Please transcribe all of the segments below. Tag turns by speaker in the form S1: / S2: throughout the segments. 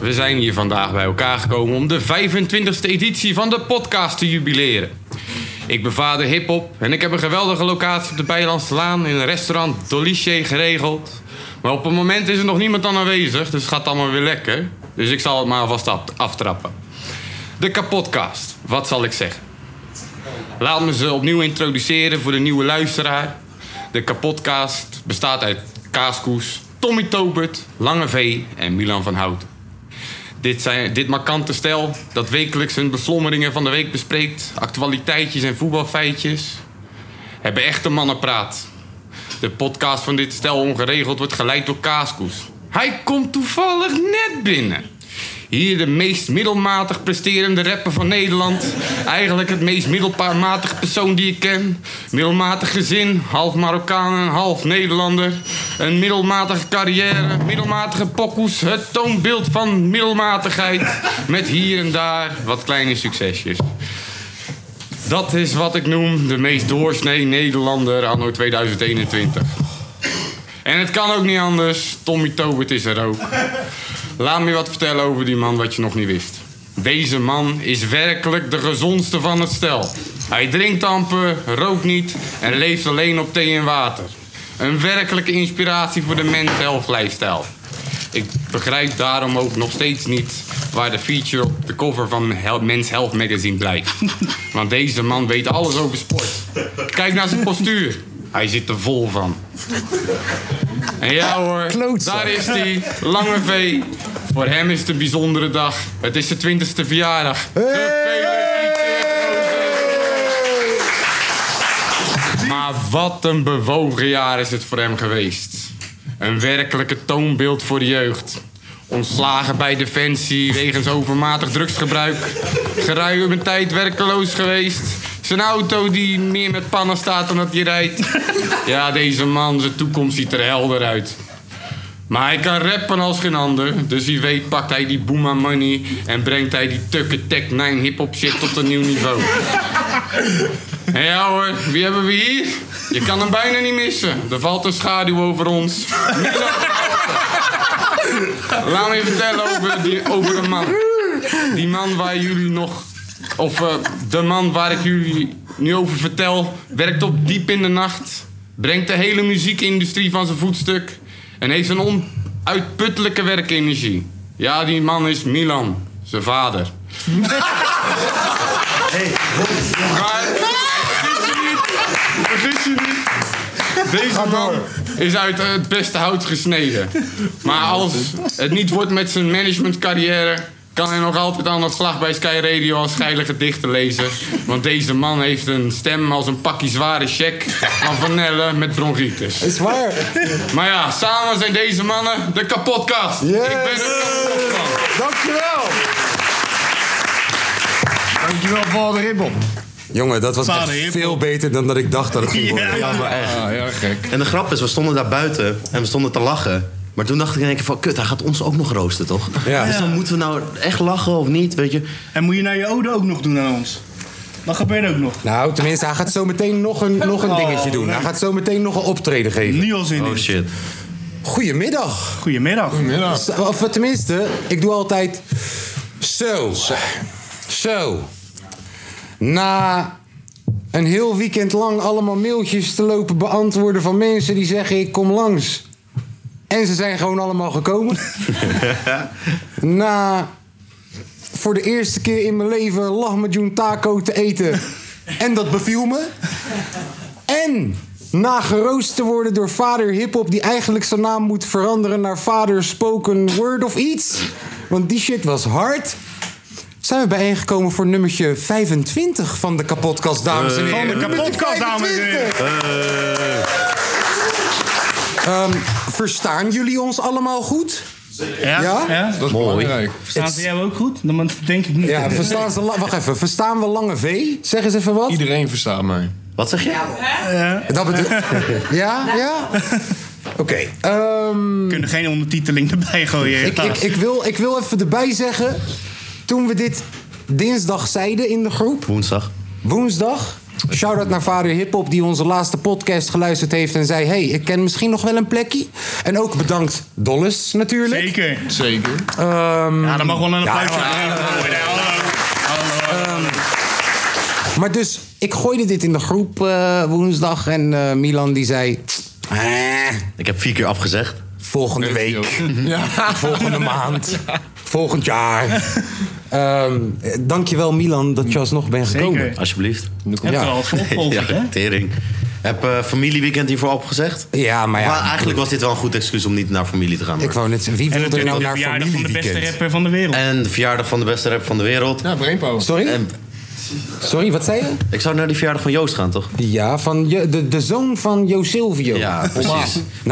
S1: We zijn hier vandaag bij elkaar gekomen om de 25e editie van de podcast te jubileren. Ik bevader hip-hop en ik heb een geweldige locatie op de Bijlandse Laan in een restaurant Dolce geregeld. Maar op het moment is er nog niemand aan aanwezig, dus het gaat allemaal weer lekker. Dus ik zal het maar alvast af- aftrappen. De kapotcast, wat zal ik zeggen? Laat me ze opnieuw introduceren voor de nieuwe luisteraar. De kapotcast bestaat uit Kaaskoes, Tommy Tobert, Lange V en Milan van Houten. Dit, zijn, dit markante stel dat wekelijks hun beslommeringen van de week bespreekt, actualiteitjes en voetbalfeitjes, hebben echte mannenpraat. De podcast van dit stel ongeregeld wordt geleid door Kaaskoes. Hij komt toevallig net binnen. Hier de meest middelmatig presterende rapper van Nederland. Eigenlijk het meest middelmatig persoon die ik ken. Middelmatig gezin, half Marokkaan en half Nederlander. Een middelmatige carrière, middelmatige pokoes. Het toonbeeld van middelmatigheid. Met hier en daar wat kleine succesjes. Dat is wat ik noem de meest doorsnee Nederlander anno 2021. En het kan ook niet anders, Tommy Tobert is er ook. Laat me wat vertellen over die man wat je nog niet wist. Deze man is werkelijk de gezondste van het stel. Hij drinkt amper, rookt niet en leeft alleen op thee en water. Een werkelijke inspiratie voor de mens health lifestyle. Ik begrijp daarom ook nog steeds niet waar de feature op de cover van Hel- Men's Health Magazine blijft. Want deze man weet alles over sport. Kijk naar zijn postuur. Hij zit er vol van. En ja hoor, daar is hij, Lange V. Voor hem is het een bijzondere dag. Het is zijn twintigste verjaardag. Gefeliciteerd, Roze. Maar wat een bewogen jaar is het voor hem geweest. Een werkelijke toonbeeld voor de jeugd. Ontslagen bij Defensie wegens overmatig drugsgebruik. Geruime tijd werkeloos geweest. Zijn auto die meer met pannen staat dan dat hij rijdt. Ja, deze man, zijn toekomst ziet er helder uit. Maar hij kan rappen als geen ander. Dus wie weet pakt hij die Booma money... en brengt hij die Tukke Tech 9 hiphop shit tot een nieuw niveau. En ja hoor, wie hebben we hier? Je kan hem bijna niet missen. Er valt een schaduw over ons. Laat me je vertellen over, die, over een man. Die man waar jullie nog... Of eh, de man waar ik jullie nu over vertel... werkt op diep in de nacht. Brengt de hele muziekindustrie van zijn voetstuk. En heeft een onuitputtelijke werkenergie. Ja, die man is Milan. Zijn vader. Maar vergis je niet. Vergis je niet. Deze man is uit eh, het beste hout gesneden. Maar als het niet wordt met zijn managementcarrière... kan hij nog altijd aan de slag bij Sky Radio als geilige gedichten lezen. Want deze man heeft een stem als een pakje zware check... van Vanelle met bronchitis.
S2: Is waar.
S1: Maar ja, samen zijn deze mannen de kapotkast.
S2: Yes.
S1: Ik ben er kapot van.
S2: Dankjewel.
S3: Dankjewel voor de ribbel.
S2: Jongen, dat was
S4: Vader
S2: echt
S4: hiphop.
S2: veel beter dan dat ik dacht dat het ging worden.
S3: Ja, maar echt.
S4: Ah, gek.
S3: En de grap is, we stonden daar buiten en we stonden te lachen. Maar toen dacht ik in één keer van, kut, hij gaat ons ook nog roosten, toch?
S2: Ja.
S3: Dus dan moeten we nou echt lachen of niet, weet je?
S4: En moet je naar je ode ook nog doen aan ons? Dat gebeurt ook nog.
S2: Nou, tenminste, hij gaat zo meteen nog een, nog een
S4: Oh,
S2: dingetje doen. Hij
S4: leuk.
S2: gaat zo meteen nog een optreden geven.
S4: Nu al zin
S3: Oh
S4: in.
S3: shit.
S2: Goedemiddag.
S4: Goedemiddag.
S2: S- Of tenminste, ik doe altijd zo. Zo. Na een heel weekend lang allemaal mailtjes te lopen beantwoorden van mensen die zeggen ik kom langs. En ze zijn gewoon allemaal gekomen. Na voor de eerste keer in mijn leven lahmacun taco te eten. En dat beviel me. En na geroost te worden door vader hiphop... die eigenlijk zijn naam moet veranderen naar vader spoken word of iets. Want die shit was hard. Zijn we bijeengekomen voor nummertje 25 van de kapotkast, dames en heren.
S4: Eh, Van de
S2: Nummertje
S4: kapotkast, dames en
S2: 25.
S4: Eh.
S2: Ehm, verstaan jullie ons allemaal goed?
S4: Ja?
S2: Ja?
S4: ja?
S5: Dat is
S6: Mooi.
S5: belangrijk.
S4: Staan ze jou ook goed? Dan denk ik niet.
S2: Ja, verstaan ze la- wacht even, verstaan we lange V? Zeg eens even wat.
S5: Iedereen verstaat mij.
S6: Wat zeg je?
S2: Dat bedoel... Ja, ja? Oké. ehm,
S4: We kunnen geen ondertiteling erbij gooien.
S2: ik, ik, ik, wil, ik wil even erbij zeggen, toen we dit dinsdag zeiden in de groep,
S6: Woensdag.
S2: woensdag... Shout-out naar vader Hiphop die onze laatste podcast geluisterd heeft en zei... hey, ik ken misschien nog wel een plekje. En ook bedankt Dolles natuurlijk. Ehm,
S4: Zeker.
S5: Zeker.
S4: Ja, dan mag wel een applausje.
S2: ja,
S4: Ja, hallo. Hallo.
S2: Maar dus, ik gooide dit in de groep eh, woensdag en eh, Milan die zei... "Eh,
S6: Ik heb vier keer afgezegd.
S2: volgende week, volgende maand, volgend jaar. Ehm dankjewel Milan dat je alsnog bent gekomen.
S4: Zeker.
S6: Alsjeblieft.
S4: Heb er al een volgvolger, hè?
S6: ja, tering. Heb eh, familieweekend hiervoor opgezegd?
S2: Ja, maar ja,
S6: Maar eigenlijk was dit wel een goed excuus om niet naar familie te gaan.
S2: ik
S6: maar-
S2: wou net zeggen, wie
S4: En
S2: wil er
S4: natuurlijk
S2: nou
S4: de
S2: naar
S4: verjaardag van de beste
S2: familieweekend?
S4: rapper van de wereld.
S6: En de verjaardag van de beste rap van de wereld.
S5: Ja, Breinpo.
S2: Sorry?
S6: En
S2: Sorry, wat zei je?
S6: ik zou naar die verjaardag van Joost gaan, toch?
S2: Ja, van je, de, de zoon van Jo Silvio.
S6: Ja, precies.
S2: Naar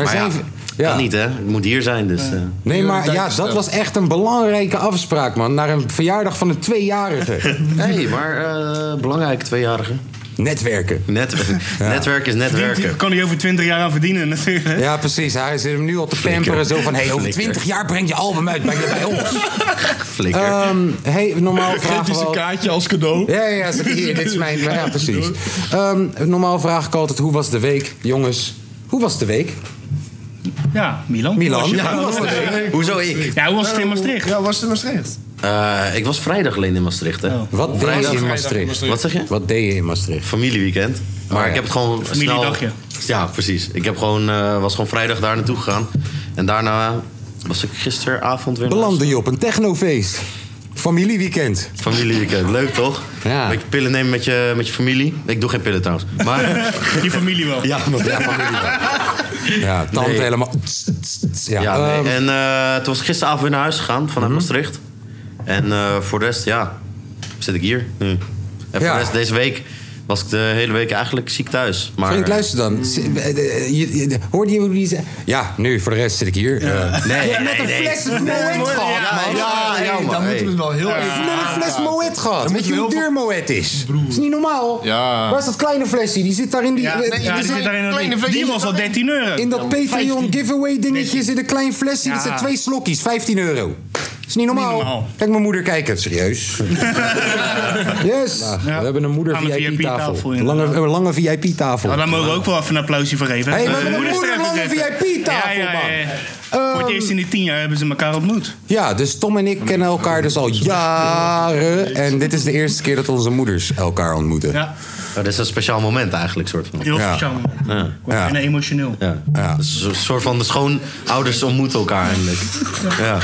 S6: Maar ja,
S2: Nou, zijn... ja.
S6: kan niet, hè? Ik moet hier zijn, dus... eh.
S2: Nee, maar ja,
S5: Prioriteiten
S2: dat
S5: stellen.
S2: was echt een belangrijke afspraak, man. Naar een verjaardag van een tweejarige.
S6: hey, maar eh, belangrijk, tweejarige.
S2: Netwerken.
S6: Net, Netwerk is netwerken.
S4: Kan hij over 20 jaar aan verdienen, natuurlijk.
S2: Ja, precies. Hij zit hem nu al te pamperen. Zo van, hey, over
S6: Flikker.
S2: 20 jaar breng je album uit. Breng je bij ons.
S6: Flikker.
S2: Ehm, hey, normaal
S5: Geef
S2: vragen
S5: eens
S2: we
S5: een
S2: al-
S5: kaartje als cadeau.
S2: Ja, ja, ja, zeg, hier, dit is mijn... Ja, precies. Ehm, normaal vraag ik altijd, hoe was de week? Jongens, hoe was de week?
S4: Ja, Milan.
S2: Milan?
S4: Ja,
S2: hoe was de week?
S6: Hoezo ik?
S4: Ja, hoe was het in Maastricht?
S5: Ja, was het in Maastricht?
S6: Eh, ik was vrijdag alleen in Maastricht, hè?
S2: Wat deed je in Maastricht?
S6: Wat zeg je?
S2: Wat deed je in Maastricht? Oh,
S6: Familieweekend. Maar
S2: ja.
S6: ik heb het gewoon snel...
S4: Familiedagje.
S6: Ja, precies. Ik heb gewoon, eh, was gewoon vrijdag daar naartoe gegaan. En daarna was ik gisteravond weer... naar-
S2: Belandde je op een technofeest? Familieweekend.
S6: Familieweekend, leuk toch?
S2: Ja.
S6: Een beetje pillen nemen met je, met je familie. Ik doe geen pillen trouwens. Maar,
S4: Je familie wel.
S6: ja, want- ja,
S2: Ja, tante
S6: Nee.
S2: helemaal... tss, tss, tss. Ja,
S6: ja, nee.
S2: ehm, Mhm.
S6: En eh, toen was ik gisteravond weer naar huis gegaan vanuit Maastricht. En eh, voor de rest, ja, zit ik hier nu. En voor
S2: Ja.
S6: de rest, deze week was ik de hele week eigenlijk ziek thuis. Maar,
S2: Frank, luister dan. S- eh, eh, je- je- Hoorde je hoe die zei? Ja, nu, voor de rest zit ik hier. Eh,
S6: Nee,
S2: je hebt net
S6: nee,
S2: een
S6: nee.
S2: fles Moet gehad,
S6: ja,
S2: man.
S6: ja, ja,
S5: hey,
S6: man,
S5: Dan moeten
S6: hey.
S5: we het wel heel even...
S2: Met een fles Moet gehad. Weet
S5: moeten
S2: je
S5: we
S2: hoe
S5: heel
S2: duur Moet is? Dat is niet normaal.
S5: Ja.
S2: Waar is dat kleine flesje? Die zit daar in die...
S4: Ja,
S2: eh,
S4: ja,
S2: die
S4: die
S2: zit
S4: zit daarin een-
S5: kleine vlees-
S4: die was al 13 euro.
S2: in dat Patreon giveaway dingetje zit een klein flesje. Dat
S4: Ja.
S2: zijn twee slokjes, 15 euro. Dat is niet normaal.
S4: Niet normaal.
S2: Kijk mijn moeder kijken. Serieus? yes. We hebben een moeder
S4: Aan de
S2: VIP-tafel.
S4: VIP-tafel,
S2: Een lange, een lange VIP-tafel.
S4: Maar daar mogen we ook wel even een applausje voor geven.
S2: Hey, we
S4: Eh,
S2: hebben een
S4: moeders er even
S2: moederlange
S4: zetten.
S2: VIP-tafel,
S4: Ja, ja, ja, ja.
S2: man. Ehm.
S4: Voor het eerst in die 10 jaar hebben ze elkaar ontmoet.
S2: Ja, dus Tom en ik kennen elkaar dus al jaren. En dit is de eerste keer dat onze moeders elkaar ontmoeten.
S4: Ja,
S6: Dat Oh, is een speciaal moment eigenlijk, soort van.
S4: heel
S2: Ja.
S4: speciaal. En emotioneel.
S6: Ja. Dat is Een soort van de schoonouders ontmoeten elkaar eigenlijk. Ja.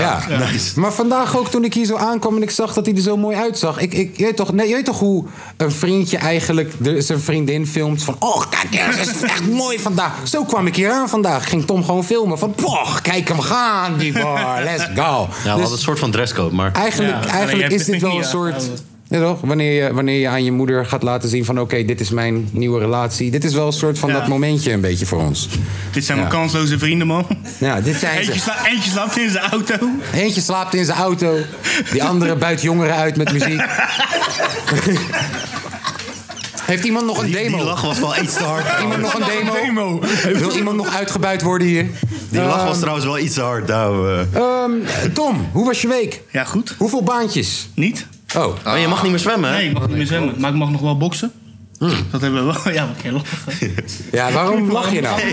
S2: Ja.
S6: Nice.
S2: Maar vandaag ook toen ik hier zo aankwam en ik zag dat hij er zo mooi uitzag. Ik, ik, je, weet toch, nee, je weet toch hoe een vriendje eigenlijk de, zijn vriendin filmt van... Oh, kijk, ja, ze is echt mooi vandaag. Zo kwam ik hier aan vandaag. Ging Tom gewoon filmen van... Poch, kijk hem gaan, die bar. Let's go.
S6: Ja, we
S2: Dus-
S6: hadden een soort van dresscode, maar...
S2: Eigenlijk,
S4: Ja, alleen
S2: eigenlijk
S4: je hebt
S2: is dit
S4: het
S2: wel
S4: niet,
S2: een
S4: ja.
S2: soort.
S4: Ja, dat-
S2: Ja, toch? Wanneer, je, wanneer je aan je moeder gaat laten zien van... oké, dit is mijn nieuwe relatie. Dit is wel een soort van
S4: Ja.
S2: dat momentje een beetje voor ons.
S4: Dit zijn mijn kansloze vrienden, man.
S2: Ja, dit zijn
S4: Eentje,
S2: ze.
S4: sla eentje slaapt in zijn auto.
S2: Eentje slaapt in zijn auto. Die andere buit jongeren uit met muziek. Heeft iemand nog een
S6: Die, die
S2: demo?
S6: lach was wel iets te hard.
S2: Iemand nog een demo? Wil iemand nog uitgebuit worden hier?
S6: Die lach was trouwens wel iets te hard. Nou, eh.
S2: Ehm, Tom, hoe was je week?
S4: Ja, goed.
S2: Hoeveel baantjes?
S4: Niet?
S2: Oh,
S6: Maar je mag niet meer zwemmen, hè? Hmm.
S4: Nee, ik mag niet meer zwemmen. Maar ik mag nog wel boksen. Dat hebben we wel. Ja, wat kan je lachen?
S2: ja, waarom lach je nou?
S6: Nee,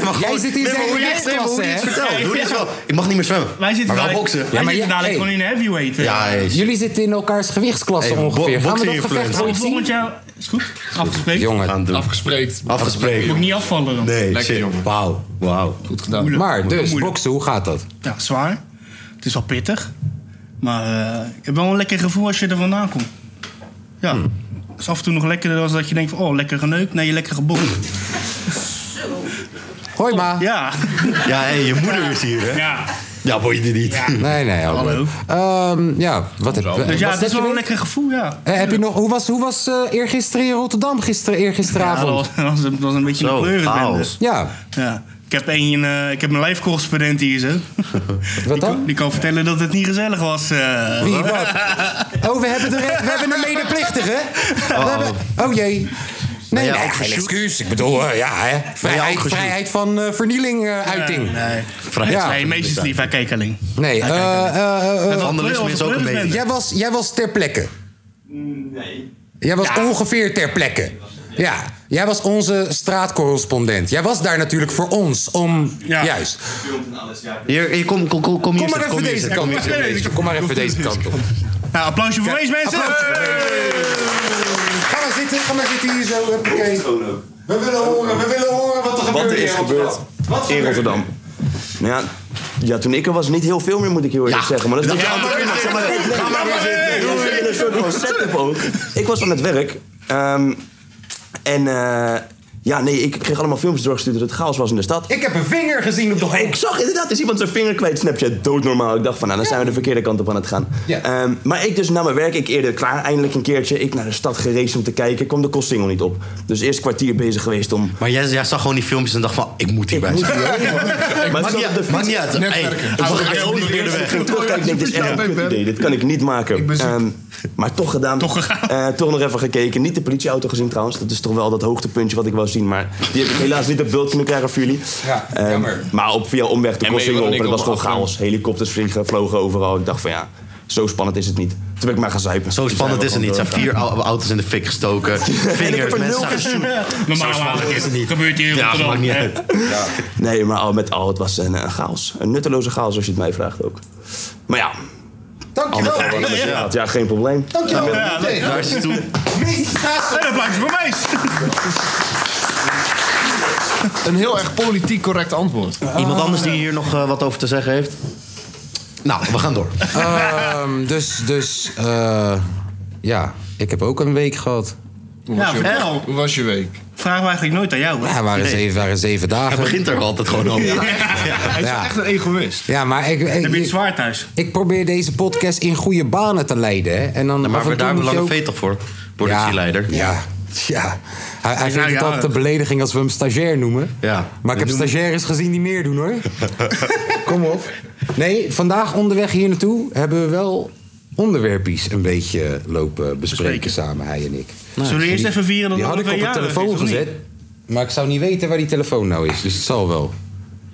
S6: maar
S2: Jij zit
S6: Nee,
S2: in
S6: maar
S2: zijn
S6: hoe je-
S2: gewicht,
S6: nee, maar hoe je het
S2: hè?
S6: vertelt. Doe dit wel. Ik mag niet meer zwemmen.
S4: Wij
S6: maar
S4: zitten
S6: wel
S4: dadelijk-
S6: boksen.
S4: Wij
S2: maar
S4: zitten
S2: ja,
S4: dadelijk
S2: hey.
S4: gewoon in de heavyweight. hè.
S6: Ja, jezus.
S2: Jullie zitten in elkaars gewichtsklassen
S6: Hey, bo-
S2: ongeveer. Gaan we dat
S6: boxing
S2: gevecht
S6: influencer.
S2: ooit
S4: Volgend
S2: zien?
S4: jaar is goed. Afgesproken.
S6: We
S2: Jongen,
S6: gaan het doen.
S5: Afgespreekt.
S6: Afgesproken.
S4: Moet ik niet afvallen dan.
S6: Nee,
S5: Lekker,
S6: shit.
S5: jongen.
S2: wauw.
S6: Wauw.
S5: Goed gedaan.
S2: Maar dus,
S4: moeilijk.
S2: boksen, hoe gaat dat?
S4: Ja, zwaar. Het is wel pittig. Maar eh, ik heb wel een lekker gevoel als je er vandaan komt. Ja.
S6: Hmm.
S4: Het is af en toe nog lekkerder dan dat je denkt van... Oh, lekker geneukt. Nee, je lekker gebokt.
S2: Hoi ma.
S4: Ja.
S6: Ja, hé, je moeder is hier, hè?
S4: Ja.
S6: Ja, boeit je niet.
S2: Nee, nee, oké.
S4: Hallo.
S2: Ehm, ja, wat heb
S4: Dus ja,
S2: was
S4: het
S2: dat
S4: is wel
S2: je
S4: een
S2: week?
S4: lekker gevoel, ja.
S2: Eh, heb je nog, hoe was, hoe was eh, eergisteren in Rotterdam, gisteren,
S4: Ja, dat
S2: eergisteravond?
S4: was, dat was een beetje een
S6: Zo,
S4: pleurisbende.
S6: chaos.
S2: Ja,
S4: Ja. Ik heb, een, eh, ik heb een live correspondent hier zo. Wat dan? Die kan vertellen dat het niet gezellig was. eh.
S2: Wie, wat? Oh, we hebben, de re- we hebben een medeplichtige. We
S4: Oh.
S2: hebben- oh jee.
S4: Ben
S2: Nee,
S4: jij
S2: nee,
S4: ook
S2: geen
S4: geshoot?
S2: excuus. Ik bedoel, eh, ja, hè. Vrijheid,
S4: geshoot?
S2: vrijheid van eh, vernieling, eh, uiting.
S4: Nee,
S2: Vrijheid van
S4: nee meestal niet. Hij kijkt alleen.
S2: Nee,
S4: Hij kijkt
S2: eh,
S4: alleen.
S2: eh, eh,
S4: Het
S2: eh,
S4: vandalisme is ook een beetje.
S2: Jij was, jij was ter plekke. Jij was ongeveer ter plekke. Ja, jij was onze straatcorrespondent. Jij was daar natuurlijk voor ons om. Juist.
S6: Hier, hier, kom, kom, kom, kom hier
S2: Kom maar
S6: zitten,
S2: even
S6: hier
S2: deze
S6: zitten,
S2: kant
S6: hier
S2: op.
S6: zitten.
S2: Kom maar even deze kant op.
S4: Nou, applausje voor deze mensen.
S2: Ga maar zitten, ga maar zitten hier zo. Huppakee. We willen horen, we willen horen wat er gebeurt.
S3: Wat er is
S2: hier.
S3: gebeurd in Rotterdam. Nou ja, ja, toen ik er was, niet heel veel meer, moet ik heel eerlijk zeggen. Maar dat is een beetje
S6: Ja, maar
S3: anders.
S6: zeg maar, kijk, ga maar weer zitten.
S3: Dat is een soort van setup ook. Ik was aan het werk. ehm, en eh, ja, nee, ik kreeg allemaal filmpjes doorgestuurd dat het chaos was in de stad.
S2: Ik heb een vinger gezien op de
S3: Ik zag inderdaad, er is iemand zijn vinger kwijt. Snapchat, doodnormaal. Ik dacht van, nou, dan zijn we de verkeerde kant op aan het gaan. Ehm, maar ik dus naar mijn werk, ik eerder klaar, eindelijk een keertje. Ik naar de stad geraced om te kijken, kwam de kostsingel niet op. Dus eerst kwartier bezig geweest om...
S6: Maar jij, jij zag gewoon die filmpjes en dacht van, ik moet hierbij zijn.
S3: Maar
S6: Maakt niet uit, maakt niet uit. Hey, we gaan gewoon niet weer de weg.
S3: Ik terugkijk, denk, dit is echt een kut idee. Dit kan ik niet maken. Ehm, maar toch gedaan. Toch, toch nog even gekeken. Niet de politieauto gezien trouwens. Dat is toch wel dat hoogtepuntje wat ik wou zien. Maar die heb ik helaas niet op beeld kunnen krijgen voor jullie.
S2: Ja,
S3: Ehm, maar op, via omweg de
S7: En weet je
S3: Kossingel
S7: wat
S3: op.
S7: ik
S3: En het was
S7: op-
S3: toch chaos. Helikopters vliegen, vlogen overal. Ik dacht van ja, zo spannend is het niet. Toen ben ik maar gaan zuipen.
S6: Zo spannend is het niet. Er zijn vier au- auto's in de fik gestoken. eh, Vingers, mensen zijn Zo spannend is het niet.
S4: Gebeurt hier in
S6: Ja,
S4: Rotterdam,
S6: maakt niet
S4: hè?
S6: uit.
S3: Nee, maar al met al, het was een, een chaos. Een nutteloze chaos als je het mij vraagt ook. Maar ja.
S2: Dankjewel.
S3: Al met al, wat ik had. Ja, geen probleem.
S2: Dankjewel.
S3: Ja,
S2: Nee.
S3: daar is hij toe.
S4: En dat blijft voor mij.
S5: Een heel erg politiek correct antwoord.
S6: Iemand anders die hier nog eh, wat over te zeggen heeft? Nou, we gaan door.
S2: Ehm, dus, dus, eh, ja, ik heb ook een week gehad.
S4: Ja, Nou, vertel.
S5: Hoe was je week?
S4: Vragen we eigenlijk nooit aan jou. hè?
S2: Ja, waren,
S4: Nee.
S2: zeven, waren zeven dagen.
S6: Hij begint er altijd gewoon over.
S4: Ja.
S5: Hij is
S2: Ja.
S5: echt een egoïst.
S2: Ja, maar ik, ik,
S4: Heb je het
S2: ik,
S4: zwaar thuis?
S2: probeer deze podcast in goede banen te leiden. Hè. En dan, af
S6: maar
S2: en
S6: we
S2: toe
S6: daar hebben
S2: moet
S6: we
S2: je
S6: Lange
S2: ook-
S6: V toch voor? Productieleider.
S2: Ja, ja. Hij, hij
S4: Ja,
S2: vindt het
S4: ja.
S2: altijd een belediging als we hem stagiair noemen.
S6: Ja.
S2: Maar ik heb stagiaires gezien die meer doen hoor. Kom op. Nee, vandaag onderweg hier naartoe hebben we wel onderwerpjes een beetje lopen bespreken samen, hij en ik.
S4: Zullen we eerst even vieren dat
S2: Die
S4: het
S2: had ik op
S4: ongeveer
S2: de
S4: jarig is,
S2: telefoon
S4: of niet?
S2: gezet, maar ik zou niet weten waar die telefoon nou is, dus het zal wel.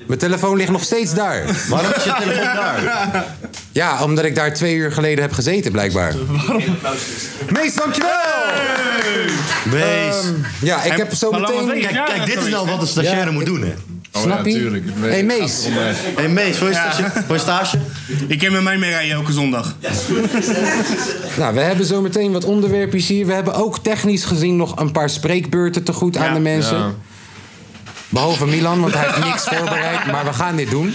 S2: Mijn telefoon ligt nog steeds daar.
S6: Waarom is je telefoon daar?
S2: Ja, omdat ik daar twee uur geleden heb gezeten, blijkbaar. Mees, dankjewel!
S6: Wees.
S2: Ehm, ja, ik heb zo
S4: Maar laat maar
S2: meteen...
S4: weten.
S6: Kijk, kijk, dit is nou wat een stagiaire moet doen, hè?
S2: Snap
S4: Oh
S2: je?
S5: natuurlijk.
S2: Hé, hey, Mees.
S6: Hé, hey, Mees, voor je stage? Voor je stage?
S4: Ik heb met mij mee rijden elke zondag.
S2: Nou, we hebben zo meteen wat onderwerpjes hier. We hebben ook technisch gezien nog een paar spreekbeurten te goed aan de mensen. Behalve Milan, want hij heeft niks voorbereid. Maar we gaan dit doen.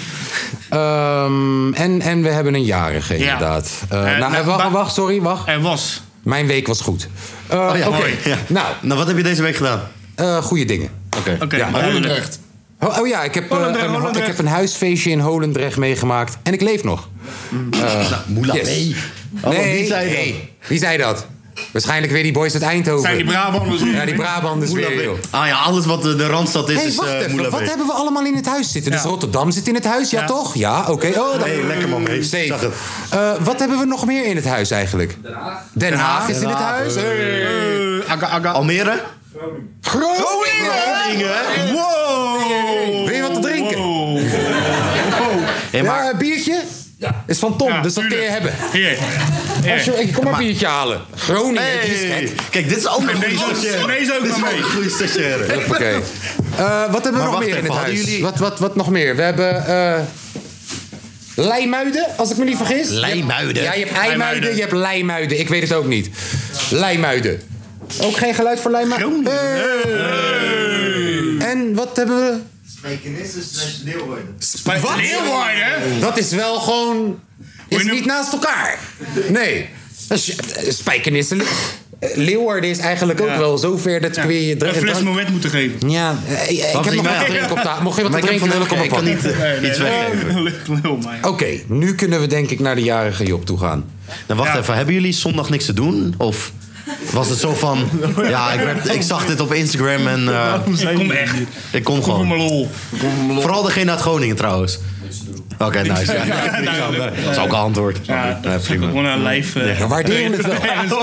S2: Ehm, en, en we hebben een jarige, inderdaad. Eh,
S4: Eh,
S2: nou,
S4: nou,
S2: eh, wacht,
S4: ba-
S2: wacht, sorry, wacht.
S4: Er was.
S2: Mijn week was goed. Eh,
S6: Oh ja,
S2: Oké,
S6: mooi. Ja.
S2: nou,
S6: Nou, wat heb je deze week gedaan?
S2: eh goede dingen.
S6: Oké.
S4: Oké,
S2: Ja,
S4: maar duidelijk.
S5: Holendrecht.
S2: Oh, oh ja, ik heb, eh,
S4: Holendrecht,
S2: een,
S4: Holendrecht.
S2: ik heb een huisfeestje in Holendrecht meegemaakt. En ik leef nog.
S4: Mm.
S2: Eh,
S6: Nou, Moela,
S2: Yes.
S6: nee. Oh,
S2: nee,
S6: wie zei dat?
S2: nee. Wie zei dat? Waarschijnlijk weer die boys uit Eindhoven.
S4: Zijn die Brabanders weer?
S2: Ja, die Brabanders
S6: Moela
S2: weer,
S6: B.
S2: joh.
S6: Ah ja, alles wat de, de Randstad is,
S2: Hé,
S6: is
S2: wacht
S6: eh
S2: even.
S6: Moela
S2: Wat
S6: B.
S2: hebben we allemaal in het huis zitten? Dus
S4: Ja.
S2: Rotterdam zit in het huis, ja,
S4: Ja.
S2: toch? Ja, oké. Oh, dan-
S6: Hey, lekker man, Mees.
S2: Safe.
S6: Zag het.
S2: Eh, wat hebben we nog meer in het huis eigenlijk? Den Haag. Den Haag is in het huis. Hey.
S4: Aga, aga.
S6: Eh, Almere?
S2: Groningen!
S6: Groningen.
S4: Wow!
S2: Wil je wat te drinken?
S4: Wow.
S6: Hey,
S2: Ja,
S6: maar,
S2: een biertje? Is van Tom,
S4: Ja,
S2: dus dat kun je
S4: tuurlijk.
S2: hebben.
S4: Hier.
S2: Als je- ik kom maar een biertje halen. Groningen,
S6: hey.
S2: die is gek.
S6: Kijk, dit is ook een goede
S4: Deze ook-
S6: stagiaire.
S4: deze ook
S6: Dit is
S4: maar
S6: ook
S4: mee.
S6: een goede stagiaire.
S2: Oké. Eh, wat hebben we nog
S6: wacht
S2: meer in
S6: even,
S2: het
S6: hadden
S2: huis?
S6: jullie-
S2: Wat, wat, wat nog meer? We hebben eh Leimuiden, als ik me niet vergis.
S6: Leimuiden.
S2: Ja, je hebt IJmuiden,
S4: Leimuiden.
S2: je hebt Leimuiden. Ik weet het ook niet. Leimuiden. Ook geen geluid voor Leimuiden. En wat hebben we? Spijkenissen slash
S4: Leeuwarden, hè?
S2: Wat? Dat is wel gewoon... Is niet naast elkaar. Nee. Dat is- eh, Spijkenissen... eh, Leeuwarden is eigenlijk ook wel zover dat kun je je...
S4: Een
S2: dra-
S4: fles moment moeten geven.
S2: ja, eh, eh, ik
S6: niet
S2: heb nog
S6: mij
S2: wat
S6: aan.
S2: drinken op tafel. Mocht je wat
S6: Maar
S2: te
S6: ik heb
S2: drinken willen, kom
S6: vandaag-
S2: maar
S6: ik kan
S2: pakken.
S6: niet eh, iets weggeven.
S4: Lul, man.
S2: Oké, nu kunnen we denk ik naar de jarige Job toe gaan.
S6: Dan Nou, wacht
S4: Ja.
S6: even, hebben jullie zondag niks te doen? Of was het zo van... Ja, ik, werd, ik zag dit op Instagram en eh,
S5: Ik kom echt.
S6: ik kom
S5: Voor
S6: gewoon.
S5: mijn lol.
S6: Vooral degene uit Groningen trouwens. Oké, nice. Nou, Ja, dat is ook een antwoord.
S5: Ja,
S6: Ja,
S5: dat is
S6: prima.
S5: gewoon een lijf. eh,
S2: We waarderen het wel.
S5: ergens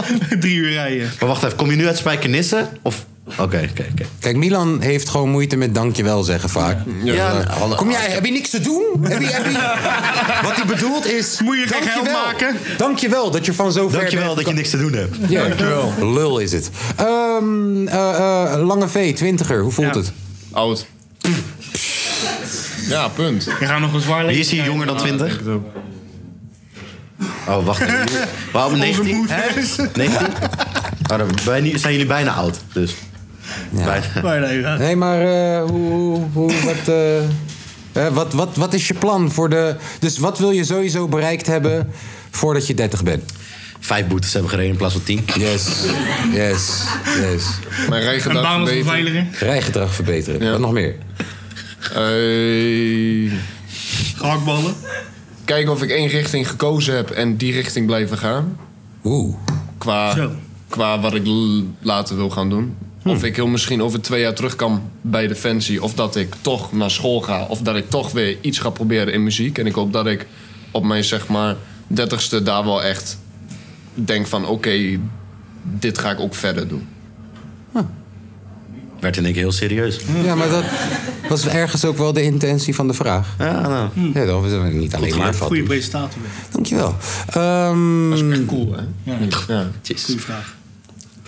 S5: Drie uur rijden.
S6: Maar wacht even, kom je nu uit Spijkenisse? Of... Oké, oké, oké.
S2: Kijk, Milan heeft gewoon moeite met dankjewel zeggen vaak.
S6: Ja,
S2: Eh, Kom jij, heb je niks te doen? Heb je, heb je- wat hij bedoelt is...
S5: Moet je gek
S2: dankjewel.
S5: geld maken?
S2: Dankjewel dat je van zo ver
S6: Dankjewel dat je niks te doen hebt.
S2: bent. Ja. Lul is het. Ehm, eh, eh, Lange V, twintiger, hoe voelt
S5: Ja.
S2: het?
S8: Oud. Ja, punt.
S5: We gaan nog een zwaar
S6: Wie
S5: leven
S6: is hier jonger dan 20? Oh, wacht even. Waarom 19? Hè? 19? Oh, dan ben je- zijn jullie bijna oud, dus. Bijna.
S5: Maar nee, ja.
S2: Nee, maar eh, hoe, hoe, hoe- wat, eh, eh, wat, wat, wat is je plan voor de... Dus wat wil je sowieso bereikt hebben voordat je 30 bent?
S6: Vijf boetes hebben gereden in plaats van tien.
S2: Yes, yes, yes.
S8: Mijn
S5: Een
S8: rijgedrag
S5: baan als
S8: verbeteren.
S5: beveiliger.
S2: Rijgedrag verbeteren,
S8: Ja.
S2: wat nog meer?
S8: Eh,
S5: Gehaktballen.
S8: kijken of ik één richting gekozen heb en die richting blijven gaan.
S2: Oeh.
S8: Qua,
S5: Zo.
S8: qua wat ik l- later wil gaan doen.
S6: Hm.
S8: Of ik heel misschien over twee jaar terug kan bij Defensie. Of dat ik toch naar school ga. Of dat ik toch weer iets ga proberen in muziek. En ik hoop dat ik op mijn zeg maar dertigste daar wel echt denk van... Oké, dit ga ik ook verder doen.
S6: Werd in één keer heel serieus.
S2: Ja, maar dat was ergens ook wel de intentie van de vraag.
S6: Ja, nou.
S2: Ja, dan was het niet alleen maar
S5: Goede
S2: van.
S5: presentator.
S2: Dankjewel. Ehm,
S8: Dat is echt cool, hè? ja.
S5: Goede vraag.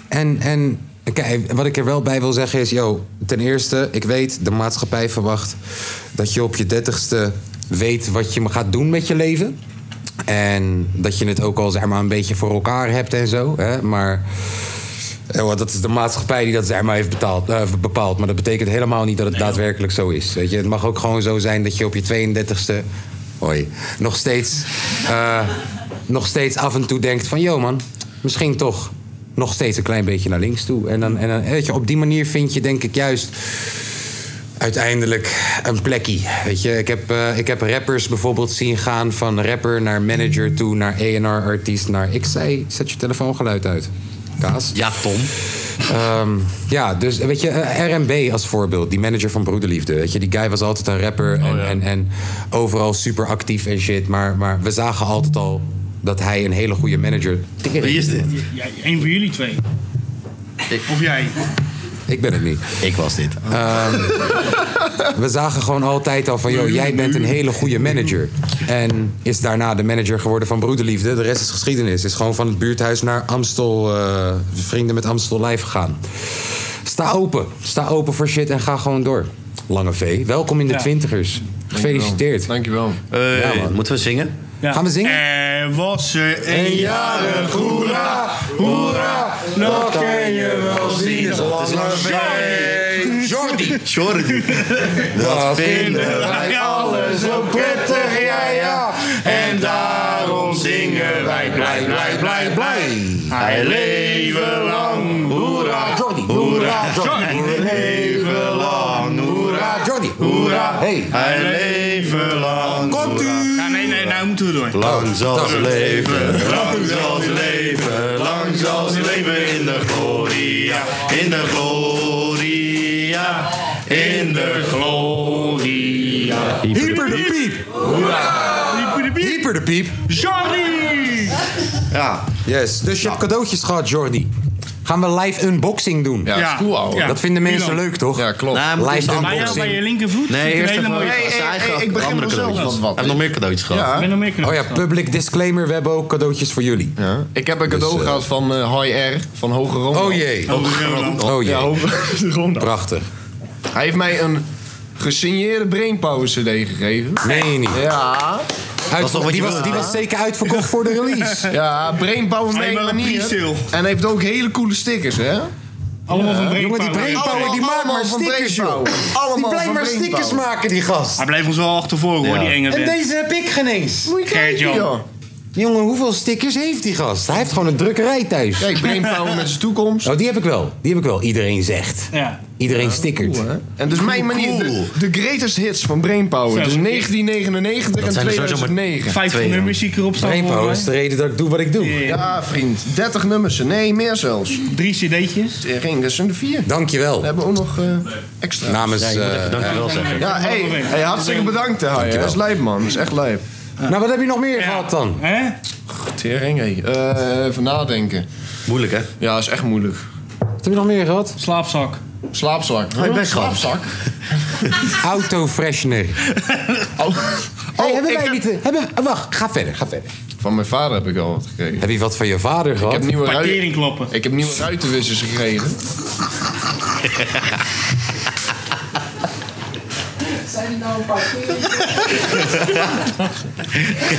S2: en, en kijk, wat ik er wel bij wil zeggen is... Yo, ten eerste, ik weet, de maatschappij verwacht... dat je op je dertigste weet wat je gaat doen met je leven. En dat je het ook al zeg maar, een beetje voor elkaar hebt en zo. Hè? Maar eh, want dat is de maatschappij die dat zeg maar, heeft betaald, eh, bepaald. Maar dat betekent helemaal niet dat het daadwerkelijk zo is. Weet je? Het mag ook gewoon zo zijn dat je op je 32e... Hoi. Nog steeds, eh, nog steeds af en toe denkt van... Yo man, misschien toch nog steeds een klein beetje naar links toe. En, dan, en dan, weet je, op die manier vind je denk ik juist uiteindelijk een plekje. Weet je, ik heb, eh, ik heb rappers bijvoorbeeld zien gaan van rapper naar manager toe, naar A&R-artiest, naar... Ik zei, zet je telefoongeluid uit. Kaas.
S6: Ja, Tom.
S2: Ehm, ja, dus weet je, eh, R&B als voorbeeld. Die manager van Broederliefde. Weet je, die guy was altijd een rapper en, en, en overal super actief en shit. Maar, maar we zagen altijd al dat hij een hele goede manager...
S6: Wie is dit?
S5: Ja, één van jullie twee. Of jij.
S2: Ik ben het niet. Ehm,
S6: Ik was dit.
S2: We zagen gewoon altijd al van, joh, jij bent een hele goede manager. En is daarna de manager geworden van Broederliefde. De rest is geschiedenis. Is gewoon van het buurthuis naar Amstel, eh, vrienden met Amstel Live gegaan. Sta open. Sta open voor shit en ga gewoon door. Lange V, welkom in de
S5: Ja.
S2: twintigers. Gefeliciteerd.
S8: Dankjewel.
S6: Eh,
S2: Ja, man.
S6: moeten we zingen?
S5: Ja.
S2: Gaan we zingen?
S5: Er was er een jarig, hoera, hoera, dat ken je wel zien. Lange V.
S2: Jordi!
S6: Jordi.
S2: Dat
S6: vinden
S5: wij alles
S2: zo prettig, ja ja.
S5: En daarom zingen wij blij, blij, blij, blij. Hij leven lang, hoera,
S2: Jordi!
S5: hoera, Jordi. Leven lang, hoera,
S2: Jordi!
S5: hoera.
S2: Hey,
S6: Hij leven lang.
S2: komt u!
S5: Ja, nee, nee, nou moeten we door.
S6: Lang zal ze leven, lang zal ze leven, lang zal ze leven in de gloria, in de gloria, in de gloria.
S2: Hyper de piep! Hyper de piep!
S5: Jordi!
S6: Ja,
S2: Yes, dus je hebt cadeautjes gehad, Jordi. Gaan we live unboxing doen?
S8: Ja, is cool, ouwe.
S5: Ja.
S2: Dat vinden mensen
S5: Milan.
S2: leuk, toch?
S8: Ja, klopt.
S6: Nou, moet
S2: live
S6: eerst-
S5: Bij jou, bij je
S2: unboxing.
S5: linkervoet
S6: nee,
S5: zit een
S6: eerst
S5: hele
S6: even
S5: mooie...
S6: zijn
S5: Ik
S6: eigen
S8: hey, ik begin
S6: andere
S8: mezelf wat
S6: cadeautjes.
S8: wat.
S6: Hij heeft nog meer cadeautjes gehad.
S8: Ja.
S5: ben nog meer
S2: Oh ja,
S5: knap.
S2: public disclaimer, we hebben ook cadeautjes voor jullie.
S8: Ja. Ik heb een cadeau
S2: eh,
S8: gehad van eh High R van Hoge Rondo.
S2: Oh jee.
S5: Oh, Roland.
S2: Oh
S8: Ja,
S2: jee,
S8: Hoge Rondo.
S2: prachtig.
S8: Hij heeft mij een gesigneerde Brainpower CD gegeven.
S2: Nee, niet.
S8: Ja.
S2: Uit-
S6: toch wat
S2: die,
S6: je
S2: was,
S6: wilde,
S2: die
S6: hè?
S2: was zeker uitverkocht voor de release.
S8: Ja, Brainpower
S5: Hij heeft wel een
S8: Mania.
S5: pre-sale.
S8: En hij heeft ook hele coole stickers, hè?
S5: Allemaal van Brink.
S2: Jongen, die Brainpower die maakt
S8: Allemaal
S2: maar
S8: van
S2: stickers, joh.
S8: Brainpower.
S2: Die
S8: Allemaal
S2: blijft
S8: van
S2: maar stickers
S8: Brainpower.
S2: maken, die gast.
S5: Hij blijft ons wel achtervoor hoor,
S6: Ja.
S5: die enge
S2: En
S5: vent.
S2: deze heb ik geen eens.
S8: Moet je kijken,
S5: Gert-Jan.
S8: joh.
S2: Jongen, hoeveel stickers heeft die gast? Hij heeft gewoon een drukkerij thuis.
S8: Kijk, Brainpower met zijn toekomst.
S2: Oh, die heb ik wel. Die heb ik wel. Iedereen zegt.
S4: Ja.
S2: Iedereen stickert.
S8: Cool, hè? En dus mijn manier, de, de greatest hits van Brainpower.
S4: Zo.
S8: Dus 1999 en
S9: zijn er sowieso maar
S8: 2009.
S4: Vijf
S9: Twee,
S4: nummers die ik erop staan.
S2: Brainpower is de reden dat ik doe wat ik doe.
S8: Ja, vriend. 30 nummers. Nee, meer zelfs.
S4: Drie cd'tjes.
S8: Er ging er zijn er vier.
S2: Dankjewel.
S8: We hebben ook nog eh, extra.
S2: Namens... eh,
S9: Dankjewel zeggen.
S8: Ja, hey, hey, hartstikke bedankt. hè, Hij Dat is lijp, man. Dat is echt lijp.
S2: nou, wat heb je nog meer gehad dan?
S4: Hè?
S8: Tering, hé. Eh, even nadenken.
S9: Moeilijk, hè?
S8: Ja, is echt moeilijk.
S2: Wat heb je nog meer gehad?
S4: Slaapzak.
S8: Slaapzak. Huh?
S9: best wel.
S8: Slaapzak?
S2: Autofreshener.
S8: Oh.
S2: hey,
S8: Oh,
S2: hebben
S8: ik
S2: wij
S8: heb-
S2: niet... eh, Hebben, wacht, ga verder, ga verder.
S8: Van mijn vader heb ik al wat gekregen.
S2: Heb je wat van je vader
S8: Ik
S2: gehad?
S8: heb nieuwe,
S4: Parkering
S8: ruiten.
S4: kloppen.
S8: ik heb nieuwe ruitenwissers gekregen.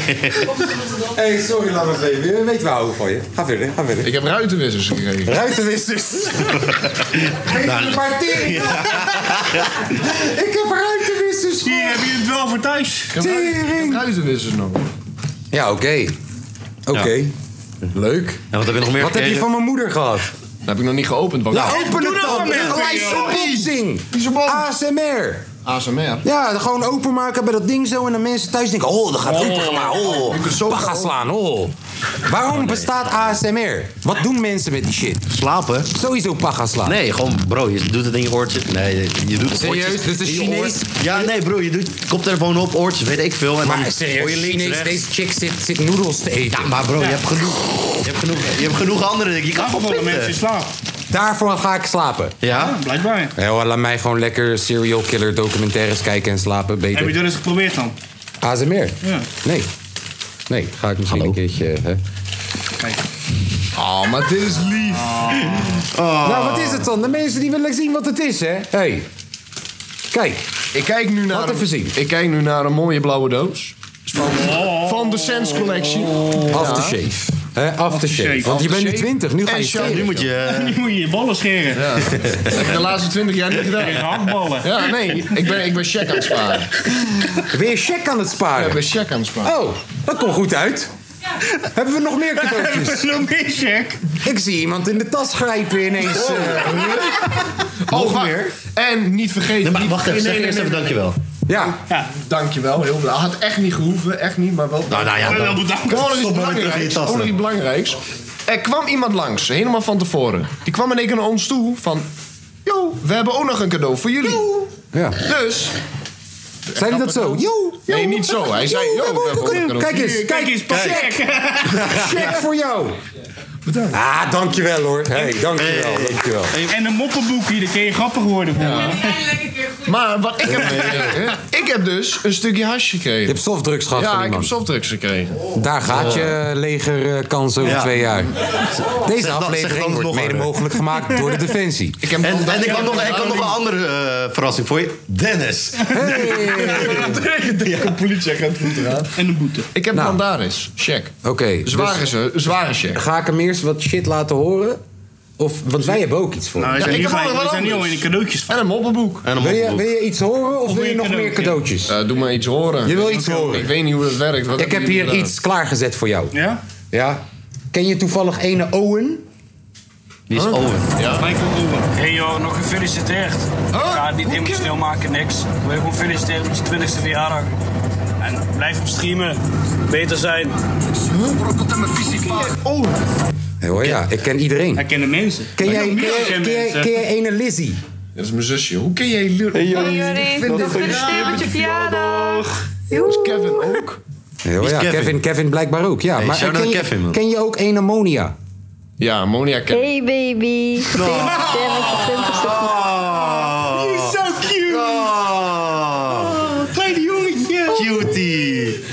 S2: Hey, sorry, laat maar even. We weten we houden van je. Ga verder, ga verder.
S8: Ik heb ruitenwissers gekregen.
S2: Ruitenwissers.
S9: Nou,
S2: Geen partering. Ik heb ruitenwissers.
S4: Hier heb je het wel voor thuis.
S8: Ik heb ru- ik heb
S2: Tering.
S8: ruitenwissers nog.
S2: Ja, oké. Oké. Leuk.
S9: En wat heb je nog meer
S2: Wat heb je
S9: gekregen?
S2: van mijn moeder gehad?
S8: Dat heb ik nog niet geopend. Want
S2: Ja, Nou, open het dan. Gelijk zo'n opzing. ASMR.
S8: ASMR.
S2: Ja, gewoon openmaken bij dat ding zo. En dan mensen thuis denken, oh, dat gaat goed. Maar oh, bagga slaan, oh. Waarom bestaat ASMR? Wat doen mensen met die shit?
S9: Slapen?
S2: Sowieso pagga slaan.
S9: Nee, gewoon bro, je doet het in je oortje. Nee, je doet het
S2: Serieus? Dus
S9: oortjes
S2: Dit is
S9: in je
S2: Chinees?
S9: oor- Ja, nee bro, je doet koptelefoon op, oortjes, weet ik veel. En dan
S2: Maar
S9: hoor
S2: serieus,
S9: je links,
S2: Chinees,
S9: rechts.
S2: deze chick zit, zit noedels te eten.
S9: Ja, maar bro, je hebt genoeg. Je hebt genoeg, je hebt genoeg andere dingen. Je kan
S4: Af
S9: gewoon
S4: van de mensen in
S9: pitten.
S4: slaap.
S2: Daarvoor ga ik slapen.
S9: Ja?
S4: Blijkbaar.
S2: Ja, hoor, laat mij gewoon lekker serial killer documentaires kijken en slapen.
S4: Heb je
S2: Beter.
S4: dat eens geprobeerd dan?
S2: ASMR?
S4: Ja.
S2: Nee. Nee, ga ik misschien een keertje... Hè?
S4: Kijk.
S8: Oh, maar dit is lief.
S2: Nou, wat is het dan? De mensen die willen zien wat het is, hè? hey. kijk.
S8: Ik kijk nu naar
S2: Laat even zien.
S8: Ik kijk nu naar een mooie blauwe doos. Van, van de Sense Collection.
S2: Aftershave. Hè, aftershave.
S4: Aftershave.
S2: Want je bent nu
S8: Aftershave
S2: 20, nu ga je
S8: en shampoo.
S2: shave.
S9: Nu moet je...
S4: Nu moet je je ballen scheren. Ja.
S8: Dat heb ik de laatste 20 jaar niet
S4: Je
S8: gedaan.
S4: hakballen.
S8: Ja, nee, ik ben, ik ben check aan het sparen.
S2: Weer check aan het
S8: Ik ben
S2: sparen.
S8: check aan het sparen.
S2: Oh, dat komt goed uit. Hebben we nog meer cadeautjes?
S4: Nog meer check.
S2: Ik zie iemand in de tas grijpen ineens. eh.
S8: Oh, wacht. En niet vergeten.
S9: Nee, maar
S8: niet-
S9: wacht even, zeg eerst even dankjewel.
S2: ja,
S8: Dankjewel, heel blauw. Had echt niet gehoeven, echt niet, maar wel.
S9: Nou, nou ja,
S4: Wel
S9: dan.
S4: bedankt.
S8: Ik wou nog iets
S9: Stop maar weer terug in
S8: belangrijks.
S9: je tas,
S8: ik wou nog
S9: hè.
S8: iets belangrijks. Er kwam iemand langs, helemaal van tevoren. Die kwam in één keer naar ons toe van... Yo, we hebben ook nog een cadeau voor jullie.
S2: ja.
S8: Dus...
S2: Zei hij dat zo? Yo,
S8: Nee, niet zo. Hij zei... "Oh,
S2: Yo,
S8: Yo,
S2: we hebben ook een cadeau. Kijk eens,
S4: Kijk, eens, pas check.
S2: check voor jou. Bedankt. Ah, dankjewel hoor. Hey, dankjewel, dankjewel.
S4: En een moppenboekje, daar kun je grappig worden van.
S8: Maar wat ik heb gekregen... Ik heb dus een stukje hash
S2: Je
S8: gekregen.
S2: hebt softdrugs gehad van
S8: Ja,
S2: die
S8: ik heb
S2: man.
S8: softdrugs gekregen.
S2: Daar gaat je legerkans over
S9: Ja.
S2: twee jaar. Deze
S9: zeg dat
S2: aflevering
S9: nog
S2: wordt mede
S9: harder.
S2: mogelijk gemaakt door de Defensie.
S8: Ik heb
S9: En, en ik had nog, ik had nog een andere eh, verrassing voor je. Dennis.
S2: Hey.
S8: een politieagent moet eraan.
S4: En een boete.
S8: Ik heb
S2: Nou.
S8: Bandaris. Check.
S2: Oké, dus
S8: Zware, ze- zware check.
S2: ga ik hem eerst wat shit laten horen? Of, want wij hebben ook iets voor.
S4: Nou, we
S8: Dus Ja,
S4: zijn,
S8: ik
S4: nu
S8: heb
S4: bij-
S8: wel
S4: we
S8: wat
S4: zijn nu al in
S8: anders.
S4: de cadeautjes van.
S8: En een moppenboek.
S9: En een
S2: wil, je,
S9: moppenboek.
S2: wil je iets horen of, wil
S4: wil
S2: je
S4: je
S2: nog
S4: cadeautje?
S2: meer cadeautjes?
S8: Eh, doe maar iets horen.
S2: je wil iets
S8: Ik
S2: horen.
S8: weet niet hoe dat werkt. Wat
S2: Ik heb
S8: hebben
S2: hier
S8: jullie
S2: iets klaargezet voor jou.
S4: Ja?
S2: Ja? Ken je toevallig ene Owen?
S9: Die is Owen.
S10: Michael Owen. Hey joh, nog gefeliciteerd.
S8: Huh?
S10: Ga het niet
S8: Hoe
S10: emotioneel maken, niks. Ik wil je gewoon feliciteren met je 20ste verjaardag. En blijf op streamen. Beter zijn.
S2: Hey,
S8: Oh,
S2: hoor, ja, ik ken iedereen.
S4: Hij kent de mensen.
S2: Ken
S4: Hij
S2: jij, ken
S4: kent
S2: jij,
S4: meer
S2: ken
S4: mensen.
S2: jij, ken jij ene Lizzie?
S8: gedaan? Dat is mijn zusje. Hoe ken jij Lur?
S11: Gefeliciteerd met je verjaardag. Joe.
S8: Kevin ook?
S2: Hey, hoor,
S9: Wie
S2: ja,
S9: is
S2: Kevin?
S9: Kevin?
S2: Kevin, blijkbaar ook, ja.
S9: Hey,
S2: maar
S9: shout-out
S2: ken, je,
S9: Kevin, man.
S2: ken je ook ene Monia?
S8: Ja, Monia Kevin.
S11: Hey baby. Gefeliciteerd met je 20ste
S9: Oh.
S4: Zo cute.
S5: Ah.
S9: Oh.
S4: Kleine jongetje.
S9: Cutie.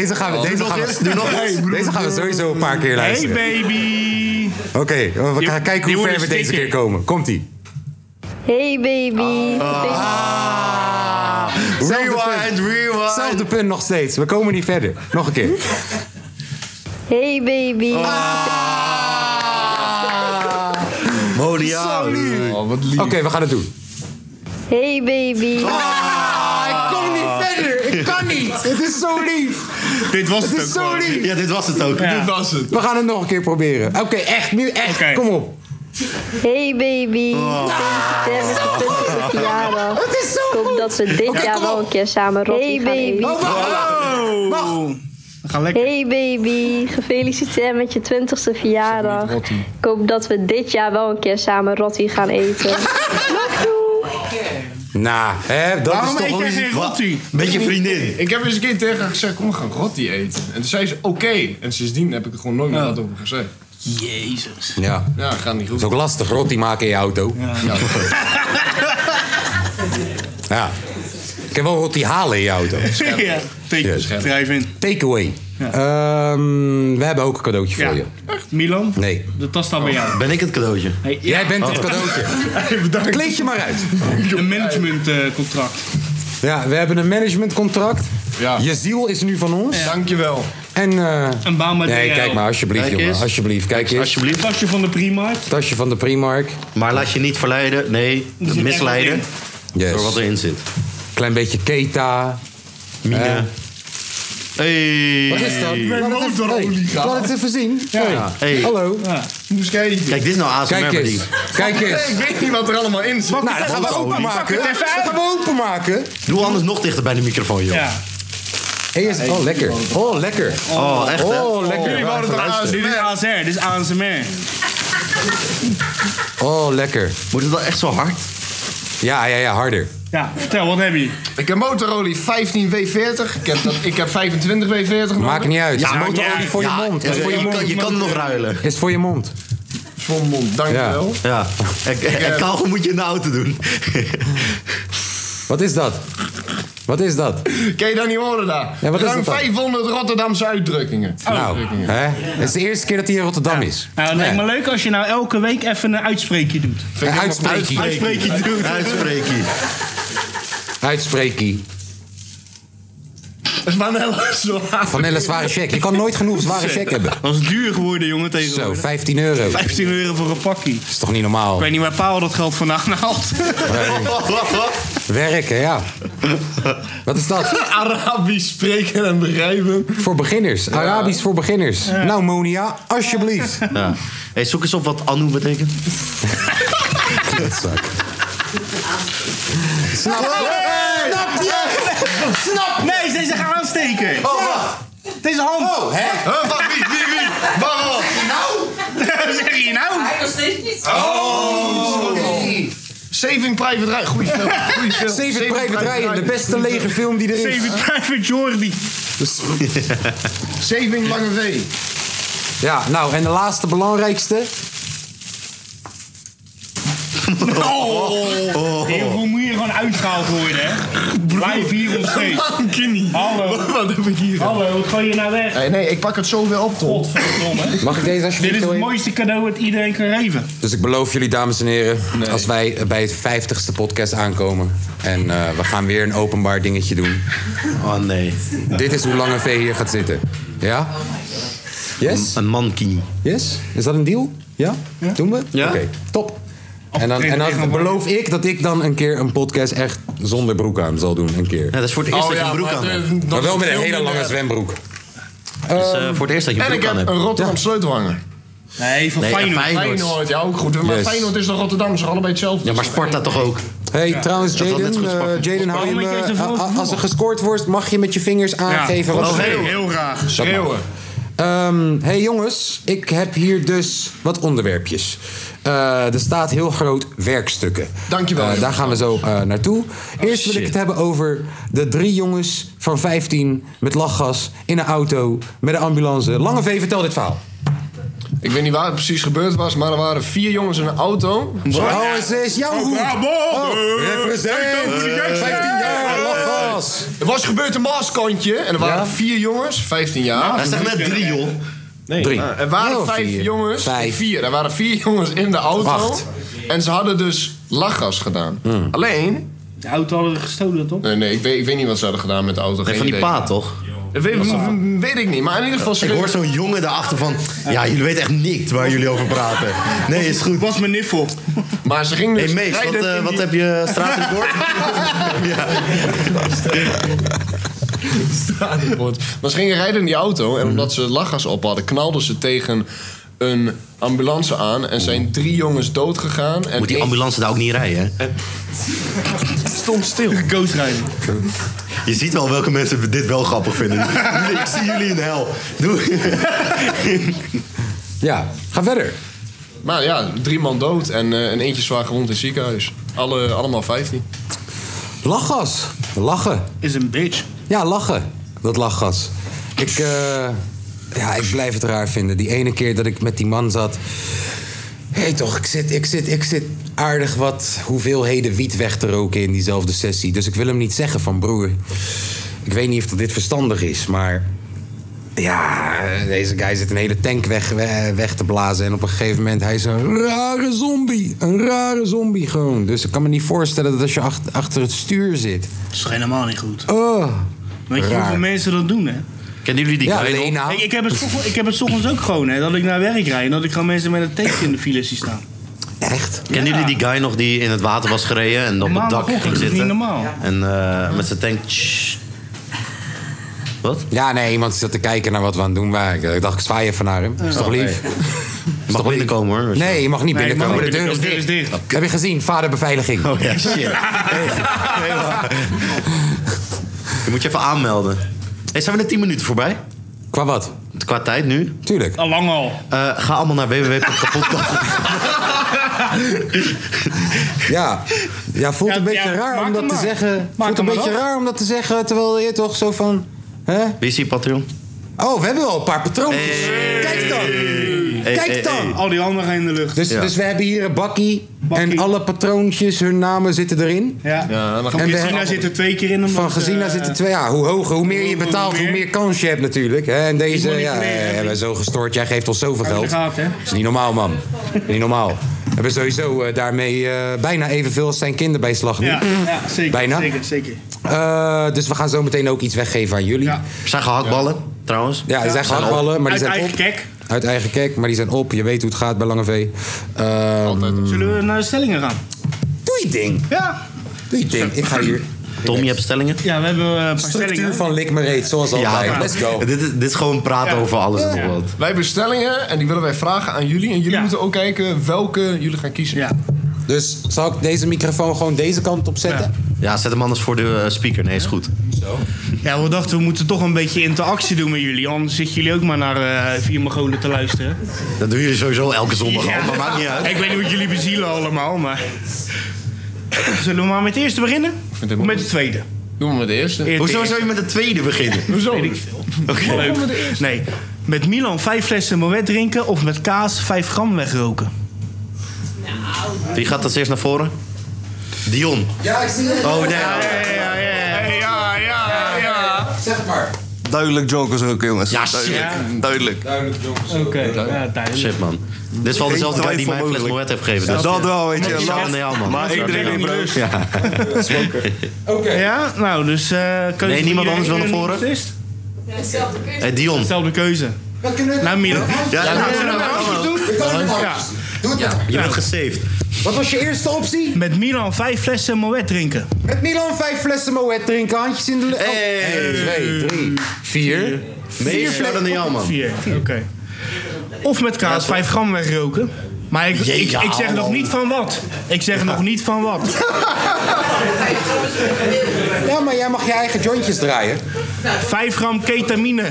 S2: Deze gaan
S5: Oh,
S2: we, deze
S9: nog
S2: gaan
S9: eens, doe nog
S2: we,
S9: eens.
S2: deze gaan we sowieso een paar keer
S4: Hey
S2: luisteren.
S4: baby.
S2: Oké, we
S4: Die-
S2: gaan kijken
S4: die
S2: hoe ver we
S4: wordt een
S2: deze keer
S4: sticker.
S2: komen. Komt-ie.
S11: Hey baby.
S9: Ah. Rewind, rewind.
S2: Hetzelfde punt nog steeds. We komen niet verder. Nog een keer.
S11: Hey baby.
S2: Oh.
S9: Monia.
S8: Oh, wat lief.
S2: Oké, we gaan het doen.
S11: Hey baby.
S2: Oh.
S9: Ah.
S2: Ah, Ik kom niet verder. Ik kan niet. Het is zo lief.
S9: Dit was
S2: het,
S9: het
S2: is
S9: ook
S2: zo
S9: gewoon.
S2: lief.
S9: Ja, dit was het ook. Ja. Dit was het.
S2: We gaan het nog een keer proberen. Oké, echt. Nu echt. Kom op.
S11: Hey baby,
S9: Oh.
S11: gefeliciteerd met je verjaardag. Ik hoop dat we dit jaar wel een keer samen rotten gaan eten.
S2: Oh,
S11: Hey baby, gefeliciteerd met je 20ste verjaardag. Ik hoop dat we dit jaar wel een keer samen rotti gaan eten.
S2: Nou, hè, dat is toch wel lief.
S8: Met je vriendin. Ik heb eens een keer tegen haar gezegd, kom we gaan rotti eten. En toen zei ze, oké. En sindsdien heb ik er gewoon nooit
S9: Oh.
S8: meer wat over gezegd.
S4: Jezus.
S2: Ja.
S8: Ja, gaat niet goed.
S2: Dat is ook lastig, rotti maken in je auto. Ja. Ik heb wel rotti halen in je auto.
S4: Ja, take- schrijf in.
S2: Takeaway. Ehm, we hebben ook een cadeautje voor je.
S4: Echt? Milan?
S2: Nee.
S4: De tas staat bij jou. Oh.
S9: Ben ik het cadeautje?
S2: Jij bent het cadeautje. Kleed je maar uit.
S4: Een managementcontract.
S2: Ja, we hebben een managementcontract. Je ziel is nu van ons.
S8: Dankjewel.
S2: En, eh,
S4: een baan met
S2: Nee,
S4: DHL.
S2: kijk maar, alsjeblieft,
S4: Kijk
S2: jongen.
S4: eens.
S2: Alsjeblieft, kijk eens.
S9: Alsjeblieft.
S4: Tasje van de Primark.
S2: Tasje van de Primark.
S9: Maar laat je niet verleiden, nee,
S4: Er zit
S9: misleiden
S4: echt
S2: Yes.
S9: door wat erin zit.
S2: Klein beetje Keta.
S9: Mina.
S2: Eh.
S9: Hey.
S2: Wat is dat? Laat het even- hey, Laat het even zien. Ja.
S9: Hey.
S2: Hallo.
S9: Kijk, dit is nou ASMR
S2: Kijk eens.
S9: verdiend.
S2: Kijk eens.
S8: Ik weet niet wat er allemaal in zit.
S2: Nou, dat gaan we openmaken. Dat gaan we openmaken.
S9: Doe anders nog dichter bij de microfoon, joh.
S4: Ja.
S2: Hey, is- oh, lekker. Oh, lekker.
S9: Oh, echt, hè?
S2: Oh,
S4: Jullie
S2: lekker.
S4: wouden het ASMR. Dit is ASR, dit is ASMR.
S2: Oh, lekker.
S9: Moet het wel echt zo hard?
S2: Ja, ja, ja, harder.
S4: Ja, vertel, wat heb je?
S8: Ik heb Motorola 15 W40. Ik heb, dat, ik heb 25 W40 nodig.
S2: Maakt niet uit.
S9: Ja,
S2: Is
S9: maakt niet
S2: motorolie
S9: uit.
S2: voor je
S9: Ja,
S2: mond.
S9: ja,
S2: Is voor je
S9: je kan-
S2: mond.
S9: je kan nog ruilen.
S2: Is voor je mond.
S8: Voor mijn mond, dankjewel.
S9: Ja. En, en, en kauwgom moet je in de auto doen.
S2: Wat is dat? Wat is dat?
S8: Kan je dat niet horen daar?
S2: Ja, wat is
S8: Ruim
S2: dat dan?
S8: 500 Rotterdamse uitdrukkingen.
S2: Nou, hè? Het is de eerste keer dat hij in Rotterdam is.
S4: Nou, het lijkt me leuk als je nou elke week even een uitspreekje doet.
S2: Eh, Uitspreekie.
S9: Uitspreekje doen. Uitspreekje.
S2: Uitspreekie.
S8: Vanella zwaar.
S2: Van hele zware check. Je kan nooit genoeg zware check hebben.
S4: Dat is duur geworden, jongen,
S2: Zo,
S4: tegenwoordig.
S2: 15 euro.
S4: 15 euro voor een pakkie.
S2: is toch niet normaal?
S4: Ik weet niet waar Paul dat geld vandaan haalt.
S2: Werken, ja. Wat is dat?
S8: Arabisch spreken en begrijpen.
S2: Voor beginners. Arabisch voor beginners. Nou, Monia, alsjeblieft.
S9: Ja. Hey, zoek eens op wat Anu betekent.
S2: Kutzak. Snap
S4: Snap je? Snap Nee, ze gaan aansteken.
S9: Oh, wacht.
S4: Deze hand. Oh, hè?
S9: Huh, wacht, wie, wie, wie? Wacht, wacht.
S4: Wat zeg je nou? Oh.
S6: Hij nog steeds niet.
S8: Saving Private Ryan. Goeie film. Goeie film.
S2: Zeven Private Ryan, de beste lege film die er is.
S4: David Private Jordi.
S8: Saving Lange V.
S2: Ja, nou, en de laatste belangrijkste.
S4: Oh. Heel veel moet je gewoon uitgehaald worden, hè? Blijf hier ons steeds. Hallo.
S8: Wat heb ik hier?
S4: Hallo, wat gooi je nou weg?
S8: Nee, nee, ik pak het zo weer op, Tom.
S4: Godverdomme.
S2: Mag ik deze
S4: Dit
S2: alsjeblieft?
S4: is het
S2: doen?
S4: mooiste cadeau dat iedereen kan geven.
S2: Dus ik beloof jullie, dames en heren, als wij bij het vijftigste podcast aankomen... en eh, we gaan weer een openbaar dingetje doen...
S9: Oh, nee.
S2: Dit is hoe lang een vee hier gaat zitten. Ja? Yes?
S9: Een mankie.
S2: Yes? Is dat een deal? Ja? Doen we?
S9: Ja.
S2: Oké, top. En dan, en dan beloof ik dat ik dan een keer een podcast echt zonder broek aan zal doen. Een keer.
S9: Ja, dat is voor het eerst dat je een broek
S8: maar
S9: aan
S8: het,
S9: hebt.
S8: eh, dat
S2: Maar wel
S8: is
S2: met een
S8: veel
S2: hele
S8: minder.
S2: lange zwembroek. Ehm,
S9: Dat is eh, voor het eerst dat je een
S8: En ik
S9: broek
S8: heb
S9: aan
S8: een
S9: hebt.
S8: Rotterdam sleutelhanger.
S4: Nee, van
S9: Nee, een
S4: Feyenoord.
S9: Feyenoord.
S8: Feyenoord, ja, ook goed. Maar
S2: Yes.
S8: Feyenoord is toch Rotterdam, ze allebei hetzelfde.
S9: Ja, maar Sparta toch ook?
S2: Hey, trouwens,
S9: Dat had
S2: Jaden,
S9: net zo goed
S2: eh,
S9: pakken.
S2: Jaden, hou je
S4: Waarom ik
S2: hem,
S4: deze
S2: eh,
S4: volgende
S2: a- a- als er
S4: voetbal?
S2: gescoord wordt, mag je met je vingers aangeven wat
S4: Oh,
S2: het
S4: heel,
S2: is.
S4: heel graag.
S8: Schreeuwen.
S2: Ehm, hey jongens, ik heb hier dus wat onderwerpjes. Eh, er staat heel groot werkstukken.
S8: Dankjewel.
S2: Eh, daar gaan we zo eh, naartoe. Eerst wil ik
S9: shit.
S2: het hebben over de drie jongens van 15 met lachgas in een auto met een ambulance. Lange V, vertel dit verhaal.
S8: Ik weet niet waar het precies gebeurd was, maar er waren vier jongens in een auto.
S2: Oh, ze is jouw hoed. Oh, represent. 15 jaar lachgas.
S8: Er was gebeurd een maaskantje en er waren
S2: Ja.
S8: vier jongens, 15 jaar.
S9: Hij zegt net drie, joh.
S2: Drie.
S8: Er waren
S2: Oh,
S8: vijf
S2: vier.
S8: jongens,
S2: Vijf.
S8: vier. Er waren vier jongens in de auto.
S2: Acht.
S8: En ze hadden dus lachgas gedaan.
S9: Hmm.
S8: Alleen,
S4: De auto hadden we gestolen, toch?
S8: nee, nee, ik weet, ik weet niet wat ze hadden gedaan met de auto.
S9: Nee,
S8: geen
S9: van die
S8: idee.
S9: paat, toch?
S8: Dat weet, weet ik niet, maar in ieder geval... ze
S9: Ik
S8: reden-
S9: hoor zo'n jongen daarachter van... Ja, jullie weten echt niks waar jullie over praten. Nee, is goed.
S4: Was mijn niffel.
S8: Maar ze gingen
S9: Hé
S8: dus...
S9: hey, Mees, wat,
S8: rijden
S9: eh,
S8: in
S9: wat
S8: die-
S9: heb je straatrecord? ja.
S8: Stadionbord. Maar ze gingen rijden in die auto
S6: Mhm.
S8: en omdat ze lachgas op hadden, knalden ze tegen een ambulance aan en zijn drie jongens dood gegaan. En
S6: Moet die
S8: één-
S6: ambulance daar ook niet rijden, hè?
S8: Stond stil.
S4: Ghost rijden.
S9: Je ziet wel welke mensen dit wel grappig vinden. Ik zie jullie in hel. Doei.
S2: Ja, ga verder.
S8: Maar ja, drie man dood en, eh, en eentje zwaar gewond in het ziekenhuis. Alle, allemaal 15.
S2: Lachgas. Lachen.
S4: Is een bitch.
S2: Ja, lachen. Dat lachgas. Ik, eh, ja, ik blijf het raar vinden. Die ene keer dat ik met die man zat. Hé toch, ik zit, ik, zit, ik zit aardig wat hoeveelheden wiet weg te roken in diezelfde sessie. Dus ik wil hem niet zeggen van broer. Ik weet niet of dat dit verstandig is, maar. Ja, deze guy zit een hele tank weg, we- weg te blazen. En op een gegeven moment, hij is een rare zombie. Een rare zombie gewoon. Dus ik kan me niet voorstellen dat als je ach- achter het stuur zit.
S4: Dat is toch helemaal niet goed.
S2: Oh,
S4: Weet je
S2: raar.
S4: hoeveel mensen dat doen, hè?
S6: Kennen jullie die
S2: Ja,
S6: kleine-
S2: Lena.
S4: Ik, ik, heb het, 's ochtend- ik heb het 's ochtends ook gewoon, hè, dat ik naar werk rijd en dat ik gewoon mensen met een teken in de file zie staan.
S2: Echt?
S6: Kennen jullie die guy nog die in het water was gereden en op het dak
S4: Maandagochtend,
S6: ging
S4: dat is
S6: zitten?
S4: niet normaal.
S6: En eh, met zijn tank... tsch. Wat?
S2: Ja, nee, iemand zat te kijken naar wat we aan het doen waren. Ik dacht, ik zwaai even naar hem. Is toch lief?
S6: Je mag binnenkomen hoor.
S2: Nee, je mag niet
S6: Nee, je mag
S2: binnenkomen. de
S6: niet
S2: deur is
S6: binnenkomen.
S2: dicht.
S6: De deur is
S2: Heb je gezien? Vaderbeveiliging.
S6: Oh ja, shit. Je moet je even aanmelden. Hey, zijn we net 10 minuten voorbij?
S2: Qua wat?
S6: Qua tijd nu. Eh,
S2: Tuurlijk.
S4: Al lang al.
S6: ga allemaal naar www.kapot.
S2: Ja. ja, voelt een beetje raar om dat te zeggen. Voelt een
S4: hem
S2: beetje
S4: maar
S2: raar om dat te zeggen, terwijl je toch zo van... Hè?
S6: Wie is die patroon?
S2: Oh, we hebben al een paar patroontjes. Kijk dan! Kijk dan!
S4: Al die handen gaan in de lucht.
S2: Dus, dus we hebben hier een bakkie, En alle patroontjes, hun namen zitten erin.
S4: Ja.
S8: Ja,
S4: Van Gezina zit er twee keer in. omdat,
S2: Van Gezina
S4: eh,
S2: zitten twee. Ja, hoe hoger, hoe meer je
S4: hoe
S2: betaalt, hoe
S4: meer.
S2: meer kans je hebt natuurlijk. hè. En deze,
S4: moet niet
S2: ja, ja,
S4: leren,
S2: hebben we zo gestoord. Jij geeft ons zoveel
S4: Uit de
S2: geld.
S4: gaten, hè?
S2: Dat is niet normaal, man. Niet normaal. We hebben sowieso eh, daarmee eh, bijna evenveel als zijn kinderbijslag nu.
S4: Ja, ja, zeker.
S2: Bijna.
S4: Zeker, zeker.
S2: Eh, dus we gaan zo meteen ook iets weggeven aan jullie.
S6: Zijn gehaktballen, trouwens.
S2: Ja, er zijn gehaktballen, maar die
S4: Uit
S2: zijn
S4: eigen
S2: op.
S4: kek.
S2: Uit eigen kek, maar die zijn op. Je weet hoe het gaat bij Lange V. Eh,
S4: Zullen we naar de stellingen gaan?
S2: Doe je ding.
S4: eh. Ja.
S2: Doe je ding. Ik ga hier.
S6: Tom, je hebt stellingen?
S4: Ja, we hebben eh, een paar
S2: Structuur
S4: stellingen.
S2: van Lik me reet, zoals altijd.
S6: maar-
S2: Let's go.
S6: Dit is, dit is gewoon praten over alles en nog wat.
S8: Wij bestellingen en die willen wij vragen aan jullie. En jullie moeten ook kijken welke jullie gaan kiezen.
S4: Ja.
S2: Dus zal ik deze microfoon gewoon deze kant op zetten?
S6: Ja, zet hem anders voor de eh, speaker. Nee, is goed.
S4: Ja, we dachten we moeten toch een beetje interactie doen met jullie. Anders zitten jullie ook maar naar eh, Vier Mogolen te luisteren.
S6: Dat doen jullie sowieso elke zondag al, maar maakt niet uit.
S4: Ik weet niet wat jullie bezielen allemaal, maar... Zullen we maar met het eerste beginnen? Of met het tweede?
S8: Doen we met de eerste.
S4: Eerst
S6: Hoezo
S4: eerst.
S6: zou je met de tweede beginnen?
S8: Hoezo?
S4: Weet ik veel. Leuk. Nee. Met Milan vijf flessen Moet drinken of met kaas vijf gram wegroken?
S6: Wie gaat als eerst naar voren? Dion.
S2: Ja, ik zie het.
S6: Oh nee.
S4: ja, ja, ja, ja, ja.
S2: Zeg het maar.
S3: Duidelijk jokers ook, jongens.
S6: Ja, shit.
S3: Duidelijk.
S2: Duidelijk, jongens.
S4: Oké, ja, duidelijk.
S6: Shit, man. Dit is wel dezelfde guy die mij een fles Moet heeft gegeven. Dus
S3: Dat wel, weet je.
S6: Ja,
S3: Laf.
S6: nee, ja, man.
S3: Maar ik drink niet brood.
S2: Oké.
S4: Ja, nou, dus... eh, keuze
S6: Nee,
S4: van
S6: niemand anders wil
S4: iedereen
S6: naar
S4: die
S6: voren?
S4: er niet is?
S6: Hey, Dion.
S4: Zelfde keuze.
S5: Nou,
S4: Naar Milan.
S6: Ja, ja,
S4: Zullen we
S6: ja,
S4: nou handjes doen? Ja.
S6: Je bent gesaved.
S2: Wat was je eerste optie?
S4: Met Milan vijf flessen Moet drinken.
S2: Met Milan vijf flessen Moet drinken, handjes in de Oh. lucht. 1, 2, 3, 4.
S6: Nee, sneller dan jou, man.
S4: Vier. Oké. Of met kaas vijf gram wegroken. Maar ik, ik,
S6: Jeetje,
S4: ik zeg
S6: man.
S4: nog niet van wat. Ik zeg nog niet van wat.
S2: Ja, maar jij mag je eigen jointjes draaien.
S4: Vijf gram ketamine.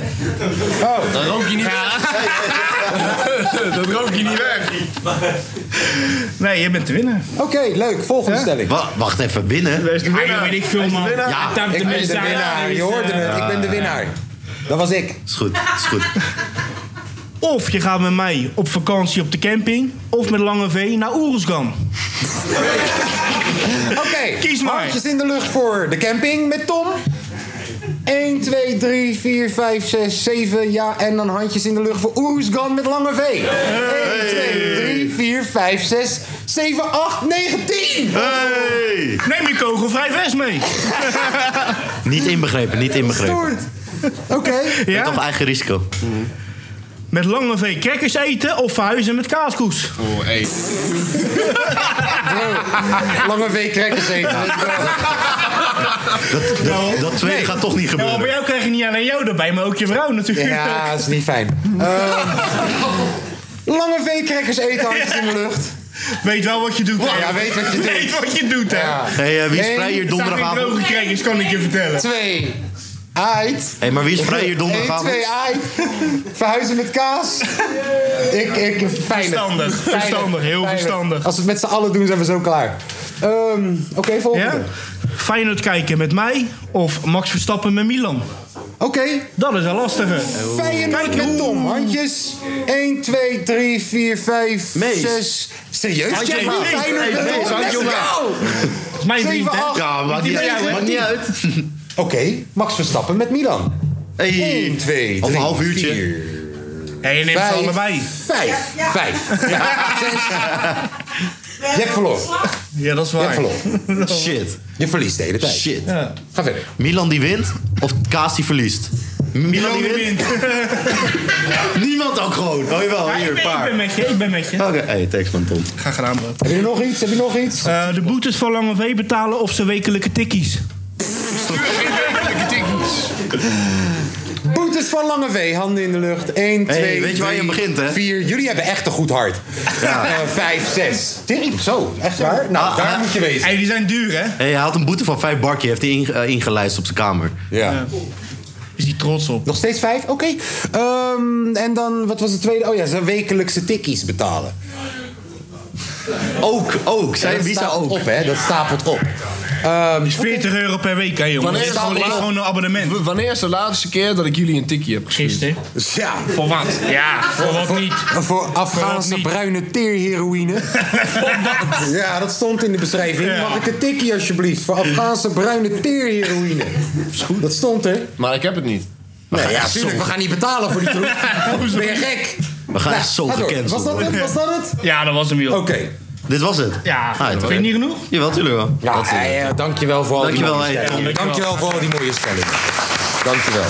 S8: Dat rook je niet weg. Dat rook je niet weg.
S4: Nee, je bent de winnaar.
S2: Oké, leuk. Volgende stelling.
S6: Wa- Wacht even, binnen?
S4: Eigenlijk weet ik veel, man.
S6: Ja,
S4: Dank de
S2: Ik ben de
S4: mensen aan.
S2: winnaar.
S4: Dus,
S2: Je hoorde
S4: eh,
S2: het. Ik
S6: Ah,
S2: ben de winnaar. Dat was ik.
S6: Is goed, is goed.
S4: Of je gaat met mij op vakantie op de camping. Of met Lange V naar Oeruzgan.
S2: Oké.
S4: Kies maar.
S2: Handjes in de lucht voor de camping met Tom. 1, 2, 3, 4, 5, 6, 7. Ja, en dan handjes in de lucht voor Oesgan met lange V. 1, 2, 3, 4, 5, 6, 7, 8, 9, 10.
S6: Hey!
S4: Neem je kogelvrij vest mee.
S6: Niet inbegrepen, niet inbegrepen.
S2: Stoord. Oké.
S6: Ja? Toch
S4: Ja?
S6: eigen risico.
S4: Met Lange V crackers eten of verhuizen met kaaskoes.
S8: Oh, hey.
S2: Lange V crackers eten.
S9: Dat, dat, dat tweede gaat toch niet gebeuren.
S4: Nou, bij jou krijg je niet alleen jou erbij, maar ook je vrouw natuurlijk.
S2: Ja, dat is niet fijn. Ehm, Lange veekrekkers eten handjes in de lucht.
S4: Weet wel wat je doet.
S2: Ja, weet wat je doet.
S4: Weet wat je doet, hè.
S9: Hey, eh, wie is vrij hier donderdagavond?
S4: Ik droge krekkers, kan ik je vertellen.
S2: Twee. Ait.
S9: Hé, maar wie is vrij hier donderdagavond?
S2: 1, 2, ait. Verhuizen met kaas. Ik, ik, veilig.
S4: Verstandig,
S2: Veilig,
S4: verstandig, heel
S2: veilig.
S4: verstandig.
S2: Als we het met z'n allen doen, zijn we zo klaar. Ehm, Oké, volgende.
S4: Ja? Feyenoord kijken met mij of Max Verstappen met Milan?
S2: Oké.
S4: Dat is al lastiger.
S2: Feyenoord met Tom. Handjes. 1, 2, 3, 4, 5, 6. Serieus,
S4: Handje
S2: Jeff?
S4: omlaag.
S2: Feyenoord met
S4: Hey,
S2: Tom.
S4: handje
S2: Let's
S4: omlaag.
S2: go!
S4: Dat is mijn vriend, hè?
S2: 7-8.
S4: Ja, maakt niet uit, maakt niet uit.
S2: Oké, Max Verstappen met Milan. 1, 2, 3,
S4: Of een half uurtje.
S2: 4,
S4: Ja, je neemt
S2: Vijf.
S4: ze allebei.
S2: Vijf. Ja, ja. Vijf. Je hebt verloren.
S4: Ja, dat is
S2: Je hebt
S4: waar.
S2: verloren.
S9: Shit.
S2: Je verliest de hele tijd.
S9: Shit.
S4: Ja.
S2: Ga verder.
S9: Milan die wint of Kaas die verliest? Milan, die wint? Niemand ook gewoon. Oh jawel,
S4: Ja,
S9: hier,
S4: ik,
S9: een
S4: ben, ik
S9: paar.
S4: ben met je, ik ben met je.
S9: Oké, hey, thanks man Tom.
S4: Ga gedaan, bro.
S2: Heb je nog iets? Heb je nog iets?
S4: Eh, de boetes van Lange V betalen of zijn wekelijke tikkies?
S2: Boetes van Lange V, handen in de lucht. 1, 2,
S9: Hey, weet je waar je aan begint, hè?
S2: 4. Jullie hebben echt een goed hart.
S9: Ja.
S2: Eh, 5, 6. Tering, zo. Echt waar? Nou,
S9: Ah,
S2: daar
S9: ah.
S2: moet je wezen.
S4: Hey, die zijn duur, hè?
S9: Hey, hij had een boete van vijf barkje, heeft hij inge- eh, ingelijst op zijn kamer.
S2: Ja.
S4: Is die trots op?
S2: Nog steeds 5? Oké. Ehm, en dan, wat was de tweede? Oh ja, ze wekelijkse tikkies betalen.
S9: Ook, ook.
S2: Ja,
S9: Zijn
S2: dat
S9: wie zou
S2: stapelt
S9: ook?
S2: op, hè? Dat stapelt op.
S4: Dat is 40 euro per week, hè, jongen. Dat
S8: Ehm, Wanneer
S4: is
S8: is,
S4: gewoon,
S8: de
S4: is
S8: la-
S4: gewoon een abonnement.
S8: W- wanneer is de laatste keer dat ik jullie een tikje heb gestuurd?
S4: Gisteren.
S2: Ja.
S4: Voor wat? Ja, voor wat niet.
S2: Voor
S4: Voor
S2: Afghaanse
S4: wat
S2: bruine teerheroïne. ja, dat stond in de beschrijving.
S4: Ja.
S2: Mag ik een tikkie alsjeblieft? Voor Afghaanse bruine teerheroïne. Dat stond er.
S8: Maar ik heb het niet.
S2: Nee, ja, tuurlijk. We gaan niet betalen voor die troep. Ben je gek? Nou,
S9: We gaan zo
S2: ga door.
S9: gecanceld
S2: Was dat
S9: worden.
S2: het? Was dat het?
S4: Ja, dat was hem, joh.
S2: Oké.
S9: Dit was het?
S4: Ja,
S9: Ah, het
S4: vind
S9: was
S4: je
S9: het.
S4: niet genoeg?
S9: Jawel, tuurlijk wel.
S2: Ja,
S9: Dat is
S2: eh,
S9: het.
S2: dankjewel voor al
S9: Dankjewel,
S2: die mooie
S9: hey,
S2: stellingen.
S4: Tom.
S2: Dankjewel voor al die mooie stellingen. Dankjewel.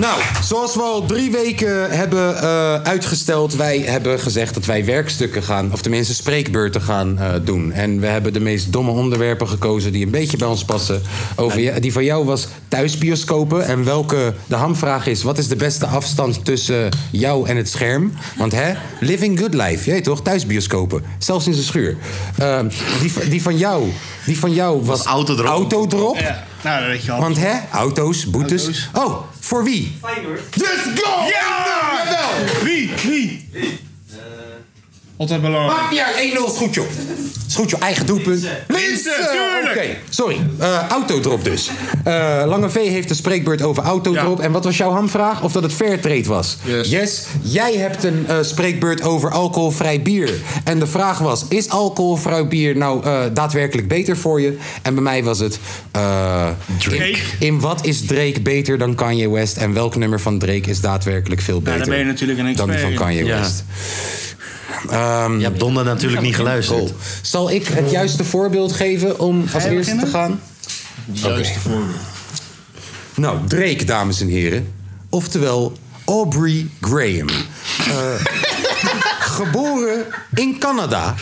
S2: Nou, zoals we al drie weken hebben eh, uitgesteld, wij hebben gezegd dat wij werkstukken gaan, of tenminste spreekbeurten gaan eh, doen. En we hebben de meest domme onderwerpen gekozen die een beetje bij ons passen. Over, je- die van jou was thuisbioscopen. En welke, de hamvraag is, wat is de beste afstand tussen jou en het scherm? Want hè, living good life, je weet toch, thuisbioscopen. Zelfs in zijn schuur. Eh, die, van- die van jou, die van jou was
S9: Autodrop.
S2: autodrop.
S4: Ja, nou, dat weet je al.
S2: Want hè, auto's, boetes.
S4: Auto's.
S2: Oh, voor wie? Let's Dus go!
S4: Ja!
S2: Jawel!
S4: Wie? Wie? Eh, Altijd belangrijk.
S2: Maakt niet uit, 1-0 is goed joh. Is goed joh, eigen doelpunt. Linsen! Oké,
S4: tuurlijk!
S2: sorry. Eh, autodrop dus. Eh, Lange V heeft een spreekbeurt over autodrop. En wat was jouw hamvraag? Of dat het fair trade was?
S8: Yes.
S2: jij hebt een eh, spreekbeurt over alcoholvrij bier. En de vraag was, is alcoholvrij bier nou eh, daadwerkelijk beter voor je? En bij mij was het... eh,
S4: Drake.
S2: In, in wat is Drake beter dan Kanye West? En welk nummer van Drake is daadwerkelijk veel beter
S4: daar ben je natuurlijk een
S2: dan die van
S4: expert
S2: Kanye
S9: Ja.
S2: West? Ehm,
S9: Je hebt donder natuurlijk niet geluisterd.
S2: Cool. Zal ik het juiste voorbeeld geven om als
S4: jij
S2: eerste te
S4: beginnen?
S2: gaan?
S8: Juist voorbeeld.
S2: Nou, Drake, dames en heren. Oftewel Aubrey Graham. Eh, geboren in Canada.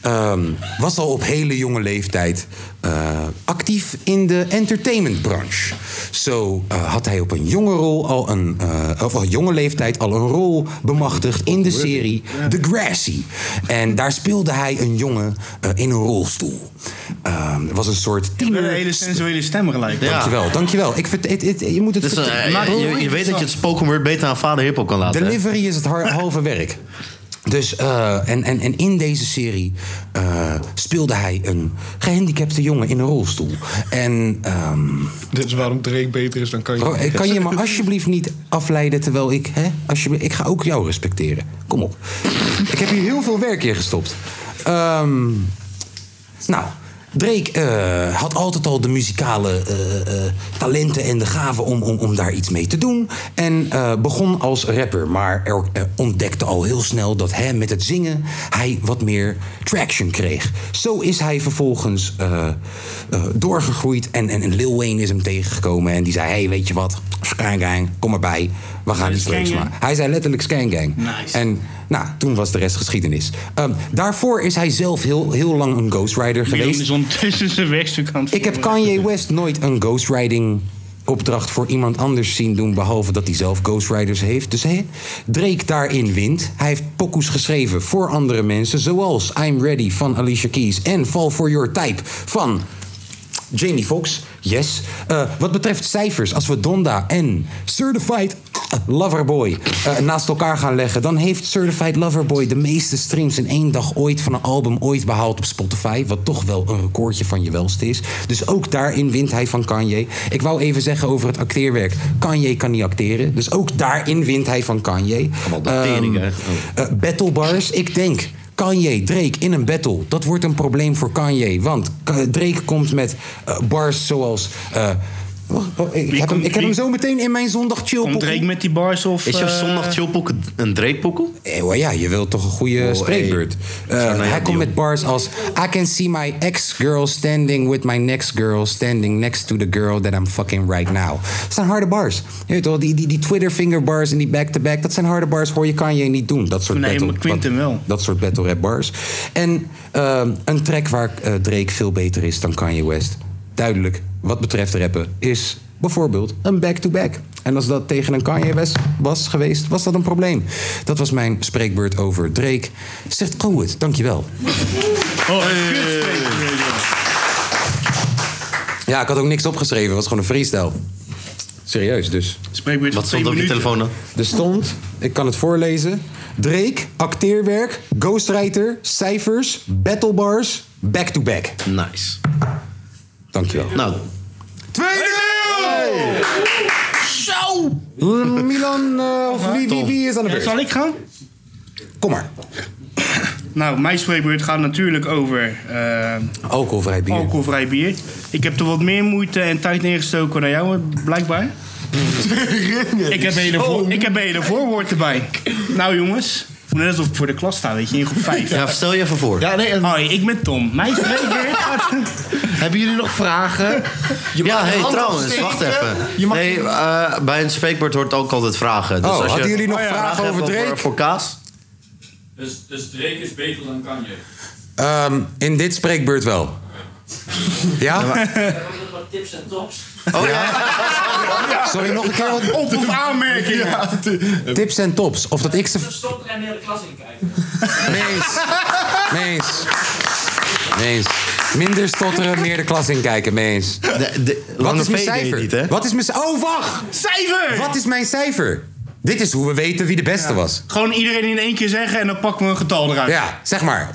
S2: Ehm, was al op hele jonge leeftijd eh, actief in de entertainmentbranche. Zo eh, had hij op een jonge, rol al een, eh, of een jonge leeftijd al een rol bemachtigd in de serie The Grassy. En daar speelde hij een jongen eh, in een rolstoel. Ehm, was een soort
S4: Met
S2: tiener.
S4: een hele sensuele stem gelijk.
S9: Ja.
S2: Dankjewel, dankjewel. Ik vert, het, het- je moet het
S9: Dus, eh,
S2: vertellen.
S9: je- je, je weet dat je het spoken word beter aan vader hiphop kan laten. hè?
S2: Delivery is het har- halve werk. Dus, eh, en, en, en in deze serie eh, speelde hij een gehandicapte jongen in een rolstoel. En ehm,
S12: Dit is waarom Drake beter is dan kan
S2: bro, eh, kan je me alsjeblieft niet afleiden terwijl ik... Hè, alsjeblieft, ik ga ook jou respecteren. Kom op. ik heb hier heel veel werk in gestopt. Ehm, nou, Drake eh, had altijd al de muzikale eh, eh, talenten en de gaven om, om, om daar iets mee te doen. En eh, begon als rapper, maar er, eh, ontdekte al heel snel dat hij met het zingen hij wat meer traction kreeg. Zo is hij vervolgens eh, eh, doorgegroeid en, en, en Lil Wayne is hem tegengekomen. En die zei, hey, weet je wat, Skangang, kom erbij, we gaan iets leuks
S4: Skangang?
S2: maken. Hij zei letterlijk Skangang.
S4: Nice.
S2: En nou Nou, toen was de rest geschiedenis. Ehm, daarvoor is hij zelf heel, heel lang een Ghost Rider
S4: Leon
S2: geweest.
S4: is ondertussen zijn wegstuk aan het
S2: Ik heb Kanye West nooit een ghostwriting opdracht voor iemand anders zien doen... behalve dat hij zelf ghostwriters heeft. Dus hè, Drake daarin wint. Hij heeft pokoes geschreven voor andere mensen... zoals I'm Ready van Alicia Keys... en Fall For Your Type van Jamie Foxx. Yes. Eh, wat betreft cijfers, als we Donda en Certified Loverboy eh, naast elkaar gaan leggen... dan heeft Certified Loverboy de meeste streams in één dag ooit... van een album ooit behaald op Spotify. Wat toch wel een recordje van je welste is. Dus ook daarin wint hij van Kanye. Ik wou even zeggen over het acteerwerk. Kanye kan niet acteren. Dus ook daarin wint hij van Kanye. Ehm, eh, battle bars, ik denk. Kanye, Drake in een battle. Dat wordt een probleem voor Kanye. Want Ka- Drake komt met eh, bars zoals. eh, wacht, oh, ik, heb hem, ik heb hem zo meteen in mijn zondag chill Komt Drake
S4: met die bars of.
S6: Is jouw zondag chillpokken een dreepokkel?
S9: Eh,
S2: ja, je wilt toch een goede spreekbeurt. Eh, hij komt met bars als... I can see my ex-girl standing with my next girl... standing next to the girl that I'm fucking right now. Dat zijn harde bars. Je weet wel, die, die, die Twitter-finger bars en die back-to-back... dat zijn harde bars, hoor je Kanye niet doen. Dat soort
S4: Nee,
S2: battle,
S4: maar Quinten wel.
S2: Dat soort battle rap bars. En ehm, een track waar eh, Drake veel beter is dan Kanye West... duidelijk, wat betreft rappen, is bijvoorbeeld een back-to-back. En als dat tegen een Kanye West was geweest, was dat een probleem. Dat was mijn spreekbeurt over Drake. Zegt goed, dankjewel.
S4: Oh,
S2: Ja, ik had ook niks opgeschreven. Het was gewoon een freestyle. Serieus, dus.
S4: Spreekbeurt
S6: Wat stond op je telefoon dan?
S2: Er stond, ik kan het voorlezen. Drake, acteerwerk, ghostwriter, cijfers, battlebars, back-to-back.
S6: Nice.
S2: Dankjewel.
S6: Nou.
S2: Zo! Milan, eh, of wie, wie, wie is aan de
S4: Ja,
S2: beurt?
S4: zal ik gaan?
S2: Kom maar.
S4: Nou, mijn spreekbeurt gaat natuurlijk over... eh,
S2: Alcoholvrij bier.
S4: Alcoholvrij bier. Ik heb er wat meer moeite en tijd neergestoken dan jou, blijkbaar. ik, heb een hele voor, ik heb een hele voorwoord erbij. Nou jongens, net alsof ik voor de klas sta, weet je, in groep 5.
S6: Ja, stel je even voor.
S4: Ja, nee, Hoi, ik ben Tom. Mijn spreekbeurt gaat...
S9: Hebben jullie nog vragen?
S6: ja, hey,
S9: hand
S6: trouwens,
S9: opsteken.
S6: wacht even.
S9: Je mag-
S6: nee, eh, bij een spreekwoord hoort ook altijd vragen. Dus
S9: Oh,
S6: als je
S9: hadden jullie nog
S6: een
S9: vragen
S6: vraag
S9: over
S6: hebt
S9: Drake?
S6: Voor kaas?
S13: Dus, dus Drake is beter dan Kanye.
S2: Ehm, in dit spreekbeurt wel. Ja?
S13: Wat tips en tops.
S2: Oh ja. Sorry, nog een keer wat
S4: op of aanmerkingen.
S2: Tips en tops. Of dat ik ze...
S13: Stop en de hele klas in kijken.
S2: Mees. Mees. Mees. Minder stotteren, meer de klas in kijken, mees. Wat
S6: Lange
S2: is mijn
S6: V deed
S2: cijfer?
S6: niet, hè?
S2: Wat is mijn... c- Oh, wacht!
S4: Cijfer!
S2: Wat is mijn cijfer? Dit is hoe we weten wie de beste was.
S4: Gewoon iedereen in één keer zeggen en dan pakken we een getal eruit.
S2: Ja, zeg maar.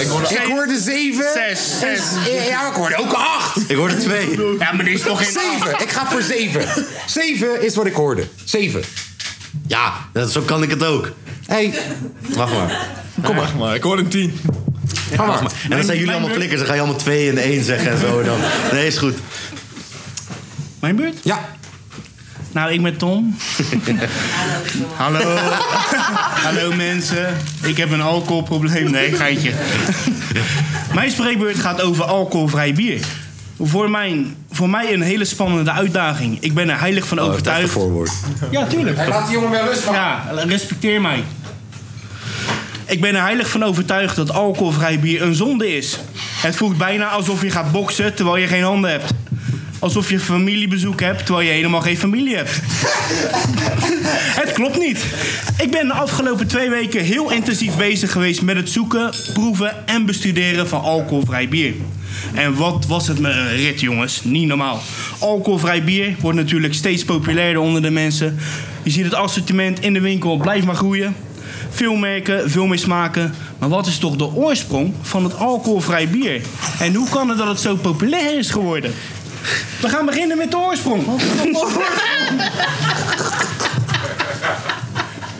S4: Ik hoorde,
S2: ik hoorde zeven. Dus,
S4: Zes, zes.
S2: Ja, ik hoorde ook een acht.
S6: Ik hoorde twee.
S4: Ja, maar dit is toch geen
S2: Zeven. Ik ga voor zeven. Zeven is wat ik hoorde. Zeven.
S6: Ja, dat, zo kan ik het ook.
S2: Hé.
S6: Wacht maar. Kom maar.
S9: Maar ik hoor een tien.
S6: Wacht maar. En dan zijn jullie allemaal flikkers. Dan ga je allemaal twee en één zeggen en zo. en Dan. Nee, is goed.
S4: Mijn beurt?
S2: Ja.
S4: Nou, ik ben Tom. Hallo. Hallo mensen. Ik heb een alcoholprobleem. Nee, geintje. mijn spreekbeurt gaat over alcoholvrij bier. Voor, mijn, voor mij een hele spannende uitdaging. Ik ben er heilig van overtuigd.
S6: voorwoord.
S4: Ja, tuurlijk.
S2: Hey, laat die jongen wel rust, man.
S4: Ja, respecteer mij. Ik ben er heilig van overtuigd dat alcoholvrij bier een zonde is. Het voelt bijna alsof je gaat boksen terwijl je geen handen hebt. Alsof je familiebezoek hebt terwijl je helemaal geen familie hebt. het klopt niet. Ik ben de afgelopen twee weken heel intensief bezig geweest met het zoeken, proeven en bestuderen van alcoholvrij bier. En wat was het me een rit, jongens? Niet normaal. Alcoholvrij bier wordt natuurlijk steeds populairder onder de mensen. Je ziet het assortiment in de winkel blijft maar groeien. Veel merken, veel meer smaken. Maar wat is toch de oorsprong van het alcoholvrij bier? En hoe kan het dat het zo populair is geworden? We gaan beginnen met de oorsprong.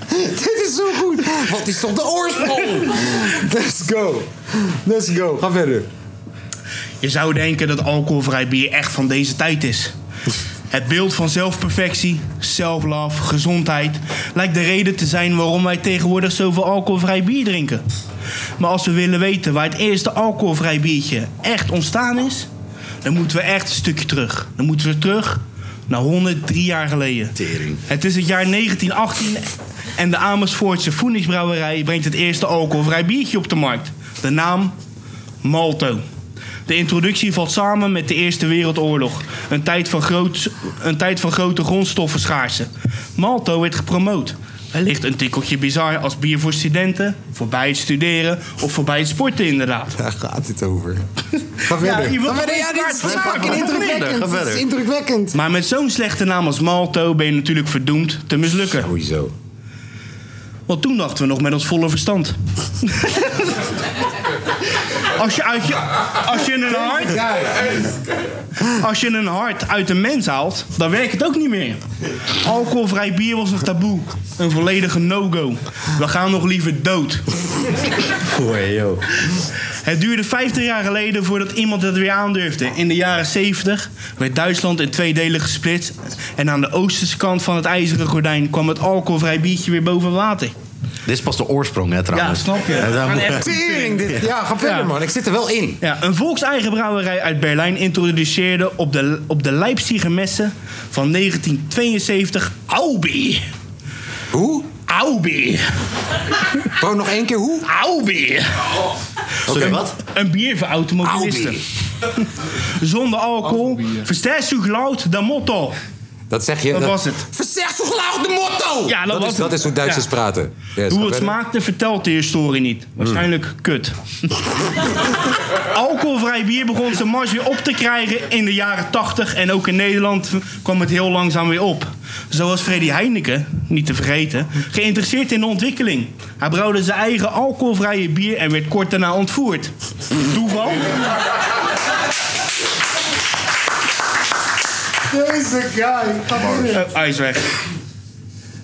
S2: Dit is zo goed. Wat is toch de oorsprong? Let's go. Let's go. Ga verder.
S4: Je zou denken dat alcoholvrij bier echt van deze tijd is. Het beeld van zelfperfectie, self-love, gezondheid lijkt de reden te zijn waarom wij tegenwoordig zoveel alcoholvrij bier drinken. Maar als we willen weten waar het eerste alcoholvrij biertje echt ontstaan is, dan moeten we echt een stukje terug. Dan moeten we terug naar 103 jaar geleden. Het is het jaar 1918 En de Amersfoortse Voenigsbrouwerij brengt het eerste alcoholvrij biertje op de markt. De naam Malto. De introductie valt samen met de Eerste Wereldoorlog, een tijd van, groot, een tijd van grote grondstoffenschaarste. Malto werd gepromoot. Wellicht een tikkeltje bizar als bier voor studenten, voorbij het studeren of voorbij het sporten inderdaad.
S2: Daar gaat het over. Ga
S4: Ja,
S2: verder.
S4: je wilt
S2: Ga verder.
S4: toch
S2: Ja,
S4: niet
S2: dit is
S4: kwaad zijn?
S2: fucking indrukwekkend.
S4: Ga
S2: Dit
S4: verder.
S2: is indrukwekkend.
S4: Maar met zo'n slechte naam als Malto ben je natuurlijk verdoemd te mislukken.
S2: Sowieso.
S4: Want toen dachten we nog met ons volle verstand. als, je uit je, als, je een hart, als je een hart uit een mens haalt, dan werkt het ook niet meer. Alcoholvrij bier was nog taboe. Een volledige no-go. We gaan nog liever dood. Het duurde 50 jaar geleden voordat iemand het weer aandurfde. In de jaren 70 werd Duitsland in twee delen gesplitst. En aan de oosterse kant van het ijzeren gordijn kwam het alcoholvrij biertje weer boven water.
S6: Dit is pas de oorsprong, hè, trouwens.
S4: Ja, snap je.
S6: En dan-
S4: We gaan echt-
S2: Tering, dit- ja, ga verder, man. Ik zit er wel in.
S4: Ja, een volkseigen brouwerij uit Berlijn introduceerde op de, op de Leipziger messen van 1972 Aubi.
S2: Hoe?
S4: Aubi.
S2: Gewoon nog één keer hoe?
S4: Aubi.
S6: Sorry,
S4: Een-
S6: wat?
S4: Een bier voor automobilisten. Zonder alcohol. Versterk zo geluid, de motto.
S2: Dat zeg je.
S4: Dat was het.
S2: Verzeg zo gauw de motto!
S4: Ja, dat, was
S2: is,
S4: het.
S2: dat is hoe Duitsers
S4: Ja.
S2: praten. Yes, ga
S4: Hoe het
S2: verder.
S4: smaakte vertelt de historie niet. Waarschijnlijk kut. Alcoholvrij bier begon zijn mars weer op te krijgen in de jaren 80 en ook in Nederland kwam het heel langzaam weer op. Zo was Freddy Heineken, niet te vergeten, geïnteresseerd in de ontwikkeling. Hij brouwde zijn eigen alcoholvrije bier en werd kort daarna ontvoerd. Toeval?
S2: Deze guy.
S4: Oh, hij is weg.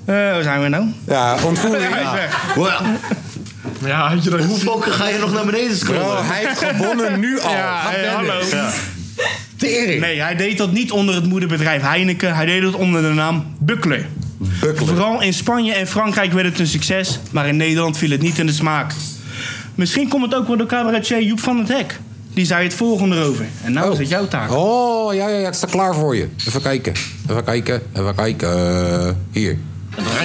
S4: Eh, waar zijn we nou?
S2: Ja, ontvoering.
S4: Hij is weg.
S6: Ja, had je dat Hoe fokken ga je nog naar beneden scrollen?
S2: Bro, hij heeft gewonnen nu al.
S4: Ja,
S2: Ga
S4: hey,
S2: verder.
S4: hallo.
S2: Ja. Tering.
S4: Nee, hij deed dat niet onder het moederbedrijf Heineken. Hij deed dat onder de naam Buckler. Vooral in Spanje en Frankrijk werd het een succes, maar in Nederland viel het niet in de smaak. Misschien komt het ook wel door cabaretier Joep van het Hek. Die zei het volgende erover. En nou is het jouw taak.
S2: Oh, ja, ja, ja, ik sta klaar voor je. Even kijken, even kijken, even kijken. Eh, hier.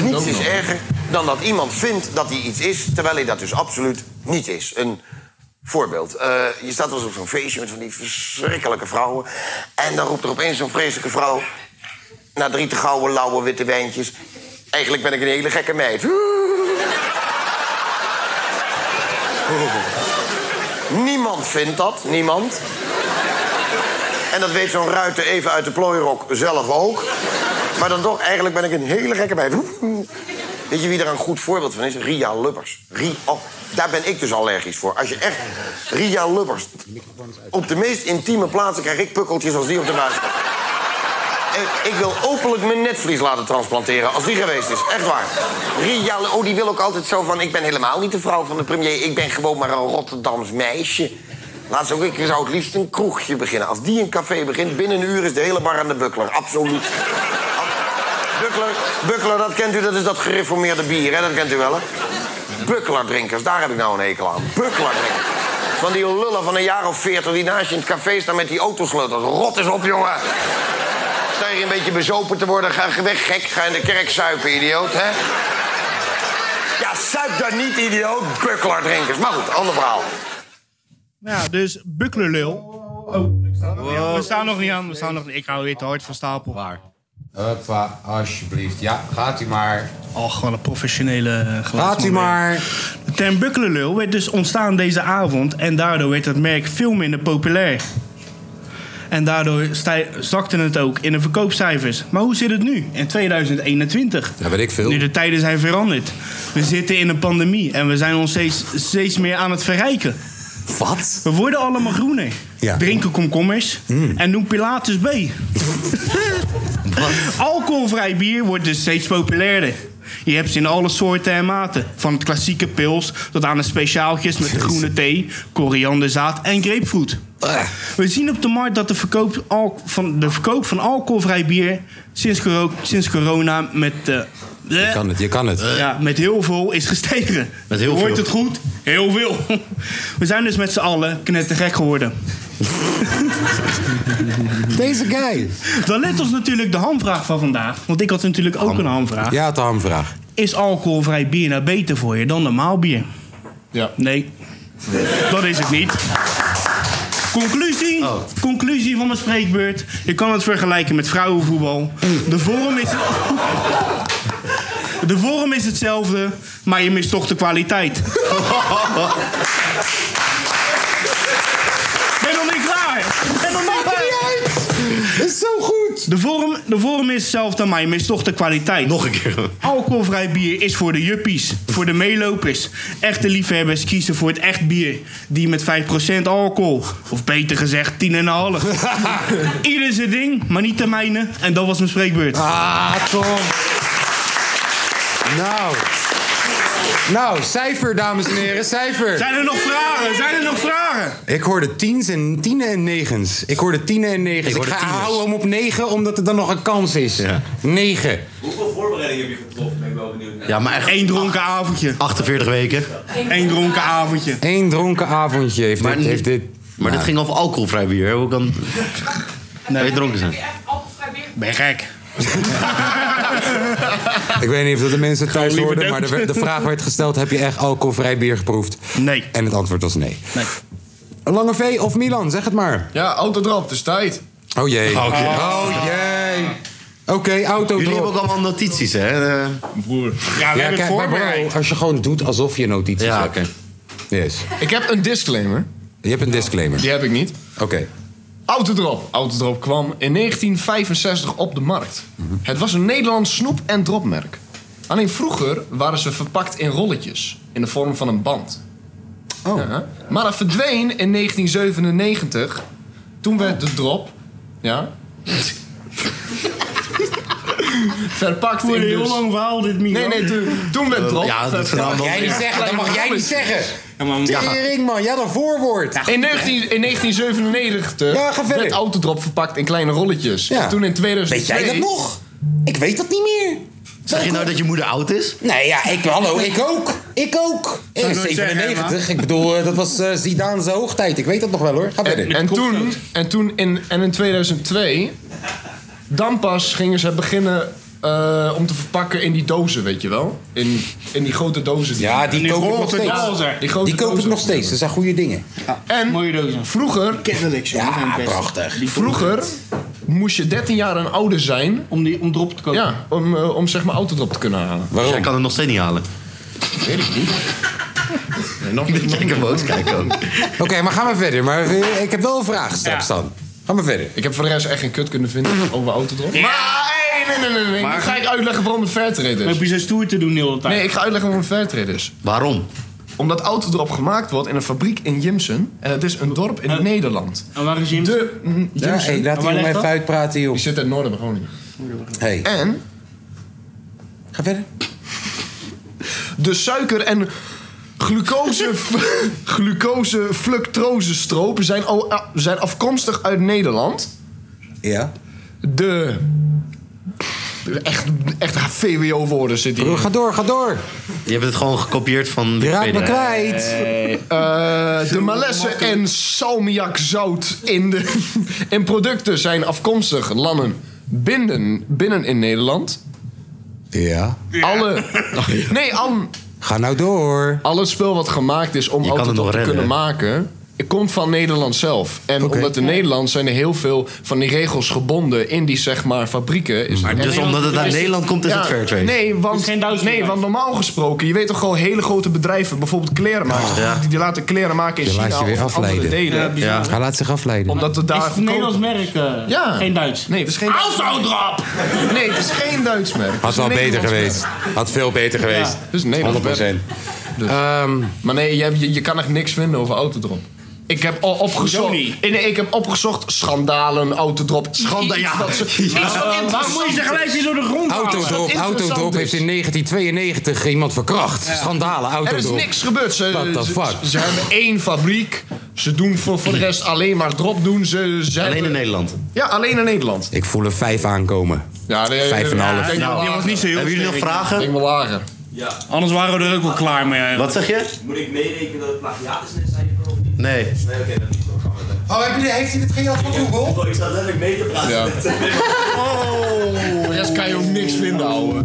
S14: Niets is erger dan dat iemand vindt dat hij iets is, terwijl hij dat dus absoluut niet is. Een voorbeeld. Eh, je staat wel eens op zo'n feestje met van die verschrikkelijke vrouwen. En dan roept er opeens zo'n vreselijke vrouw. Na drie te gouden, lauwe, witte wijntjes. Eigenlijk ben ik een hele gekke meid. Niemand vindt dat, niemand. En dat weet zo'n ruiter even uit de plooirok zelf ook. Maar dan toch, eigenlijk ben ik een hele gekke meid. Weet je wie er een goed voorbeeld van is? Ria Lubbers. Ria, oh, daar ben ik dus allergisch voor. Als je echt... Ria Lubbers. Op de meest intieme plaatsen krijg ik pukkeltjes als die op de buis komt. Ik, ik wil openlijk mijn netvlies laten transplanteren als die geweest is. Echt waar. Ria, Lu- oh, die wil ook altijd zo van... ik ben helemaal niet de vrouw van de premier. Ik ben gewoon maar een Rotterdams meisje. Laatst ook, ik zou het liefst een kroegje beginnen. Als die een café begint, binnen een uur is de hele bar aan de bukkler. Absoluut. Buckler, Buckler, dat kent u, dat is dat gereformeerde bier, hè? dat kent u wel, hè? Buckler-drinkers, daar heb ik nou een hekel aan. Buckler-drinkers. Van die lullen van een jaar of veertig die naast je in het café staan met die autosleutels. Rot is op, jongen. Sta hier een beetje bezopen te worden, ga weg, gek. Ga in de kerk zuipen, idioot, hè? Ja, zuip daar niet, idioot. Buckler-drinkers. Maar goed, ander verhaal.
S4: Ja, dus Bucklerlul. Oh, ik sta nog niet aan. we staan nog niet aan. We staan nog niet. Ik hou weer te hard van stapel. Waar?
S2: Hoppa, alsjeblieft. Ja, gaat u maar.
S4: Oh, gewoon een professionele eh, geluid.
S2: Laat u maar.
S4: De term Bukkelenlul werd dus ontstaan deze avond en daardoor werd het merk veel minder populair. En daardoor stij- zakte het ook in de verkoopcijfers. Maar hoe zit het nu, in 2021?
S2: Ja, weet ik veel.
S4: Nu de tijden zijn veranderd. We zitten in een pandemie en we zijn ons steeds, steeds meer aan het verrijken.
S2: Wat?
S4: We worden allemaal groener.
S2: Ja. Mm.
S4: Drinken komkommers en doen Pilatus B. Alcoholvrij bier wordt dus steeds populairder. Je hebt ze in alle soorten en maten. Van het klassieke pils tot aan de speciaaltjes met de groene thee, korianderzaad en grapefruit.
S2: Ah.
S4: We zien op de markt dat de verkoop, al- van, de verkoop van alcoholvrij bier sinds, coro- sinds corona met... eh,
S2: Je kan het, je kan het.
S4: ja, met heel veel is gestegen.
S2: Met heel
S4: Je Hoort
S2: veel.
S4: het goed? Heel veel. We zijn dus met z'n allen knettergek geworden.
S2: Deze guy.
S4: Dan let ons natuurlijk de hamvraag van vandaag. Want ik had natuurlijk ook een hamvraag.
S2: Ja, het hamvraag.
S4: is alcoholvrij bier nou beter voor je dan normaal bier?
S8: Ja.
S4: Nee. Dat is het niet. Conclusie,
S2: Oh.
S4: conclusie van mijn spreekbeurt. Je kan het vergelijken met vrouwenvoetbal. De vorm is... De vorm is hetzelfde, maar je mist toch de kwaliteit.
S2: Oh.
S4: ben nog niet klaar. Ben nog niet klaar.
S2: Dat is zo goed.
S4: De vorm, de vorm is hetzelfde, maar je mist toch de kwaliteit. Nog
S6: een keer.
S4: Alcoholvrij bier is voor de juppies, voor de meelopers. Echte liefhebbers kiezen voor het echt bier. Die met 5% alcohol. Of beter gezegd, 10,5. Ieder zijn ding, maar niet de mijne. En dat was mijn spreekbeurt.
S2: Ah, Tom. Nou. Nou, cijfer, dames en heren, cijfer.
S4: Zijn er nog vragen? Zijn er nog vragen?
S2: Ik hoorde tiens en tienen en negens. Ik hoorde tienen en negens. Ik,
S13: hoorde
S2: ga
S13: tieners.
S2: houden hem op negen, omdat er dan nog een kans is. Negen.
S13: Hoeveel voorbereidingen heb je getroffen? Ben ik wel benieuwd.
S6: Ja, maar echt...
S4: Eén dronken avondje.
S6: 48 weken.
S4: Eén dronken avondje.
S2: Eén dronken avondje heeft
S6: maar
S2: dit- heeft dit-
S6: Maar dit
S2: Ja.
S6: ging over alcoholvrij bier. hè? Hoe kan... Nee. je dronken zijn?
S4: Ben je gek?
S2: Ik weet niet of dat de mensen thuis
S4: liever
S2: hoorden, maar
S4: dood.
S2: de, de vraag werd gesteld: heb je echt alcoholvrij bier geproefd?
S4: Nee.
S2: En het antwoord was nee. Lange V of Milan, zeg het maar.
S8: Ja, autodrop, het is tijd.
S2: Oh jee.
S8: Oké.
S2: Oh jee. Oké, autodrop.
S6: Jullie hebben ook allemaal notities, hè? Broer.
S2: kijk, maar bro, als je gewoon doet alsof je notities
S6: Ja,
S2: hebt.
S6: oké.
S2: Yes.
S8: Ik heb een disclaimer.
S2: Je hebt een disclaimer.
S8: Die heb ik niet.
S2: Oké.
S8: Autodrop. Autodrop kwam in 1965 op de markt. Het was een Nederlands snoep- en dropmerk. Alleen vroeger waren ze verpakt in rolletjes, in de vorm van een band. Oh. Maar dat verdween in 1997. Toen werd de drop, ja, verpakt in
S4: Voor een heel
S8: dus-
S4: lang verhaal dit, Milan.
S8: Nee, nee, toen, toen
S2: Eh,
S8: werd drop.
S6: ja, dat is
S8: verpakt-
S6: een
S2: Jij niet zeggen, dat mag jij niet zeggen.
S8: Ja.
S2: Tering man, ja dan voorwoord.
S8: In, 19, in 1997
S2: Ja, ga verder.
S8: werd autodrop verpakt in kleine rolletjes.
S2: Ja.
S8: En toen in 2002...
S2: Weet jij dat nog? Ik weet dat niet meer.
S6: Zeg je nou dat je moeder oud is?
S2: Nee, ja, ik, hallo, ik ook. Ik ook. Ik
S8: Zou
S2: ben
S8: ik nooit zeggen,
S2: 97. ik bedoel, eh, dat was eh Zidane zijn hoogtijd. Ik weet dat nog wel hoor. Ga verder.
S8: En, en toen, en toen in, en in 2002, dan pas gingen ze beginnen eh, om te verpakken in die dozen, weet je wel? In, in die grote dozen. Die
S2: ja, die koop ik nog steeds.
S8: Die, grote
S2: die koop ik
S8: dozen.
S2: nog steeds. Dat zijn goede dingen.
S8: En vroeger...
S4: Kennelijk zo.
S2: Ja, prachtig.
S8: Vroeger moest je 13 jaar en ouder zijn...
S4: Om, die, om drop te kopen?
S8: Ja, om, eh, om zeg maar autodrop te kunnen halen.
S6: Waarom? Jij kan het nog steeds niet halen.
S8: Weet ik niet. Nee, nog niet.
S6: Kijk boos, kijk ook.
S2: Oké, maar ga maar verder. Maar eh, ik heb wel een vraag straks dan. Ga maar verder.
S8: Ik heb voor de rest echt geen kut kunnen vinden over autodrop.
S4: Ja.
S8: Maar hey, nee, nee, nee, nee. nee.
S4: Maar-
S8: Nu ga ik uitleggen waarom de fairtrade
S4: Dan
S8: is.
S4: heb je zo stoer te doen de hele tijd.
S8: Nee, ik ga uitleggen waarom het fairtrade is.
S6: Waarom?
S8: Omdat autodrop gemaakt wordt in een fabriek in Jimsen. En het is een dorp in Nederland.
S4: Eh. En waar is Jim?
S8: De mm,
S2: Ja,
S8: Jimsen.
S2: hey, laat
S8: En waar
S2: die jongen
S8: ligt
S2: even
S8: dat?
S2: uitpraten, joh.
S8: Die zit in het noorden van Groningen.
S2: Hey.
S8: En
S2: Ga verder.
S8: de suiker en glucose, glucose fructosestroop zijn, al, a- zijn afkomstig uit Nederland.
S2: Ja.
S8: De... Echt, echt VWO-woorden zit hier.
S2: Bro, ga door, ga door.
S6: Je hebt het gewoon gekopieerd van
S2: Raak me
S6: Wikipedia.
S2: kwijt.
S8: Eh, de malesse en salmiakzout in, de, in producten zijn afkomstig landen binnen, binnen in Nederland.
S2: Ja.
S8: Alle, nee, al,
S2: Ga nou door.
S8: alle spul wat gemaakt is om
S6: Je kan het
S8: auto's
S6: nog
S8: te
S6: redden,
S8: kunnen
S6: hè?
S8: maken... komt van Nederland zelf. En omdat in Nederland zijn er heel veel van die regels gebonden... in die, zeg maar, fabrieken. Is
S6: Maar
S8: en-
S6: dus omdat het uit
S8: is-
S6: Nederland komt, is het fair trade.
S8: Nee, want,
S4: geen Duits
S8: nee,
S4: bedrijf.
S8: want normaal gesproken, je weet toch gewoon hele grote bedrijven, bijvoorbeeld klerenmakers,
S6: Ja.
S8: die, die laten kleren maken in
S2: Je laat
S8: China
S2: je weer
S8: of in andere
S2: afleiden.
S8: delen.
S4: Ja, bizar.
S2: Hij laat zich afleiden.
S8: Omdat het daar
S4: Is het een
S8: goedkoop-
S4: Nederlands merk? eh,
S8: Ja.
S4: Geen Duits?
S8: Nee, het is geen Duits
S4: Autodrop!
S8: Nee, het is geen Duits merk. Het
S2: Had
S8: is een
S2: wel beter
S8: Nederlands
S2: geweest.
S8: merk.
S2: Had veel beter geweest.
S8: Het is een Nederlands merk. Dus-
S2: 100%. Ehm,
S8: Maar nee, je, hebt- je, je kan echt niks vinden over autodrop. Ik heb al opgezocht.
S4: Sony.
S8: Nee, nee, ik heb opgezocht schandalen, autodrop. Schandalen, ja. Wat, ze- iets wat
S4: Waarom moet je
S8: interessant
S4: ze gelijk
S8: is.
S4: weer door de grond halen?
S2: Autodrop,
S8: interessant
S2: Autodrop
S8: Nou, is.
S2: heeft in 1992 iemand verkracht. Schandalen,
S8: Er is
S2: Autodrop.
S8: niks gebeurd. Ze,
S2: What the
S8: Eh, ze-
S2: fuck?
S8: ze hebben één fabriek. Ze doen voor, voor de rest alleen maar drop doen. Ze, ze
S6: Alleen in
S8: hebben-
S6: Nederland.
S8: Ja, alleen in Nederland.
S2: Ik voel een vijf aankomen.
S8: Ja, nee,
S2: Vijf en een half.
S8: Denk
S4: Nou,
S8: maar
S4: die was niet zo heel
S6: Hebben jullie nog
S4: sterk.
S6: vragen?
S8: Denk maar lager.
S4: Anders waren we er ook wel klaar mee.
S6: Wat zeg je?
S13: Moet ik meerekenen dat het plagiaat is in het cijfer of niet?
S6: Nee.
S13: Nee, oké, dat is wel gaan we het hebben.
S2: Oh, heb je, heeft hij dit gejat van Google?
S13: Ik zat letterlijk mee te praten.
S2: Ja.
S8: Oh, daar kan je ook niks vinden, ouwe.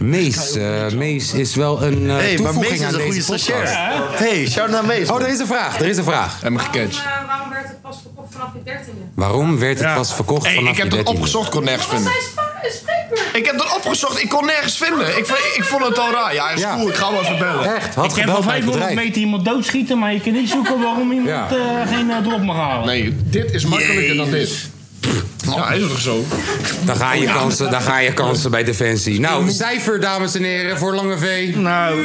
S2: Mees, eh, Mees is wel een eh,
S8: Hey, maar
S2: toevoeging
S8: Mees is
S2: aan
S8: een
S2: deze
S8: goede
S2: podcast.
S8: stagiair. Ja, hè? Hey, shout naar Mees,
S2: Oh,
S8: man.
S2: er is een vraag, er is een vraag.
S8: Hem gecatcht.
S15: waarom werd het pas verkocht vanaf je dertiende?
S2: Waarom werd het
S8: Ja.
S2: pas verkocht
S8: Hey,
S2: vanaf
S8: ik heb
S2: je
S8: dat
S2: 13e?
S8: opgezocht, kon nergens vinden. Ik heb dat opgezocht, ik kon nergens vinden. Ik, vond- ik vond het al raar. Ja, is goed, ik ga hem even bellen.
S4: ik heb wel 500 meter iemand doodschieten, maar je kan niet zoeken waarom iemand
S8: Ja.
S4: eh, geen eh, drop mag halen.
S8: Nee, dit is makkelijker dan dit. Ja, is toch zo?
S2: Daar gaan je kansen, daar gaan je kansen bij Defensie. Nou, cijfer, dames en heren, voor Lange V.
S4: Nou,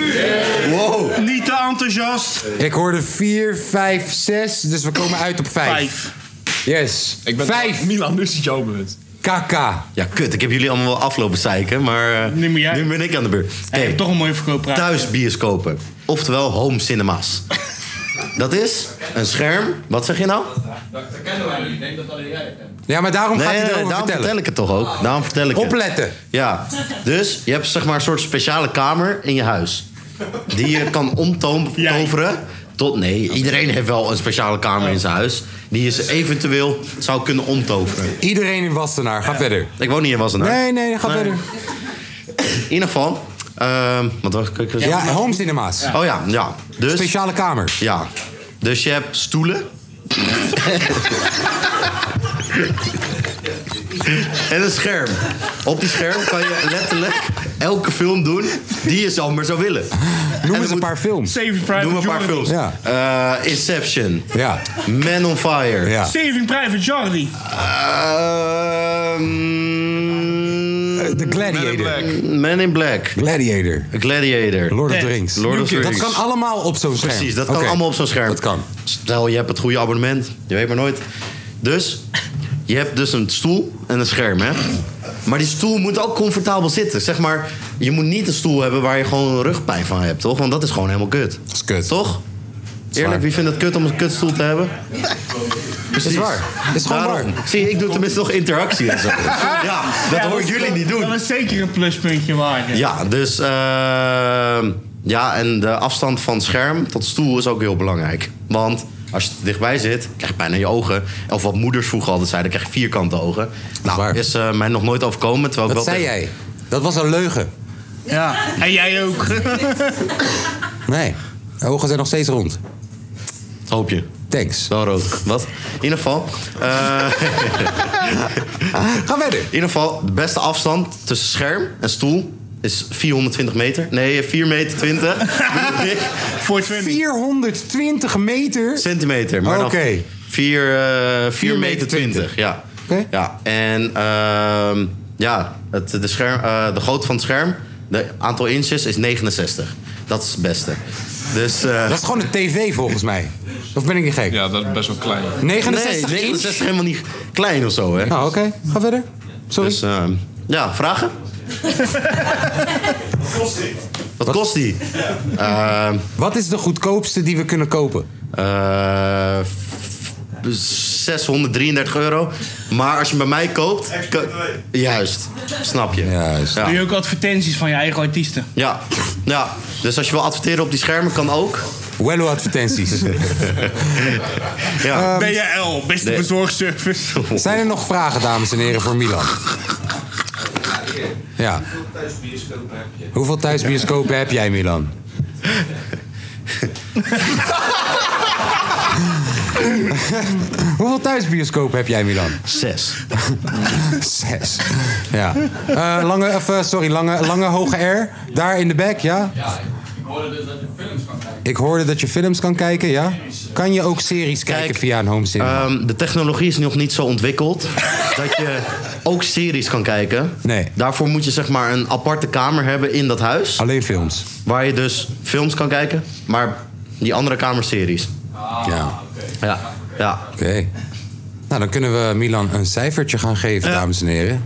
S2: wow.
S4: niet te enthousiast.
S2: Ik hoorde 4, 5, 6, dus we komen uit op 5. Yes.
S8: Ik ben
S2: Vijf.
S8: Milan, dus het jouw beurt.
S2: KK.
S6: Ja, kut. Ik heb jullie allemaal wel aflopen zeiken, maar eh, nu, ben ik aan de beurt. Hey,
S4: toch een mooie verkooppraat.
S6: Thuisbioscopen, oftewel home cinema's. dat is een scherm. Wat zeg je nou?
S13: Dat kennen wij niet. Ik denk dat alleen jij het kent.
S2: Ja, maar daarom
S6: Nee,
S2: gaat hij
S6: nee,
S2: erover
S6: daarom
S2: vertellen.
S6: vertel ik het toch ook. Daarom vertel ik
S2: Opletten.
S6: het. Ja. Dus je hebt zeg maar een soort speciale kamer in je huis. Die je kan omtoveren tot... Nee, iedereen heeft wel een speciale kamer in zijn huis. Die je ze eventueel zou kunnen omtoveren.
S2: Iedereen in Wassenaar. Ga verder.
S6: Ik woon niet in Wassenaar.
S2: Nee, nee, ga verder.
S6: In ieder geval... ehm, wat was ik?
S2: Ja, home cinema's.
S6: Oh ja, ja. Dus,
S2: Speciale kamer.
S6: Ja. Dus je hebt stoelen. en een scherm. Op die scherm kan je letterlijk elke film doen die je zo maar zou willen.
S2: Noem eens een paar films.
S6: Noem een paar films. Eh, Inception.
S2: Ja.
S6: Man on Fire. Ja.
S4: Saving Private Charlie.
S6: Ehm,
S2: De Gladiator.
S6: Man in Black.
S2: Gladiator.
S6: Gladiator.
S2: Lord of the Rings.
S6: Lord of the
S2: Dat
S6: Rings.
S2: kan allemaal op zo'n scherm.
S6: Precies, dat kan
S2: Oké.
S6: allemaal op zo'n scherm. Dat
S2: kan.
S6: Stel, je hebt het goede abonnement. Je weet maar nooit. Dus, je hebt dus een stoel en een scherm, hè? Maar die stoel moet ook comfortabel zitten. Zeg maar, je moet niet een stoel hebben waar je gewoon rugpijn van hebt, toch? Want dat is gewoon helemaal kut. Dat
S2: is kut.
S6: Toch? Eerlijk, wie vindt het kut om een kutstoel te hebben? Precies.
S4: Is waar. Is gewoon
S6: Daarom. Zie, ik doe tenminste nog interactie en zo. Ja, dat hoor ik jullie niet doen.
S4: Dat is zeker een pluspuntje waard. ja.
S6: Ja, dus ehm, ja, en de afstand van scherm tot stoel is ook heel belangrijk. Want als je er dichtbij zit, krijg je bijna je ogen. Of wat moeders vroeger altijd zeiden, krijg je vierkante ogen. Nou, is eh, mij nog nooit overkomen. Terwijl ik
S2: Wat
S6: wel
S2: zei
S6: tegen-
S2: jij? Dat was een leugen.
S4: Ja. En jij ook.
S2: Nee. De ogen zijn nog steeds rond.
S6: Hoop je.
S2: Thanks.
S6: Wel rood. Wat? In ieder geval. eh,
S2: Ga verder. In
S6: ieder geval, de beste afstand tussen scherm en stoel is 420 meter. Nee, 4 meter 20.
S4: Voor
S2: 420 meter.
S6: Centimeter. Maar dan
S2: Oké.
S6: 4, eh 4 meter 20, ja. ja. En ehm, ja, het, de, scherm, eh, de grootte van het scherm, de aantal inches is 69. Dat is het beste. Dus, eh,
S2: Dat is gewoon een tv volgens mij. Of ben ik niet gek?
S12: Ja, dat is best wel klein.
S2: 69
S6: Nee, 69 is helemaal niet klein of zo, hè?
S2: Nou, oké. Ga verder. Sorry.
S6: Dus, ehm, ja, vragen? Wat kost die?
S2: Wat is de goedkoopste die we kunnen kopen?
S6: 633 Eh, euro. Maar als je bij mij koopt... ko- Juist, snap je.
S2: Juist.
S4: Doe je ook advertenties van je eigen artiesten?
S6: Ja, ja. Dus als je wil adverteren op die schermen, kan ook.
S2: Wello advertenties.
S6: ja.
S4: DHL, beste
S2: Nee.
S4: bezorgservice.
S2: Ehm, Zijn er nog vragen, dames en heren, voor Milan? Ja. Hoeveel thuisbioscopen heb jij, Milan? Hoeveel thuisbioscopen heb jij, Milan?
S6: Zes.
S2: Zes. Ja. Eh, lange, of, eh, sorry, lange, lange hoge R. Daar in de back, ja?
S13: Ik hoorde dus dat je films kan kijken.
S2: Ik hoorde dat je films kan kijken, ja? Kan je ook series kijken via een home cinema?
S6: Ehm, de technologie is nog niet zo ontwikkeld dat je ook series kan kijken.
S2: Nee.
S6: Daarvoor moet je zeg maar een aparte kamer hebben in dat huis.
S2: Alleen films.
S6: Waar je dus films kan kijken, maar die andere kamer series.
S2: ja.
S6: Ja. ja.
S2: Oké. Nou, dan kunnen we Milan een cijfertje gaan geven, dames en heren.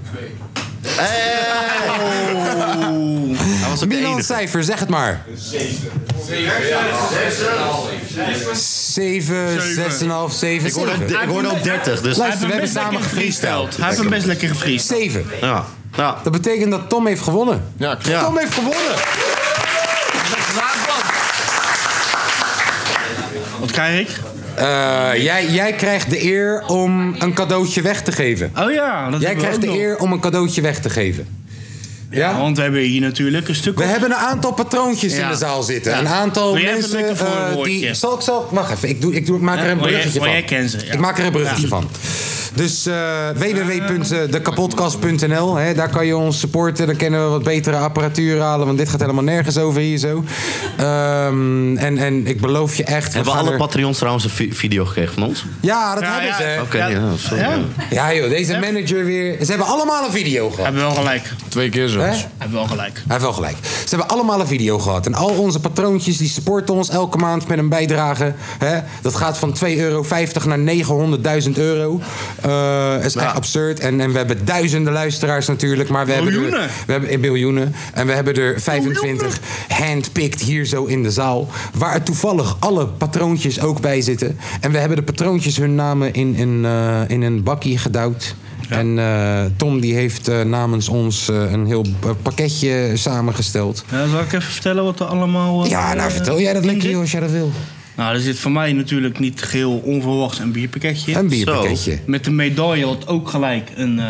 S2: Milan cijfer, zeg het maar. 7, 6,5, 7,
S6: Ik hoorde ook- ik hoorde ook 30, dus- Hij heeft hem
S2: Luister, we hebben
S6: best
S2: samen
S6: lekker
S2: gefreesteld.
S6: gefreesteld. Hij heeft hem best
S4: lekker gefreesteld.
S2: 7.
S6: Ja.
S2: Dat betekent dat Tom heeft gewonnen.
S8: Ja,
S2: Tom heeft gewonnen.
S4: Wat krijg ik?
S2: Eh, jij, jij krijgt de eer om een cadeautje weg te geven.
S4: Oh ja, dat
S2: Jij
S4: hebben we
S2: krijgt
S4: ook
S2: de
S4: nog.
S2: eer om een cadeautje weg te geven. Ja,
S4: want we hebben hier natuurlijk een stuk.
S2: We hebben een aantal patroontjes in
S4: Ja.
S2: de zaal zitten.
S4: Ja.
S2: Een aantal
S4: Wil jij even
S2: mensen
S4: lekker voor een
S2: eh, die.
S4: woordje?
S2: Zal ik, zal ik- wacht even, ik, doe, ik, doe, ik maak
S4: Ja,
S2: er een
S4: wil jij-
S2: bruggetje
S4: wil
S2: van.
S4: jij kennen ze, ja.
S2: Ik maak er een bruggetje
S4: Ja.
S2: van. Dus eh www.dekapodcast.nl, hè, daar kan je ons supporten. Dan kunnen we wat betere apparatuur halen, want dit gaat helemaal nergens over hier zo. Ehm, en, en ik beloof je echt.
S6: Hebben
S2: gaan
S6: alle
S2: er-
S6: Patreons trouwens een vi- video gekregen van ons?
S2: Ja, dat hebben ze. hè.
S6: Oké, ja, sorry.
S2: Ja. Ja, joh, deze manager weer. Ze hebben allemaal een video gehad.
S4: Hebben wel gelijk.
S2: Twee keer zo. Hij
S4: heeft wel gelijk. Hij
S2: heeft wel gelijk. Ze hebben allemaal een video gehad. En al onze patroontjes die supporten ons elke maand met een bijdrage. Hè? Dat gaat van 2,50 euro naar 900.000 euro. Eh, dat is echt absurd. En, en we hebben duizenden luisteraars natuurlijk. Maar we hebben
S4: Miljoenen.
S2: er, we hebben in miljoenen. En we hebben er 25 handpicked hier zo in de zaal. Waar toevallig alle patroontjes ook bij zitten. En we hebben de patroontjes hun namen in, in, eh, in een bakkie gedouwd. En eh, Tom die heeft eh, namens ons eh, een heel eh, pakketje samengesteld.
S4: Ja, zal ik even vertellen wat er allemaal. ja, nou vertel
S2: jij dat lekker, joh, als jij dat wil.
S4: Nou, er zit voor mij natuurlijk niet geheel onverwachts een bierpakketje. in.
S2: Een bierpakketje. Zo.
S4: Met een medaille, wat ook gelijk een eh,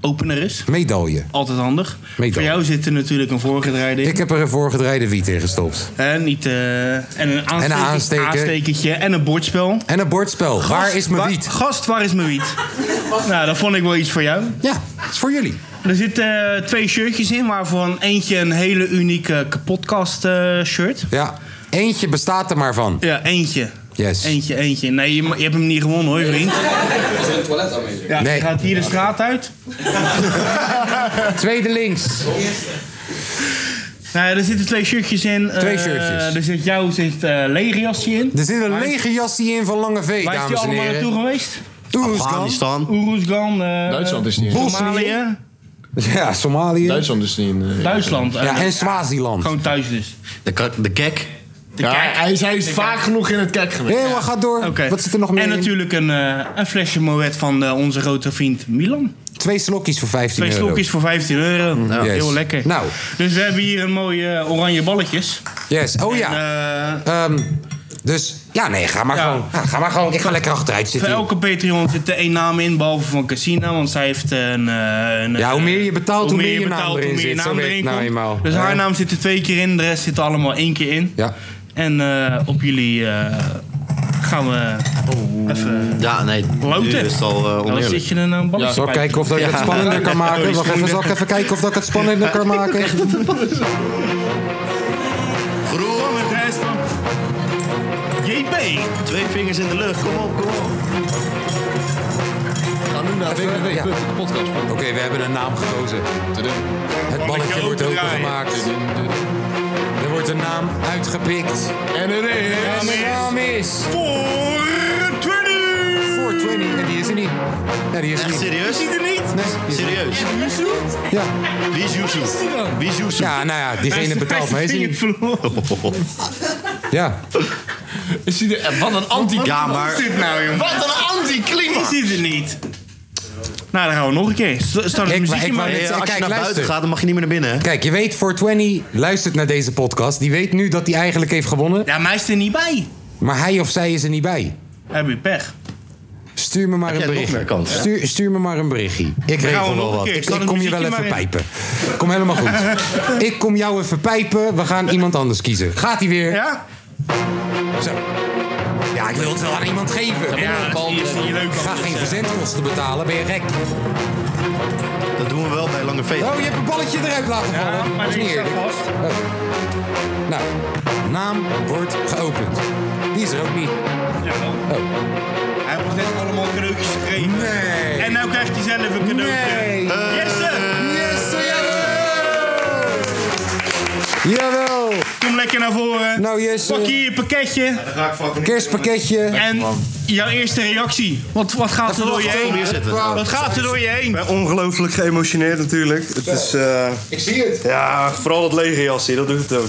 S4: opener is.
S2: Medaille.
S4: Altijd handig.
S2: Medaille.
S4: Voor jou zit er natuurlijk een voorgedraaide in.
S2: Ik heb er een voorgedreide wiet in gestopt.
S4: Hè, niet, eh, en een, aansteker,
S2: En een aansteker.
S4: aanstekertje en een bordspel.
S2: En een bordspel. Waar is mijn
S4: wiet? gast, waar is mijn wiet? nou, dat vond ik wel iets voor jou.
S2: Ja, is voor jullie.
S4: Er zitten eh, twee shirtjes in, waarvan eentje een hele unieke kapotkast eh, shirt.
S2: Ja, eentje bestaat er maar van.
S4: Ja, eentje.
S2: Yes.
S4: Eentje, eentje. Nee, je, ma- je hebt hem niet gewonnen hoor, vriend.
S13: Is er een toilet aanwezig?
S4: Ja, Je gaat hier de straat uit.
S2: Tweede links.
S4: Nou, ja, er zitten twee shirtjes in.
S2: Twee
S4: Eh,
S2: shirtjes.
S4: er zit jou zit eh legerjasje in.
S2: Er zit een lege jassie in van Lange V,
S4: Waar is die
S2: dames en
S4: allemaal naartoe
S2: heren.
S4: geweest?
S2: Oeruzgan.
S4: Oeruzgan. eh,
S8: Duitsland is niet in.
S4: Somalië.
S2: Ja, Somalië.
S8: Duitsland is niet in. eh,
S4: Duitsland.
S8: Ja, en
S2: Swaziland.
S4: Gewoon thuis dus.
S6: De, ka- de kek.
S8: Ja, hij is, hij is
S4: De
S8: vaak
S4: kijk.
S8: genoeg in het kijk geweest.
S2: Nee, maar ga door.
S4: Oké.
S2: Wat zit er nog meer
S4: En
S2: in?
S4: natuurlijk een, eh, een flesje Moet van eh, onze grote vriend Milan.
S2: Twee slokjes voor 15
S4: Twee
S2: euro.
S4: slokjes voor 15 euro.
S2: Ja. Yes.
S4: Heel lekker.
S2: Nou.
S4: Dus we hebben hier een mooie eh, oranje balletjes.
S2: Yes, oh ja.
S4: eh,
S2: Ehm, dus, ja, nee, ga maar gewoon. Ja, ga maar gewoon. Ik ga lekker achteruit
S4: Voor
S2: zitten.
S4: elke Patreon zit er één naam in, behalve van Casina, want zij heeft een... eh, een
S2: Ja, hoe meer je betaalt, hoe meer je naam
S4: betaalt,
S2: erin
S4: hoe meer je
S2: zit. Zo
S4: naam
S2: werkt het
S4: erin
S2: nou
S4: komt.
S2: eenmaal.
S4: Dus
S2: Ja.
S4: haar naam zit er twee keer in, de rest zit er allemaal één keer in.
S2: Ja.
S4: En eh, op jullie eh, gaan we even
S6: Ja, nee.
S4: loten.
S6: Nu is het al eh,
S4: Dan
S6: oneerlijk.
S4: zit je een eh, balletje
S2: Zal ik
S4: bij.
S2: kijken of dat ik
S4: Ja.
S2: het spannender kan maken? Wacht even, zal ik even kijken of dat ik het spannender kan maken?
S6: Groen met de rest van.
S4: JP!
S6: Twee vingers in de lucht, kom op, kom op.
S2: Ga nu naar www.podcast. Oké, we hebben een naam gekozen. Het balletje wordt opengemaakt. Er wordt een naam uitgepikt. En er is...
S4: De naam
S2: is...
S4: 420!
S2: 420, en die is er niet. Ja, die is er
S6: Echt
S2: niet.
S6: serieus?
S4: Is die er niet?
S2: Nee, die is er niet.
S6: Serieus?
S2: Ja.
S6: Wie is Yuzu? Wie is Yuzu?
S2: Ja, nou ja, diegene betaalt mij. Is hij- Ja.
S6: Is hij
S8: eh,
S6: er? Wat een anti Ja, maar... Wat een anti-klimax!
S4: Is hij er niet? Nou, dan gaan we nog een keer. Start het muziekje maar.
S6: Eh, als je naar buiten gaat, dan mag je niet meer naar binnen. hè?
S2: Kijk, je weet, 420 luistert naar deze podcast. Die weet nu dat hij eigenlijk heeft gewonnen.
S4: Ja, maar hij is er niet bij.
S2: Maar hij of zij is er niet bij.
S4: Heb je pech.
S2: Stuur me maar
S4: Heb
S2: een
S4: jij nog
S2: berichtje.
S4: meer kans?
S2: Stuur, stuur me maar een berichtje. Ik
S4: Dan gaan
S2: regel
S4: we nog
S2: wel
S4: een
S2: wat.
S4: keer.
S2: Ik,
S4: Zal
S2: ik
S4: er
S2: kom je
S4: muziekje
S2: wel even
S4: maar in?
S2: pijpen. Kom helemaal goed. ik kom jou even pijpen. We gaan iemand anders kiezen. Gaat hij weer?
S4: Ja?
S2: Zo. Ja, ik wil het wel aan iemand geven.
S4: Ja, dat is niet- is niet leuk.
S2: Ik ga geen verzendkosten betalen. Ben je gek?
S6: Dat doen we wel bij Lange Veet.
S2: Oh, je hebt een balletje eruit laten vallen.
S4: maar
S2: Dat is
S4: die
S2: niet
S4: staat
S2: eerlijk.
S4: vast.
S2: Oh. Nou, naam wordt geopend. Die is er ook niet. Oh.
S4: Jawel. Hij heeft ons net allemaal cadeautjes gegeven.
S2: Nee.
S4: En nou krijgt hij zelf een cadeautje.
S2: Nee.
S4: Jesse!
S2: Jesse, Jawel!
S4: Kom lekker naar voren.
S2: Nou, Jesse.
S4: Pak hier je pakketje.
S2: Kerstpakketje.
S4: En jouw eerste reactie. Wat, wat gaat er door je heen? Wat gaat er door je heen?
S16: Ik ben ongelooflijk geëmotioneerd natuurlijk. Het is, ik zie het. Ja, vooral dat lege jasje, dat doet het ook.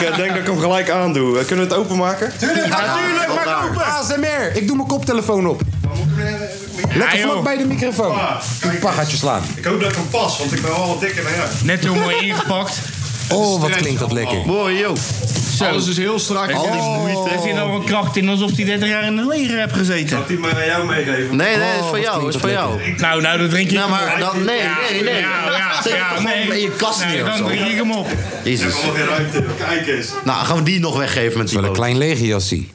S16: Ik eh, denk dat ik hem gelijk aandoe. Eh, Kunnen we het openmaken?
S2: Tuurlijk, natuurlijk, maar open! ASMR, ik doe mijn koptelefoon op. Lekker
S16: Ja,
S2: vlak
S16: joh.
S2: bij de microfoon. Ik pa gaat je slaan.
S16: Ik hoop dat ik hem pas, want ik ben wel wat dikker dan jou.
S4: Net heel mooi ingepakt.
S2: Oh, wat klinkt dat lekker.
S6: Mooi, joh.
S4: Alles is heel strak.
S3: Al die
S2: Oh.
S4: moeite. Heeft hij nou een kracht in alsof hij 30 jaar in het leger hebt gezeten? Had hij maar aan jou meegeven?
S6: Nee, nee,
S2: Oh,
S6: is van jou, is van jou.
S4: Nou, nou, dat drink je
S6: Nou, maar
S4: niet.
S6: dan- nee,
S4: Ja,
S6: nee, nee.
S4: Ja, ja,
S6: Zet
S4: ja,
S6: hem gewoon
S4: nee.
S6: in je kast
S4: Nee,
S6: neer of
S4: Dan
S6: zo.
S4: drink ik hem op.
S6: Jezus.
S16: ruimte. Kijk eens.
S6: Nou, gaan we die nog weggeven met die
S2: Wel een klein legerjassie.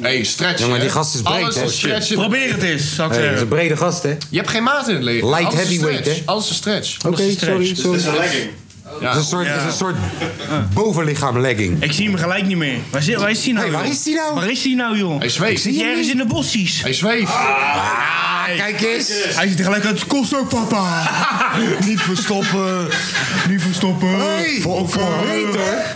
S6: Hey, stretch.
S2: Jongen, die gast is breed, hè?
S4: Probeer het eens, zou ik
S2: Hey, dat is
S4: zeggen.
S2: een brede gast, hè?
S8: Je hebt geen maat in het leven.
S2: Light
S8: Alles is
S2: heavyweight,
S8: stretch.
S2: hè?
S8: Alles is stretch.
S2: Oké,
S8: Alles is stretch.
S2: sorry, sorry. Het is een soort, het is een soort bovenlichaam legging.
S4: Ik zie hem gelijk niet meer. Waar, zit, waar is hij nou?
S2: Hey, waar
S4: joh?
S2: is hij nou?
S4: Waar is hij nou, joh?
S2: Hij zweeft.
S4: Ik zie
S2: Zie je
S4: ergens
S2: niet?
S4: in de bossies. Hij zweeft.
S2: kijk eens.
S4: Hij zit er gelijk uit. Kost ook, papa. niet verstoppen. Niet verstoppen.
S2: Hey,
S4: voor, voor,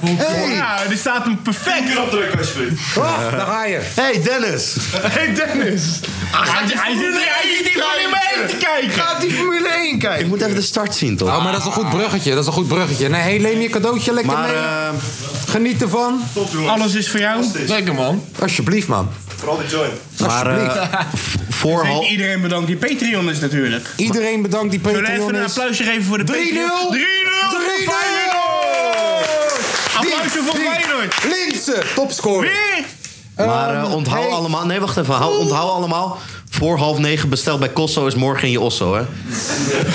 S4: voor- Ja, dit staat hem perfect. Hier opdrukken, alsjeblieft.
S2: Oh, daar ga je.
S6: Hey Dennis!
S4: Hey Dennis! Hij zit- hij zit hij zit hier gewoon in mijn heen te kijken!
S2: Gaat die Formule 1 kijken?
S6: Ik moet even de start zien, toch?
S2: Oh, maar dat is een goed bruggetje. Dat is een goed bruggetje. Nee, hey, leen je cadeautje lekker mee. Geniet ervan.
S4: Alles is voor jou.
S2: Lekker, man. Alsjeblieft, man.
S16: Vooral de joint.
S6: Maar eh, voor
S4: Zeker
S6: half...
S4: dus iedereen bedankt die Patreon is natuurlijk.
S2: Iedereen bedankt die
S4: Zullen we
S2: Patreon
S4: even een
S2: is.
S4: applausje geven voor de
S2: 3-0.
S4: Patreon? 3-0!
S2: 3-0.
S4: Applausje voor
S2: Die- die-
S4: Feyenoord!
S2: Linse, topscorer.
S4: Weer!
S6: Maar eh, onthoud allemaal... Nee, wacht even. Hou, onthoud allemaal... Voor half negen besteld bij Kosso is morgen in je osso, hè?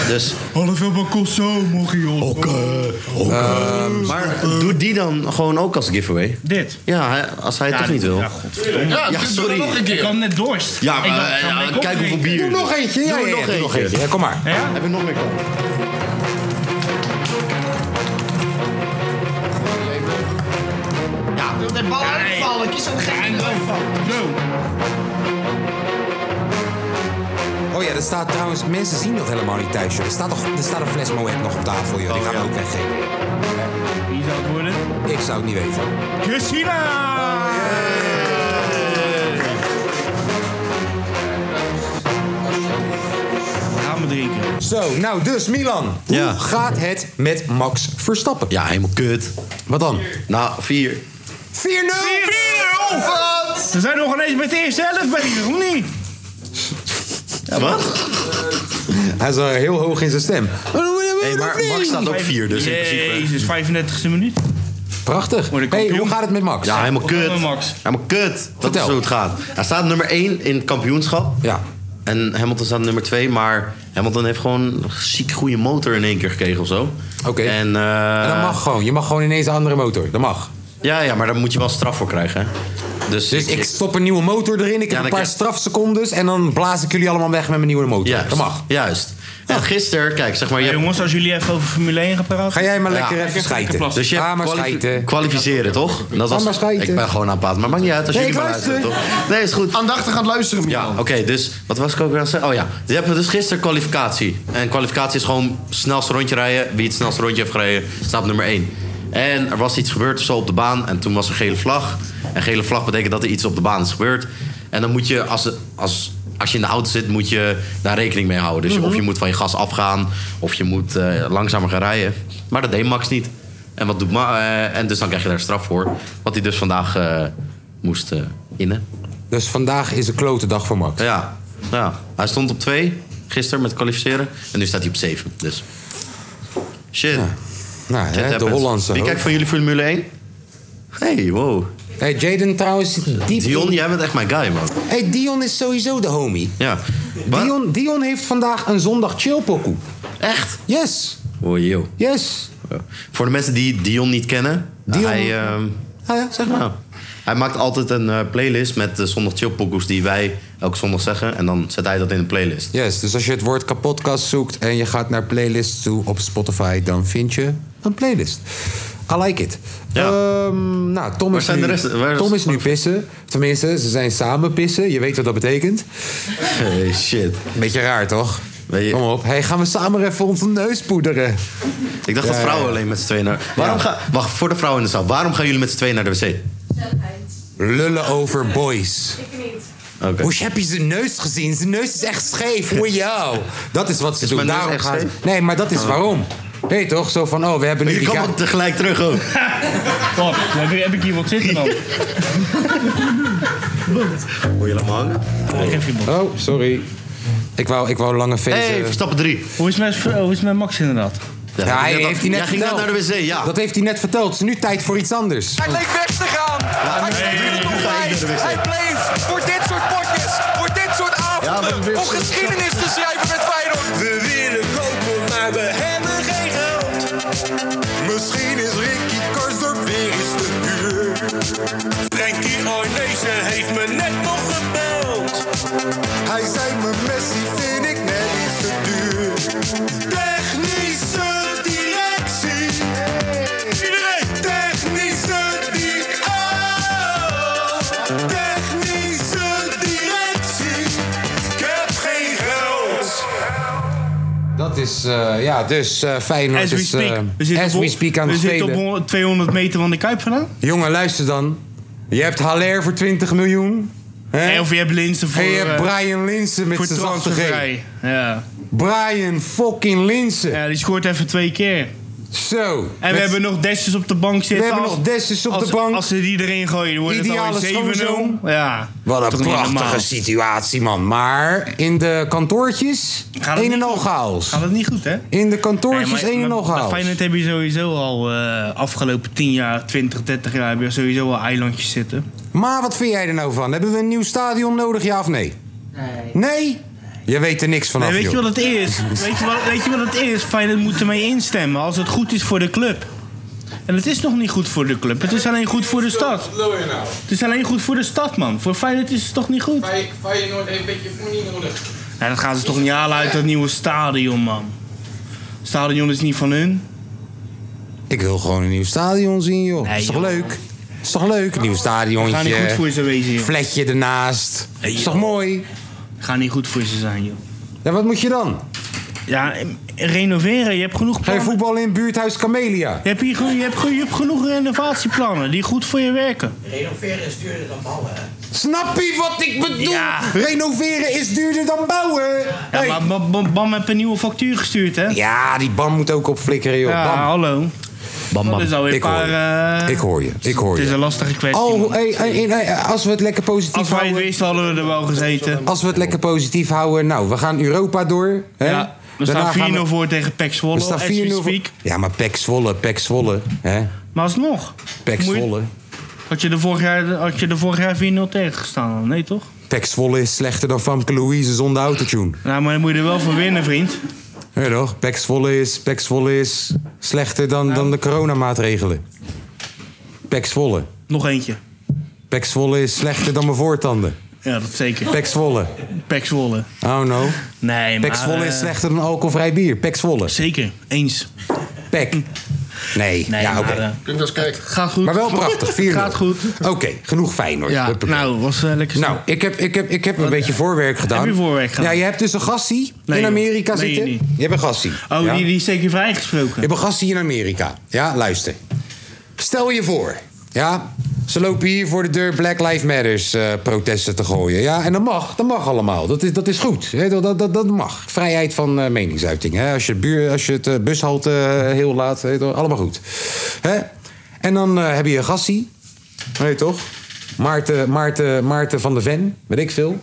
S6: Dus...
S4: Half elf van Kosso, morgen joh. Oké,
S6: Eh,
S2: eh,
S6: Maar doe die dan gewoon ook als giveaway.
S4: Dit?
S6: Ja, hè, als hij het toch niet wil.
S4: Ja, godverdomme.
S6: Ja, Ja, doe sorry. er nog een keer.
S4: Ik had net dorst.
S6: Ja,
S4: Ik
S6: maar
S4: dacht, ik ga
S6: eh,
S4: hem
S6: ja,
S4: lekker
S6: kijk hoeveel bier.
S4: opdrinken.
S2: Doe nog eentje. Ja,
S6: Doe
S2: ja, ja,
S6: nog
S2: doe nog eentje.
S6: eentje.
S2: Ja, kom maar.
S4: Ja?
S6: Heb ik nog meer kans? Ja,
S3: de bal uitvallen. Kies een gek.
S2: Oh ja, er staat trouwens... Mensen zien dat helemaal niet thuis, joh. Er staat, toch, er staat een fles Moet nog op tafel, joh. Die gaan we ook weggeven.
S4: Oh, Wie zou het worden?
S2: Ik zou het niet weten.
S4: Christina! Gaan we drinken.
S2: Zo, nou dus Milan.
S6: Ja.
S2: Hoe gaat het met Max Verstappen?
S6: Ja, helemaal kut.
S2: Wat dan?
S6: Nou, vier.
S2: 4-0! 4-0!
S4: Wat? We zijn nog ineens met de eerste helft bezig, of niet?
S6: Wat?
S2: Eh, Hij is wel heel hoog in zijn stem.
S6: maar Max staat ook vier, dus in principe.
S4: Jezus, 35e minuut.
S2: Prachtig. Hey, hoe gaat het met Max?
S6: Ja, helemaal kut.
S4: Met Max.
S6: Helemaal kut. Dat
S2: Vertel.
S6: is hoe het gaat. Hij staat nummer 1 in het kampioenschap.
S2: Ja.
S6: En Hamilton staat nummer 2, maar Hamilton heeft gewoon een ziek goede motor in één keer gekregen of zo.
S2: Oké.
S6: En, eh,
S2: En dat mag gewoon. Je mag gewoon ineens een andere motor. Dat mag.
S6: Ja, ja, maar daar moet je wel straf voor krijgen. Hè? Dus,
S2: Dus ik stop een nieuwe motor
S6: Ja,
S2: erin. Ik heb een
S6: dan
S2: paar
S6: krijg-
S2: strafsecondes. En dan blaas ik jullie allemaal weg met mijn nieuwe motor.
S6: Juist.
S2: Dat mag.
S6: Juist. En gisteren, kijk, zeg maar... Je
S4: Hey,
S6: hebt-
S4: jongens, als jullie even over Formule 1 gaan praten.
S2: Ga jij maar
S6: Ja.
S2: lekker even schijten.
S6: Dus je hebt
S2: Ga maar
S6: kwalifi-
S2: schijten.
S6: kwalificeren, toch? En Dat
S2: Ga maar
S6: was,
S2: schijten.
S6: ik ben gewoon aan het praten, maar maakt niet uit als
S2: Nee,
S6: jullie
S2: ik
S6: maar
S2: luister.
S6: luisteren, toch? Nee, is goed.
S8: Aandachtig aan het luisteren, Milan.
S6: Ja, oké, dus wat was ik ook weer aan het zeggen? Oh ja, je hebt dus gisteren kwalificatie. En kwalificatie is gewoon snelste rondje rijden. Wie het snelste rondje heeft gereden, staat op nummer 1. En er was iets gebeurd of zo op de baan en toen was er gele vlag. En gele vlag betekent dat er iets op de baan is gebeurd. En dan moet je, als, als, als je in de auto zit, moet je daar rekening mee houden. Dus je- of
S8: Mhm.
S6: je moet van je gas afgaan, of je moet eh, langzamer gaan rijden. Maar dat deed Max niet. En, wat doet Ma eh, en dus dan krijg je daar straf voor. Wat hij dus vandaag eh, moest eh, innen.
S2: Dus vandaag is een klote dag voor Max.
S6: Ja, ja. hij stond op 2 gisteren met kwalificeren. En nu staat hij op 7. Dus. Shit.
S2: Nou,
S6: Shit
S2: hè, de
S6: happens.
S2: Hollandse.
S6: Wie
S2: hoop.
S6: kijkt van jullie Formule 1? Hey, wow.
S2: Hey, Jaden trouwens zit diep in-
S6: Dion, jij bent echt mijn guy, man.
S2: Hey, Dion is sowieso de homie.
S6: Ja.
S2: Dion, Dion heeft vandaag een zondag chillpokoe.
S6: Echt?
S2: Yes,
S6: Oh, joh.
S2: yes.
S6: Ja. Voor de mensen die Dion niet kennen. Hij, ehm,
S2: Ah ja, zeg maar.
S6: nou, hij maakt altijd een eh, playlist met de zondag chillpokoes die wij elke zondag zeggen. En dan zet hij dat in een playlist.
S2: Yes, dus als je het woord kapotkast zoekt en je gaat naar playlists toe op Spotify, dan vind je een playlist. I like it. Ehm, nou, Tom
S6: Waar
S2: is,
S6: zijn
S2: nu,
S6: de rest- waar is-
S2: Tom is nu pissen. Tenminste, ze zijn samen pissen. Je weet wat dat betekent.
S6: Hey, shit.
S2: Beetje raar, toch?
S6: Weet je-
S2: Kom op. Hey, gaan we samen even onze neus poederen?
S6: Ik dacht dat
S2: Ja,
S6: vrouwen
S2: ja.
S6: alleen met z'n tweeën naar... Waarom ga... Wacht, voor de vrouwen in de zaal. Waarom gaan jullie met z'n tweeën naar de wc?
S2: Lullen over boys.
S6: Oké.
S2: Hoe heb je zijn neus gezien? Zijn neus is echt scheef. Hoe jou? Dat is wat ze doen.
S6: mijn neus
S2: Daarom
S6: echt
S2: gaan ze-
S6: scheef? Oh.
S2: Nee, maar dat is waarom. Weet je toch? Zo van, oh, we hebben nu
S6: Je
S2: die
S6: kan
S2: ka-
S6: wel tegelijk terug ook.
S4: Top, heb, ik- heb ik hier wat zitten dan?
S6: Moet je laten hangen?
S4: Ik geef je bot.
S2: Oh, sorry. Ik wou, ik wou lange
S6: Hé,
S2: feesten.
S6: hey, Verstappen 3.
S4: Hoe is het met, hoe is het met Max inderdaad?
S2: Ja,
S6: dat
S2: hij
S6: ging net-
S2: heeft hij net
S6: jij ging net
S2: verteld.
S6: naar de wc, ja.
S2: Dat heeft hij net verteld. Het is nu tijd voor iets anders.
S5: Hij leek weg te gaan. hij stond hier nog bij. Hij bleef voor dit soort potjes, voor dit soort avonden, om geschiedenis te schrijven met Feyenoord. We willen kopen, maar we hebben geen geld. Misschien is Ricky Karsdorp weer eens te duur. Frankie Arnezen heeft me net nog gebeld. Hij zei me Messi vind ik net iets te duur. Technische directie. Iedereen. Technische directie. Oh. Technische directie. Ik heb geen geld.
S2: Dat is, eh, ja, dus eh Feyenoord
S4: As we
S2: is, eh,
S4: speak. We zitten
S2: as
S4: op-
S2: we speak aan
S4: we
S2: het
S4: zitten op
S2: spelen.
S4: 200 meter van de Kuip vandaan?
S2: Jongen, luister dan. Je hebt Haller voor 20 miljoen. Hè?
S4: Of je hebt Linsen voor...
S2: en je
S4: eh,
S2: hebt Brian Linsen met
S4: voor
S2: zijn zachte G.
S4: transfervrij. Ja.
S2: Brian fucking Linsen.
S4: Ja, die scoort even twee keer.
S2: Zo.
S4: En we
S2: Met-
S4: hebben nog Dessus op de bank zitten.
S2: hebben nog Dessus op de bank.
S4: Als ze die erin gooien, dan wordt
S2: Ideale
S4: het al
S2: schoonzoon.
S4: 7-0. Ja.
S2: Wat
S4: Toch
S2: een
S4: niet normaal.
S2: prachtige situatie, man. Maar in de kantoortjes,
S4: Gaat het
S2: een en
S4: niet
S2: al
S4: goed?
S2: chaos.
S4: Gaat het niet goed, hè?
S2: In de kantoortjes,
S4: Nee,
S2: een en
S4: maar-
S2: al
S4: maar bij
S2: chaos.
S4: Feyenoord heb je sowieso al eh, afgelopen 10 jaar, 20, 30 jaar... heb je sowieso al eilandjes zitten.
S2: Maar wat vind jij er nou van? Hebben we een nieuw stadion nodig, ja of nee? Nee. Nee? Je weet er niks vanaf,
S4: Nee, weet, je
S2: joh.
S4: wat het is? weet, je wat, weet je wat het is? Feyenoord moet ermee instemmen als het goed is voor de club. En het is nog niet goed voor de club. Het is alleen goed voor de stad.
S1: Lul je nou?
S4: Het is alleen goed voor de stad, man. Voor Feyenoord is het toch niet goed?
S1: Fey- Feyenoord heeft een beetje money nodig.
S4: Nou, dat gaan ze toch niet halen uit dat nieuwe stadion, man. Het stadion is niet van hun.
S2: Ik wil gewoon een nieuw stadion zien, joh. is toch leuk? Is toch leuk? Een nieuw stadionnetje.
S4: Gaan niet goed voor ze wezen, joh.
S2: Fletje ernaast. is toch mooi?
S4: Ga niet goed voor ze zijn, joh.
S2: Ja, wat moet je dan?
S4: Ja, eh, renoveren. Je hebt genoeg plannen.
S2: Geen voetbal in buurthuis Camelia.
S4: Je hebt, hier, gewoon- je hebt, gewoon- je hebt genoeg renovatieplannen die goed voor je werken.
S17: Renoveren is duurder dan ballen.
S2: Snap je wat ik bedoel? Renoveren is duurder dan bouwen.
S4: Ja, maar Bam, Bam, Bam heeft een nieuwe factuur gestuurd, hè?
S2: Ja, die bam moet ook opflikkeren, joh.
S4: Ja,
S2: Bam.
S4: hallo.
S2: Bam,
S4: Dat is alweer
S2: ik,
S4: een paar...
S2: hoor je.
S4: eh,
S2: ik hoor je. Ik hoor je.
S4: Het is een lastige kwestie.
S2: Oh, hey, hey, hey, hey, als we het lekker positief
S4: Als wij het
S2: houden.
S4: wisten, hadden we er wel gezeten.
S2: Als we het lekker positief houden. Nou, we gaan Europa door. Hè?
S4: Ja, we
S2: Daarna
S4: staan 4-0
S2: gaan we-
S4: voor tegen Pek Zwolle.
S2: We staan
S4: as we
S2: 4-0 voor-
S4: speak.
S2: Ja, maar Pek Zwolle, Pek Zwolle. Hè?
S4: Maar alsnog.
S2: Pek
S4: Moet je-
S2: Zwolle.
S4: Had je er vorig jaar, had je er vorig jaar 4-0 tegen gestaan? dan? Nee, toch?
S2: Pek Zwolle is slechter dan Famke Louise zonder autotune.
S4: Nou, maar dan moet je er wel van winnen, vriend.
S2: Ja toch? Pek Zwolle is, Pek Zwolle is slechter dan, dan de coronamaatregelen. Pek Zwolle.
S4: Nog eentje.
S2: Pek Zwolle is slechter dan mijn voortanden.
S4: Ja, dat zeker.
S2: Pek Zwolle.
S4: Pek Zwolle.
S2: Oh no.
S4: Nee, maar...
S2: Pek Zwolle
S4: eh,
S2: is slechter dan alcoholvrij bier. Pek Zwolle.
S4: Zeker. Eens.
S2: Pek. Nee. ja, oké.
S4: maar, eh,
S2: Klinkt als kijk.
S4: Gaat goed.
S2: Maar wel prachtig. 4
S4: Gaat goed.
S2: Oké, genoeg Feyenoord.
S4: Ja,
S2: Huppakee.
S4: nou, was eh, lekker eh,
S2: Nou, ik heb, ik heb, ik heb een beetje voorwerk gedaan.
S4: Heb je voorwerk gedaan?
S2: Ja, je hebt dus een gastie
S4: Nee,
S2: in
S4: joh.
S2: Amerika
S4: Meen je
S2: zitten.
S4: niet.
S2: Je hebt een gastie.
S4: Oh,
S2: ja?
S4: die, die is zeker vrijgesproken.
S2: Je hebt een gastie in Amerika. Ja, luister. Stel je voor, ja, ze lopen hier voor de deur Black Lives Matters eh, protesten te gooien. Ja, en dat mag, dat mag allemaal. Dat is, dat is goed. Hè, Dat, dat, dat, dat mag. Vrijheid van eh, meningsuiting. Hè? Als, je het buur, als je het eh, bushalte eh, heel laat, hè, dat- allemaal goed. Hè? En dan eh, heb je een gastie. Weet je toch? Maarten, Maarten, Maarten van der Ven, weet ik veel.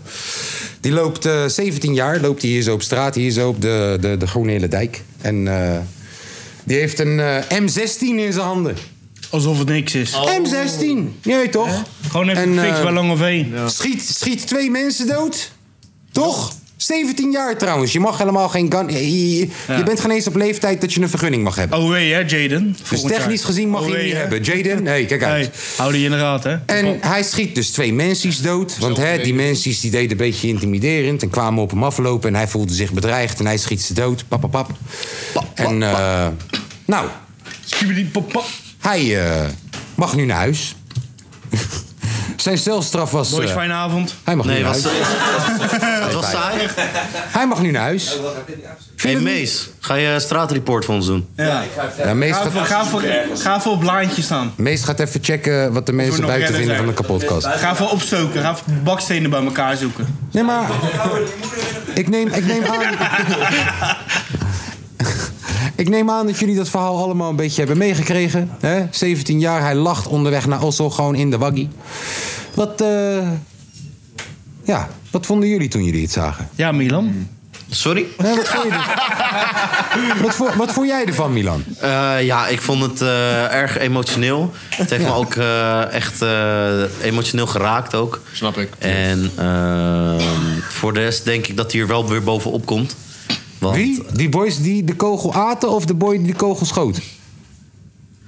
S2: Die loopt eh, 17 jaar, loopt hij hier zo op straat, hier zo op de, de, de Groene Hele Dijk. En eh, die heeft een eh, M16 in zijn handen. Oh.
S4: Alsof het niks is.
S2: M16, nee toch?
S4: Gewoon even
S2: En,
S4: fix
S2: eh,
S4: bij Lange V.
S2: Schiet, schiet twee mensen dood, toch? 17 jaar trouwens, je mag helemaal geen gun... Je, je-
S4: Ja.
S2: je bent geen eens op leeftijd dat je een vergunning mag hebben.
S4: OW, hè, Jaden?
S2: Dus
S4: Volgend
S2: technisch
S4: jaar.
S2: gezien mag je
S4: OW,
S2: hem niet
S4: hè?
S2: hebben. Jaden, nee, kijk uit.
S4: Hou die in de raad, hè?
S2: En hij schiet dus twee mensies dood. Want hè, die mensies die deden een beetje intimiderend. En kwamen op hem aflopen. En hij voelde zich bedreigd. En hij schiet ze dood. Pap, pap, pap. En eh, nou. Hij eh, mag nu naar huis. Zijn celstraf was...
S4: Boys,
S2: eh,
S4: fijne avond.
S2: Hij mag nu naar huis.
S6: Het was saai.
S2: Hij mag nu naar
S4: Oh,
S2: huis.
S6: Hey Mees, ga je straatreport voor ons doen?
S4: Ja.
S2: Ja, meest
S4: ga,
S2: gaat-
S4: voor, ga, voor, ga voor op laantje staan.
S2: Meest gaat even checken wat de
S4: Voor
S2: mensen
S4: nog
S2: buiten
S4: redder
S2: vinden van
S4: zijn.
S2: de podcast.
S4: Ga voor opstoken. Ga voor bakstenen bij elkaar zoeken.
S2: Nee, maar... Ik neem, ik neem aan... Ik neem aan dat jullie dat verhaal allemaal een beetje hebben meegekregen. Hè? 17 jaar, hij lacht onderweg naar Oslo gewoon in de waggie. Wat, eh, ja, wat vonden jullie toen jullie het zagen?
S4: Ja, Milan.
S6: Sorry?
S2: wat, vond je er- wat, vo- wat vond jij ervan, Milan?
S6: Eh, ja, ik vond het eh, erg emotioneel. Het heeft me ook eh, echt eh, emotioneel geraakt ook.
S8: Snap ik.
S6: En ehm, voor de rest denk ik dat hij er wel weer bovenop komt. Want,
S2: Wie? Die boys die de kogel aten of de boy die de kogel schoot?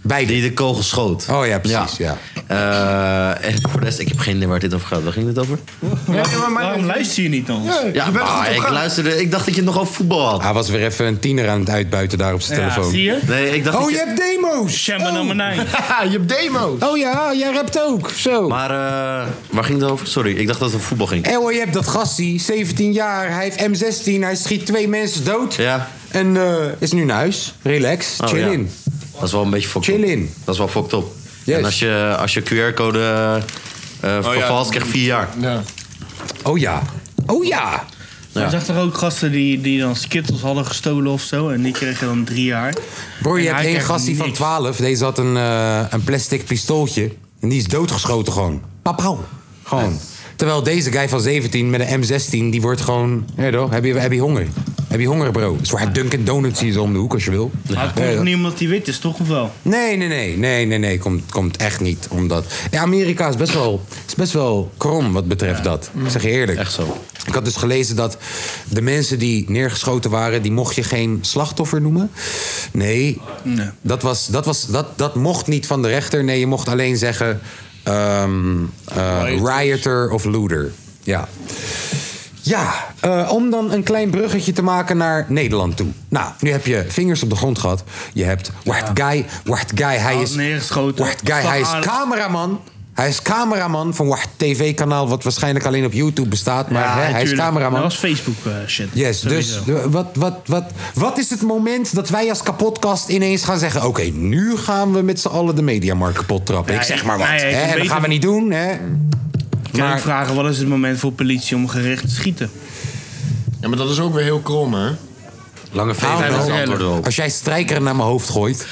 S2: Beide.
S6: Die de kogel schoot.
S2: Oh ja, precies. Ja.
S6: Eh, en voor de rest, ik heb geen idee waar dit over gaat. Waar ging dit over?
S4: Waarom luister je niet naar ons?
S6: Ja, maar ik luisterde, ik dacht dat je het nog over voetbal had.
S2: Hij was weer even een tiener aan het uitbuiten daar op zijn telefoon.
S6: Nee, ik dacht
S2: oh,
S6: dat
S2: je hebt demo's!
S4: Shamba
S2: oh.
S6: je hebt demo's.
S2: Oh ja, jij rapt ook. Zo.
S6: Maar eh, waar ging het over? Sorry, ik dacht dat het over voetbal ging.
S2: En hoor, je hebt dat gastie, 17 jaar, hij heeft M16, hij schiet twee mensen dood.
S6: Ja.
S2: En eh, is nu naar huis. Relax,
S6: Oh,
S2: chill
S6: ja.
S2: in.
S6: Dat is wel een beetje fucked up. Dat is wel fucked up. En als je, als je QR-code eh
S4: Oh, ja.
S6: vervalst, krijg je vier jaar.
S2: Oh ja. Oh ja.
S4: Ja. Je zag er ook gasten die, die dan skittles hadden gestolen of zo. En die kregen dan drie jaar.
S2: Broer, je
S4: En hij
S2: hebt één
S4: kreeg
S2: gastie van 12. Deze had een, eh, een plastic pistooltje. En die is doodgeschoten gewoon. Papau. Gewoon. Terwijl deze guy van 17 met een M16, die wordt gewoon... Hey, doh, heb, je, heb je honger? Heb je honger, bro? Zwaar Dunkin' Donuts hier zo om de hoek, als je wil.
S4: Maar het komt
S2: Ja,
S4: toch
S2: joh.
S4: niet omdat hij wit is, toch of wel?
S2: Nee, nee, nee, nee, nee, nee. Komt, komt echt niet. Omdat. Ja, Amerika is best wel, is best wel krom wat betreft dat. Ik zeg je eerlijk. Echt
S6: zo.
S2: Ik had dus gelezen dat de mensen die neergeschoten waren, die mocht je geen slachtoffer noemen. Nee,
S4: Nee.
S2: dat, was, dat, was, dat, dat mocht niet van de rechter. Nee, je mocht alleen zeggen ehm, eh, rioter of looter. Ja. Ja, eh, om dan een klein bruggetje te maken naar Nederland toe. Nou, nu heb je vingers op de grond gehad. Je hebt Wart Guy, Wart Guy, hij is...
S4: neergeschoten.
S2: Wart Guy, hij is cameraman. Hij is cameraman van Wart TV-kanaal... wat waarschijnlijk alleen op YouTube bestaat. Maar hè, hij is
S4: tuurlijk.
S2: cameraman.
S4: Dat was Facebook eh, shit.
S2: Yes, dus
S4: Sowieso.
S2: de- wat, wat, wat, wat is het moment dat wij als kapotkast ineens gaan zeggen... oké, nu gaan we met z'n allen de mediamarkt kapot trappen.
S4: Nee,
S2: ik zeg maar wat.
S4: nee, het is
S2: hè, en dat
S4: beter-
S2: gaan we niet doen. Hè.
S4: Kan
S2: Maar-
S4: ik vragen, wat is het moment voor politie om gericht te schieten?
S8: Ja, maar dat is ook weer heel krom, hè?
S2: Lange
S8: V heeft het antwoord erop.
S2: Als jij strijker naar mijn hoofd gooit...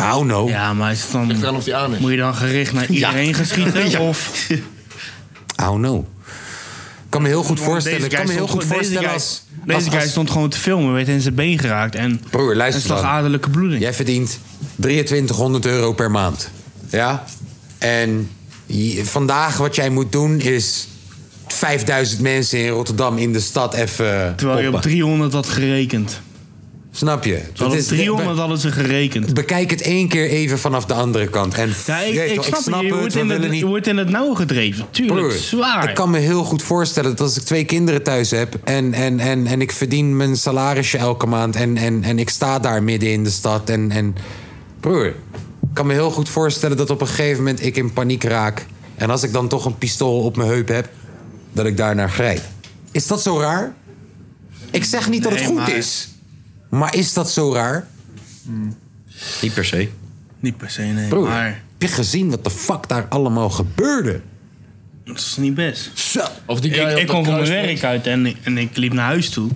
S2: Oh no.
S4: Ja, maar is het dan... Ligt
S8: eraan of die aan is.
S4: Moet je dan gericht naar iedereen gaan schieten? Of...
S2: Oh no. Ik kan me heel goed
S4: Want
S2: voorstellen,
S4: deze
S2: ik kan
S4: guy
S2: me heel goed
S4: stond gewoon-
S2: voorstellen
S4: deze
S2: als...
S4: guy- Deze guy stond gewoon te filmen, werd in zijn been geraakt. En
S2: Broer, luister
S4: een slagaderlijke bloeding.
S2: Jij verdient 2300 euro per maand. Ja? En je- vandaag wat jij moet doen is 5000 mensen in Rotterdam in de stad even
S4: terwijl je op
S2: poppen.
S4: 300 had gerekend.
S2: Snap je?
S4: Terwijl op 300 hadden ze gerekend.
S2: Bekijk het één keer even vanaf de andere kant. En
S4: Ja, ik,
S2: jeet,
S4: ik
S2: hoor,
S4: snap, het, je,
S2: we
S4: wordt in
S2: willen
S4: het, je wordt in het nauw gedreven. Tuurlijk,
S2: Broer,
S4: zwaar.
S2: Ik kan me heel goed voorstellen dat als ik twee kinderen thuis heb en, en, en, en ik verdien mijn salarisje elke maand en, en, en ik sta daar midden in de stad en, en broer, ik kan me heel goed voorstellen dat op een gegeven moment ik in paniek raak en als ik dan toch een pistool op mijn heup heb, dat ik daarnaar grijp. Is dat zo raar? Ik zeg niet dat het
S4: Nee,
S2: goed
S4: maar-
S2: is, maar is dat zo raar?
S6: Niet per se.
S4: Niet per se, nee.
S2: Broer,
S4: Maar
S2: heb je gezien wat de fuck daar allemaal gebeurde?
S4: dat is niet best.
S8: Of die
S4: ik
S8: op
S4: ik
S8: dat
S4: kwam van mijn
S8: kruispunt.
S4: werk uit en, en ik liep naar huis toe.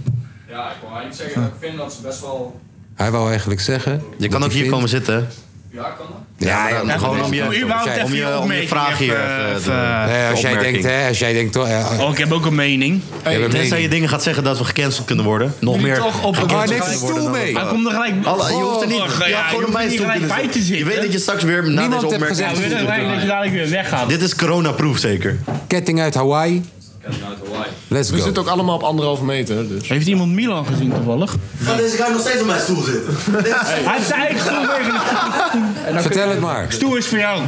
S13: Ja, ik wil eigenlijk zeggen, ik vind dat ze best wel...
S2: Hij wou eigenlijk zeggen.
S6: Je kan ook hier komen zitten.
S13: Ja, kan dat?
S2: Ja,
S6: dan gewoon om je- om je- om je vraag hier even, eh,
S2: Nee, als jij
S6: opmerking.
S2: denkt, hè, als jij denkt, oh, ja,
S4: Oh, ik heb ook een mening.
S2: hebt een
S6: Tenzij
S2: mening.
S6: je dingen gaat zeggen dat we gecanceld kunnen worden. Nog
S4: Nu
S6: meer.
S4: toch op-
S6: gecanceld
S4: Ah, neem een
S6: kunnen
S4: stoel
S6: worden dan
S4: mee.
S6: we-
S4: Hij komt er gelijk-
S6: Alle- je hoeft er niet.
S4: Oh, ja,
S6: je
S4: je
S6: had
S4: hoeft
S6: gewoon op
S4: er
S6: mijn
S4: niet
S6: stoel
S4: gelijk
S6: kunnen
S4: bij
S6: zitten.
S4: te
S6: Je
S4: zitten.
S6: weet dat je straks weer na
S4: Niemand
S6: deze
S4: heeft
S6: opmerking.
S4: gezegd- Ja, we willen gelijk dat je dadelijk weer weggaat.
S6: Dit is coronaproof zeker.
S2: ketting uit Hawaii. Let's
S8: We
S2: go.
S8: zitten ook allemaal op anderhalve meter, dus.
S4: Heeft iemand Milan gezien toevallig?
S6: Ga deze guy nog steeds op mijn stoel zitten?
S4: Hij heeft zijn eigen stoel meegenomen.
S2: Vertel het maar.
S4: Stoel is voor jou.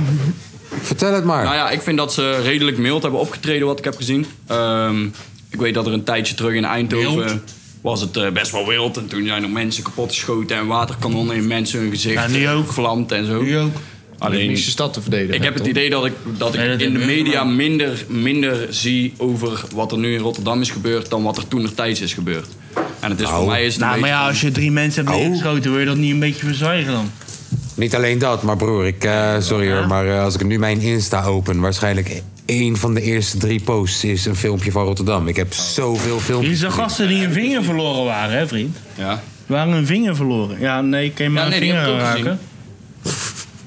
S2: Vertel het maar.
S13: Nou ja, ik vind dat ze redelijk mild hebben opgetreden wat ik heb gezien. Ehm, ik weet dat er een tijdje terug in Eindhoven was het eh, best wel wild. En toen zijn er mensen kapot geschoten en waterkanonnen in mensen hun gezicht.
S4: Ja, nu ook.
S13: Vlamd en zo. Alleen
S8: Alleen de stad te verdedigen.
S13: Ik heb het idee dat ik, dat ik in de media minder, minder zie over wat er nu in Rotterdam is gebeurd dan wat er toen er tijds is gebeurd. En het is voor mij is het een
S4: Nou, maar
S13: beetje-
S4: ja, als je drie mensen
S2: Oh.
S4: hebt neergeschoten, wil je dat niet een beetje verzwijgen dan?
S2: Niet alleen dat, maar broer, ik, eh, sorry hoor, maar eh, als ik nu mijn Insta open, waarschijnlijk één van de eerste drie posts is een filmpje van Rotterdam. Ik heb zoveel
S4: Hier
S2: filmpjes.
S4: zijn gasten die een vinger verloren waren, hè vriend?
S13: Ja.
S4: Waren een vinger verloren. Ja, nee, kan je maar
S13: Ja, nee,
S4: een
S13: die
S4: vinger
S13: heb ik ook gezien.
S4: raken.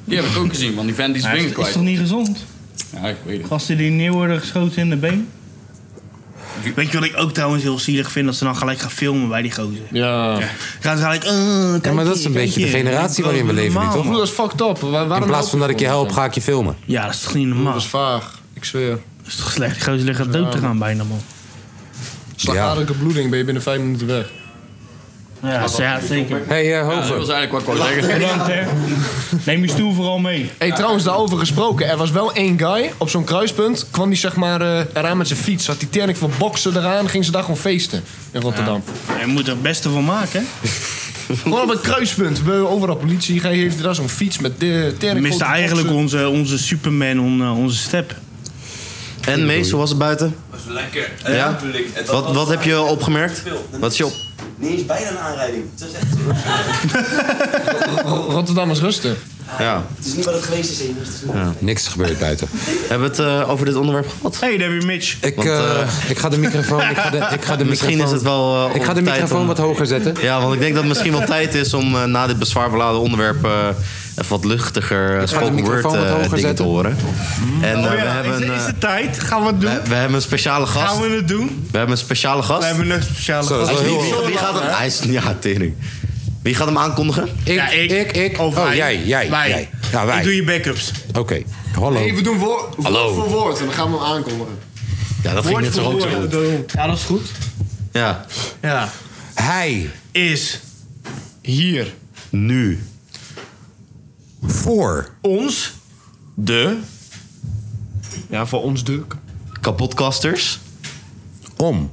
S13: Die heb ik ook gezien, want die vent die is
S4: Ja,
S13: vinger
S4: is, is
S13: kwijt.
S4: toch niet gezond?
S13: Ja, ik weet het.
S4: Gasten die neer worden geschoten in de been? Weet je wat ik ook trouwens heel zielig vind? Dat ze dan gelijk gaan filmen bij die gozer.
S8: Ja.
S4: Gaan ze gelijk... eh, kijk
S2: Ja, maar dat is
S4: hier,
S2: een
S4: kijk
S2: beetje de
S4: hier.
S2: generatie
S4: Dat is
S2: waarin we leven nu,
S4: normaal,
S2: toch?
S4: man.
S8: Dat is fucked up. Wa- waarom
S2: In plaats van dat ik je help,
S8: helpen?
S2: ga ik je filmen.
S4: Ja, dat is toch niet normaal?
S8: Dat is vaag, ik zweer. Dat
S4: is toch slecht? Die gozer ligt aan dood te gaan bijna, man.
S8: Slagaderlijke bloeding ben je binnen vijf minuten weg.
S4: Ja, ja zeker.
S8: Hey, eh, Hoger. Ja, dat was eigenlijk wat ik wou zeggen.
S4: Bedankt, hè. Neem je stoel vooral mee.
S8: Hey, trouwens, daarover gesproken. Er was wel één guy op zo'n kruispunt. Kwam die zeg maar eh, eraan met zijn fiets. Had die ternik van boksen eraan. Ging ze daar gewoon feesten in Rotterdam.
S4: Ja, je moet er het beste van maken, hè?
S8: Gewoon op een kruispunt. We hebben Overal politie. Hij heeft daar zo'n fiets met de
S4: We
S8: ternik.
S4: misten eigenlijk onze, onze Superman, on, eh, onze step.
S6: En Mees, hoe was het buiten?
S4: Was lekker.
S6: Ja? Wat, wat heb je opgemerkt? Wat is je op...
S3: Nee, is bijna een aanrijding. Het is echt
S8: Rotterdam is rustig.
S6: Ja.
S3: Het is niet wat het geweest is, Emers. Het is niet-
S2: Niks gebeurd buiten.
S6: Hebben we het eh, over dit onderwerp gehad?
S4: Hey, daar heb je Mitch.
S2: Ik, eh, ik ga de microfoon... Ik ga de, ik ga de
S6: misschien is
S2: microfoon,
S6: het wel. eh,
S2: ik ga de
S6: op tijd
S2: microfoon
S6: om-
S2: wat hoger zetten.
S6: Ja, want ik denk dat het misschien wel tijd is om eh, na dit bezwaarbeladen onderwerp. eh, even wat luchtiger eh,
S2: ga de
S6: spoken word
S2: microfoon wat
S6: eh,
S2: hoger
S6: dingen
S2: zetten.
S6: te horen. En eh,
S4: Oh
S6: we
S4: ja,
S6: hebben.
S4: is, is
S6: eh,
S4: het tijd? Gaan we het doen?
S6: we, we hebben een speciale gast.
S4: Gaan we het doen?
S6: We hebben een speciale gast.
S4: We hebben een speciale
S6: Hij is-
S4: gast.
S6: wie, wie- wie gaat hem, hij is, ja, tering. Wie gaat hem aankondigen?
S2: Ik, ik, ik.
S4: Of
S2: Oh,
S4: wij.
S2: jij, jij,
S4: Wij.
S2: jij. Ja, wij.
S4: Ik doe je backups.
S2: Oké, hallo.
S8: Hey, we doen woord
S6: Hallo.
S8: voor woord. En dan gaan we hem aankondigen.
S6: Ja, dat ging net zo goed.
S4: Ja, dat is goed.
S6: Ja.
S4: Ja.
S2: Hij
S4: is hier
S6: nu
S2: voor
S4: ons
S6: de
S18: Ja, voor ons de.
S6: kapotkasters.
S2: Om.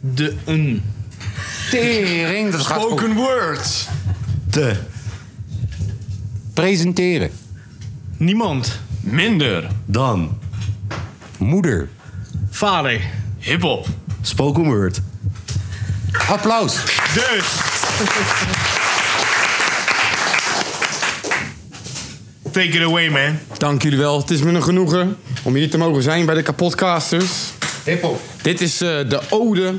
S4: de een
S2: tering. Dat gaat
S18: Spoken word.
S6: Te.
S2: Presenteren.
S4: Niemand.
S18: Minder.
S6: Dan.
S2: Moeder.
S4: vader.
S18: Hip-hop.
S6: Spoken word.
S2: Applaus.
S4: Dus. Take it away, man.
S1: Dank jullie wel. Het is me een genoegen om hier te mogen zijn bij de Kapotcasters.
S8: Hip-hop.
S1: Dit is eh, de ode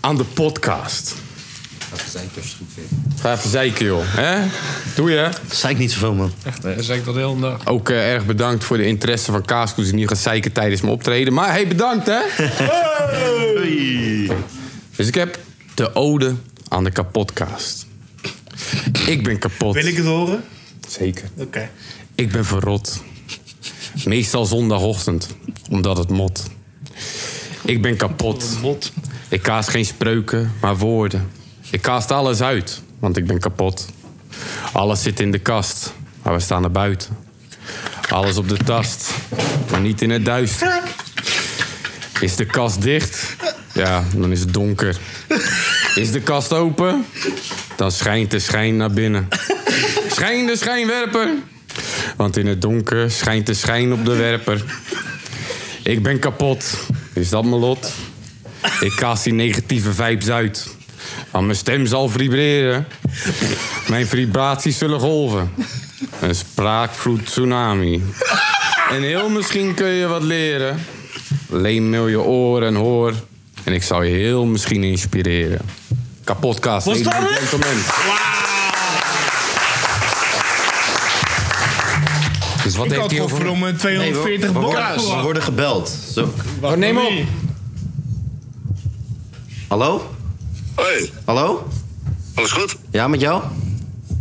S1: aan de podcast. Ga even zeiken, joh. Hè? Doe je?
S6: Zeik niet zoveel, man.
S1: Echt, hè? Zeik dat de hele dag. Ook eh, erg bedankt voor de interesse van Kaaskoes... die niet gaat zeiken tijdens mijn optreden. Maar hey, bedankt, hè? Dus ik heb de ode aan de kapotcast. Ik ben kapot. Wil ik
S4: het horen?
S1: Zeker.
S4: Oké.
S1: Ik ben verrot. Meestal zondagochtend, omdat het mot. Ik ben kapot. Ik kaas geen spreuken, maar woorden. Ik kaast alles uit, want ik ben kapot. Alles zit in de kast, maar we staan er buiten. Alles op de tast, maar niet in het duister. Is de kast dicht? Ja, dan is het donker. Is de kast open? Dan schijnt de schijn naar binnen. Schijn de schijnwerper. Want in het donker schijnt de schijn op de werper. Ik ben kapot. Is dat mijn lot? Ik kaas die negatieve vibes uit. Want mijn stem zal vibreren. Mijn vibraties zullen golven. Een spraakvloed tsunami. En heel misschien kun je wat leren. Leen me je oren en hoor. En ik zal je heel misschien inspireren. Kapotkast.
S10: Was dat
S1: ladies and
S10: het?
S1: gentlemen. Dus wat
S4: Ik
S1: heeft
S4: had
S1: hij over...
S4: godverdomme 240
S6: we,
S4: bokken
S6: worden, we
S4: verwacht.
S6: worden gebeld. Zo.
S2: Oh,
S4: Wacht, neem op.
S6: Hallo?
S5: Hoi,
S6: Hallo?
S5: alles goed?
S6: Ja, met jou?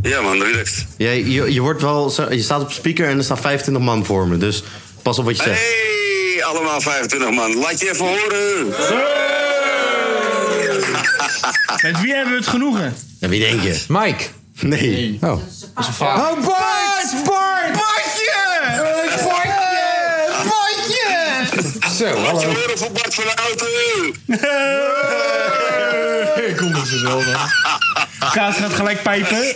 S5: Ja man, relaxed.
S6: Jij, je, je, wordt wel, zo- je staat op speaker en er staan 25 man voor me. Dus pas op wat je zegt.
S5: Hey, allemaal 25 man. Laat je even horen.
S4: Met wie hebben we het genoegen?
S6: Ja, wie denk je?
S2: Mike.
S6: Nee.
S2: Oh.
S6: Dat is een
S2: Oh, Bart! Bart!
S10: Bartje!
S2: Eh, Bartje!
S10: Bartje!
S2: Zo, hallo.
S5: voor Bart van de Auto.
S4: Kom eens zo Kaas gaat gelijk pijpen. Ik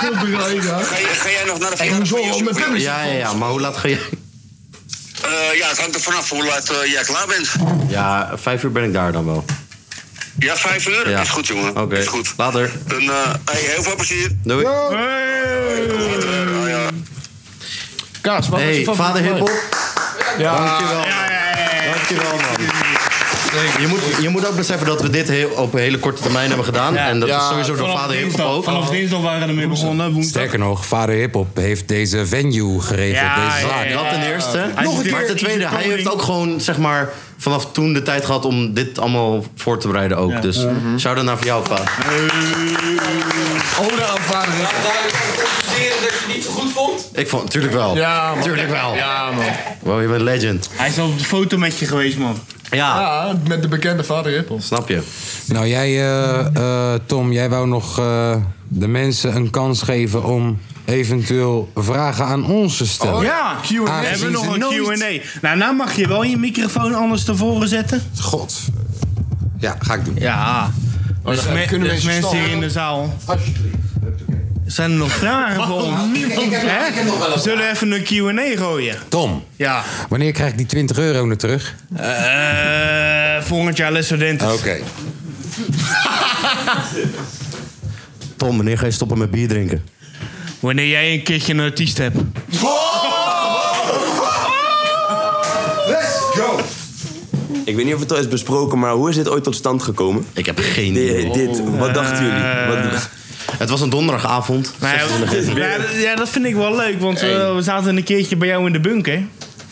S4: kom er al
S5: Ga, je- ga jij nog naar de
S6: Hey, hoezo? Met ja, ja, ja, maar hoe laat ga je?
S5: Eh, ja, het hangt er vanaf hoe laat eh, jij klaar bent.
S6: Ja, vijf uur ben ik daar dan wel.
S5: Ja, vijf uur?
S6: Ja.
S5: Is goed, jongen.
S6: Oké, later.
S5: Dan, eh, hey, heel veel plezier.
S6: Doei.
S8: Kaas, wat
S6: Hey,
S8: was je
S6: vader Hippel. Dankjewel.
S8: Dankjewel, man.
S6: Je moet, je moet ook beseffen dat we dit heel, op een hele korte termijn hebben gedaan. En dat is sowieso door vader Hippel ook.
S4: Vanaf dinsdag waren we ermee begonnen. Woensdag.
S2: Sterker nog, vader Hiphop heeft deze venue geregeld.
S6: Ja,
S2: deze
S6: ja,
S2: zaak.
S6: ja, ja. Dat ten eerste.
S2: Nog een keer.
S6: Maar ten tweede, hij heeft ook gewoon, zeg maar... vanaf toen de tijd gehad om dit allemaal voor te bereiden ook.
S5: Ja.
S6: Dus
S5: Mhm.
S6: shout-out naar voor jou, vader.
S5: Ode aan vader. Ja, duidelijk compenseren dat je het niet zo goed vond.
S6: Ik vond natuurlijk wel.
S5: Ja, man.
S6: Tuurlijk wel.
S5: Ja, man.
S6: Wow, je bent legend.
S4: Hij is al op de foto met je geweest, man.
S6: Ja.
S8: met de bekende vader Hippel.
S6: Snap je?
S2: Nou, jij, eh, eh, Tom, jij wou nog eh, de mensen een kans geven om eventueel vragen aan ons te stellen.
S4: Oh, ja,
S2: Aangezien
S4: We hebben nog
S2: ze
S4: een
S2: nooit-
S4: Q&A. Nou, nou mag je wel je microfoon anders tevoren zetten.
S2: God. Ja, ga ik doen.
S4: Ja.
S5: Oh,
S4: dus
S5: dan
S4: me-
S5: kunnen
S4: dus
S5: mensen
S4: mensen hier
S5: stoppen.
S4: in de zaal. Zijn er nog vragen voor ons?
S5: Ik heb-
S4: Hè?
S5: ik heb nog wel een
S4: We zullen even een Q&A gooien.
S2: Tom.
S4: Ja.
S2: Wanneer krijg ik die 20 euro weer terug?
S4: Eh, volgend jaar Les Oké.
S6: Tom, wanneer ga je stoppen met bier drinken?
S4: Wanneer jij een keertje een artiest hebt.
S5: Let's go!
S19: Ik weet niet of het al is besproken, maar hoe is dit ooit tot stand gekomen?
S6: Ik heb geen
S19: idee. Dit, wat dachten
S4: Eh.
S19: jullie? Wat,
S6: het was een donderdagavond.
S4: Maar ja, maar ja, dat vind ik wel leuk, want eh, we zaten een keertje bij jou in de bunker.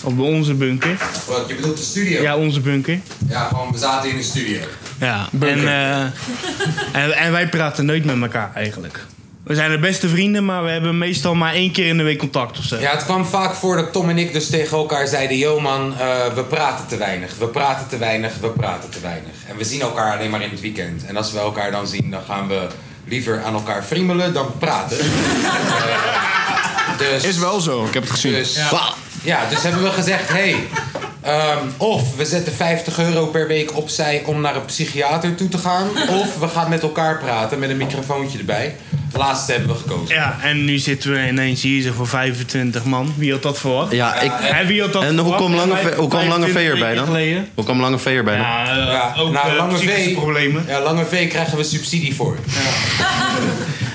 S4: Of bij onze bunker.
S12: Wat, je bedoelt de studio?
S4: Ja, onze bunker.
S12: Ja, gewoon, we zaten in de studio.
S4: Ja, en, eh, en, en wij praten nooit met elkaar eigenlijk. We zijn de beste vrienden, maar we hebben meestal maar één keer in de week contact of zo.
S12: Ja, het kwam vaak voor dat Tom en ik dus tegen elkaar zeiden... Yo man, eh, we praten te weinig, we praten te weinig, we praten te weinig. En we zien elkaar alleen maar in het weekend. En als we elkaar dan zien, dan gaan we liever aan elkaar friemelen dan praten. Eh, Is
S8: Oh,
S12: wel zo, ik heb het gezien. Dus, ja. dus hebben we gezegd, hé... Hey, ehm, of we zetten 50 euro per week opzij om naar een psychiater toe te gaan. Of we gaan met elkaar praten met een microfoontje erbij. Laatste hebben we gekozen.
S4: Ja, en nu zitten we ineens hier zo voor 25 man. Wie had dat verwacht?
S6: Ja, ik,
S4: en wie had dat
S6: en hoe
S4: verwacht?
S6: kwam Lange,
S4: Vijf-
S6: Ve- hoe kwam lange V
S4: 25
S6: erbij
S4: weken
S6: dan?
S4: geleden.
S6: Hoe kwam Lange V erbij dan?
S12: Ja,
S4: ook,
S2: nou,
S4: eh, psychische problemen.
S12: Ja, lange V krijgen we subsidie voor.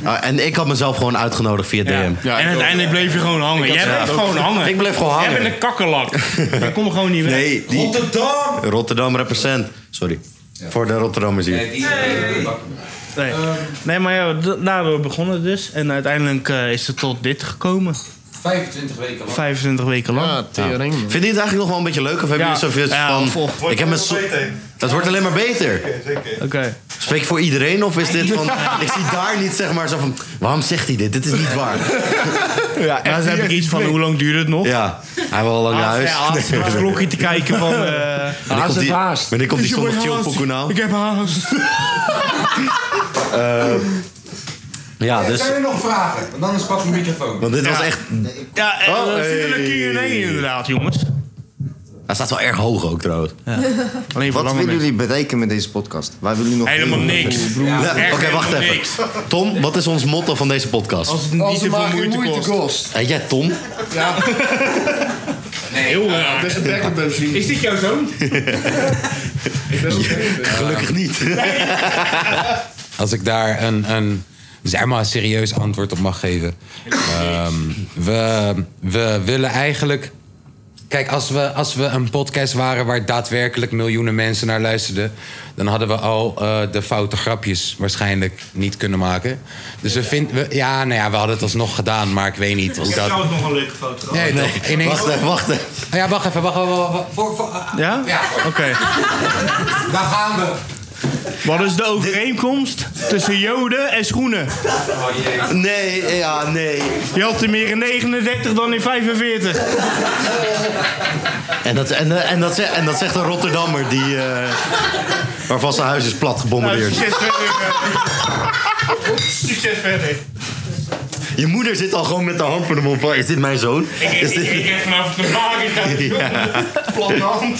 S6: Ah, en ik had mezelf gewoon uitgenodigd via DM.
S4: en uiteindelijk bleef je gewoon hangen.
S6: Ik had
S4: Jij
S6: ze
S4: bleef
S6: ook.
S4: gewoon hangen.
S6: Ik bleef gewoon hangen.
S4: Jij bent een kakkerlak. Ik kom gewoon niet weg.
S6: Nee, die-
S4: Rotterdam!
S6: Rotterdam represent. Sorry. Voor de Rotterdammers hier.
S4: Nee, nee maar ja, d- daardoor begonnen het dus. En uiteindelijk eh, is het tot dit gekomen.
S12: 25 weken lang.
S4: 25 weken lang. Ja,
S6: tering, Vind je het eigenlijk nog wel een beetje leuk? Of hebben
S4: Ja.
S6: jullie zoveel
S4: Ja,
S6: van...
S4: vol.
S6: ik heb mijn so- dat wordt alleen maar beter.
S4: Oké.
S6: Spreek je voor iedereen of is dit van... ik zie daar niet zeg maar zo van... Waarom zegt hij dit? Dit is niet waar.
S4: Ja, daar heb ik iets van, hoe lang duurt het nog?
S6: Ja, hij wil al lang naar
S4: Als-
S6: huis.
S4: Ah, ja, als-
S6: Nee.
S4: als klokje te kijken van, eh,
S6: Wanneer komt
S4: haast
S6: die-
S4: het haast.
S6: Wanneer komt die
S4: Dus je
S6: zondag
S4: wordt
S6: chill
S4: haast.
S6: pokoe nou?
S4: Ik heb haast.
S6: Eh, Ja, dus...
S12: Zijn er nog vragen? Want anders pak ik mijn microfoon.
S6: Want dit was echt...
S4: Ja, en
S6: Oh,
S4: oh,
S6: hey.
S4: natuurlijk Q&A inderdaad, jongens.
S6: Hij staat wel erg hoog ook trouwens.
S4: Alleen voor
S20: Wat
S4: lange
S20: willen
S4: mensen.
S20: jullie bereiken met deze podcast? Waar willen jullie nog
S4: Helemaal
S20: heen?
S4: niks.
S20: Oh, broer.
S6: Ja, Oké, wacht even. Tom, wat is ons motto van deze podcast?
S4: Als het niet te veel moeite kost.
S6: Heet jij Tom?
S4: Ja. Nee, heel raar.
S6: dat is een backup
S4: misschien. Is dit jouw zoon?
S6: Gelukkig niet.
S2: Als ik daar een, een zeg maar, serieus antwoord op mag geven. Ehm, we, we willen eigenlijk. Kijk, als we, als we een podcast waren waar daadwerkelijk miljoenen mensen naar luisterden. dan hadden we al eh, de foute grapjes waarschijnlijk niet kunnen maken. Dus we vinden. We, ja, nou ja, we hadden het alsnog gedaan, maar ik weet niet. Of
S4: Ik heb
S2: dat...
S4: trouwens nog een leuke foto.
S2: Nee, toch? Ineens...
S6: Oh, even.
S2: Oh ja, wacht even, wacht even. wacht even. Voor, voor, ah,
S4: Ja?
S2: Ja.
S4: Oké.
S12: Daar gaan we.
S4: Wat is de overeenkomst tussen joden en schoenen?
S6: Nee, ja, nee.
S4: Je had er meer in 39 dan in Oh, 45.
S6: En dat, en, eh, en, dat, ze- en dat zegt een Rotterdammer die, eh, waarvan zijn huis is plat
S4: Nou,
S6: gebombardeerd.
S4: succes verder. Succes verder.
S6: Je moeder zit al gewoon met de hand voor de mond van... Is dit mijn zoon?
S4: Ik, ik,
S6: Is
S4: ik,
S6: dit...
S4: ik heb vanavond de
S6: Ja.
S4: vraag. Platte hand.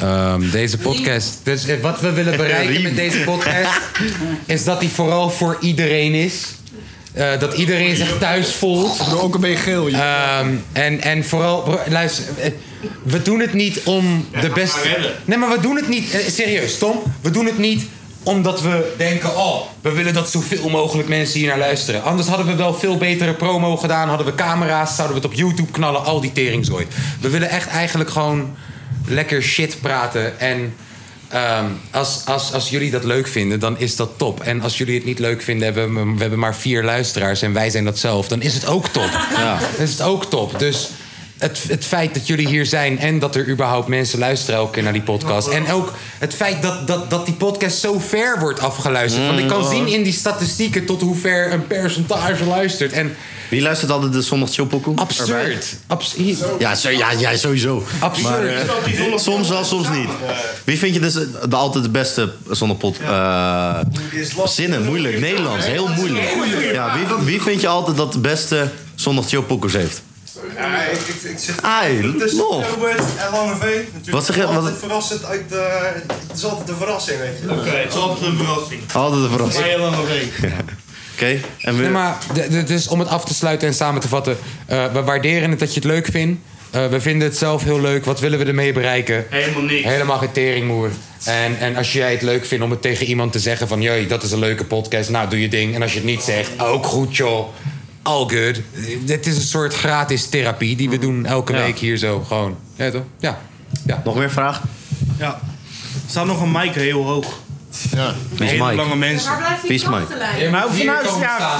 S2: Ehm, deze podcast. Dus eh, wat we willen bereiken met deze podcast. is dat die vooral voor iedereen is. Eh, dat iedereen zich thuis voelt. Ook een beetje geel. en, en vooral, bro, luister. eh, We doen het niet om de beste. Nee, maar we doen het niet. eh, serieus, Tom. We doen het niet omdat we denken: oh, we willen dat zoveel mogelijk mensen hier naar luisteren. Anders hadden we wel veel betere promo gedaan. Hadden we camera's, zouden we het op YouTube knallen. Al die teringzooi. We willen echt eigenlijk gewoon lekker shit praten. En ehm, als, als, als jullie dat leuk vinden, dan is dat top. En als jullie het niet leuk vinden, hebben we, we hebben maar vier luisteraars en wij zijn dat zelf, dan is het ook top. Dan is het ook top. Dus
S12: het, het feit dat jullie hier zijn en dat er überhaupt mensen luisteren elke keer naar die podcast. En ook het feit dat, dat, dat die podcast zo ver wordt afgeluisterd. Want ik
S6: Mm.
S12: kan zien in die statistieken tot hoe ver een percentage luistert. En
S6: Wie luistert altijd de zondag chillpokoe?
S12: absurd. Abs hier-
S6: Ja, zo- ja, ja, sowieso.
S12: Absurd.
S6: Maar, eh, soms wel, soms niet. Wie vind je dus de, altijd de beste zonder pot... eh, zinnen, moeilijk. Nederlands, heel moeilijk. Ja, wie, wie vind je altijd dat de beste zondag chillpokoes heeft?
S16: Ja, ik, ik, ik zit
S6: Ai,
S16: tussen
S6: lof.
S16: Robert en Lange V. Natuurlijk
S6: Wat zeg je-
S16: Altijd
S6: wat-
S16: verrassend uit de... Het is altijd een verrassing, weet je. Oké,
S4: het is altijd een verrassing.
S6: Altijd een verrassing.
S16: Bij Lange V.
S6: Oké, en we...
S12: Nee, maar d- d- dus om het af te sluiten en samen te vatten. eh, we waarderen het dat je het leuk vindt. Eh, we vinden het zelf heel leuk. Wat willen we ermee bereiken?
S4: Helemaal niks.
S12: Helemaal geen teringmoer. En, en als jij het leuk vindt om het tegen iemand te zeggen van... joh, dat is een leuke podcast, nou doe je ding. En als je het niet zegt, ook goed joh. All good. Dit is een soort gratis therapie die we doen elke week hier zo. Gewoon. Ja, toch? Ja. ja.
S6: Nog meer vragen?
S4: Ja. Er staat nog een mic heel hoog.
S6: Ja.
S4: Een hele
S6: Mike?
S4: lange mensen.
S6: Waar blijft die Wie is Mike? klachtenlijn?
S4: Maar
S6: Hier
S4: vanuit,
S6: komen
S4: ja.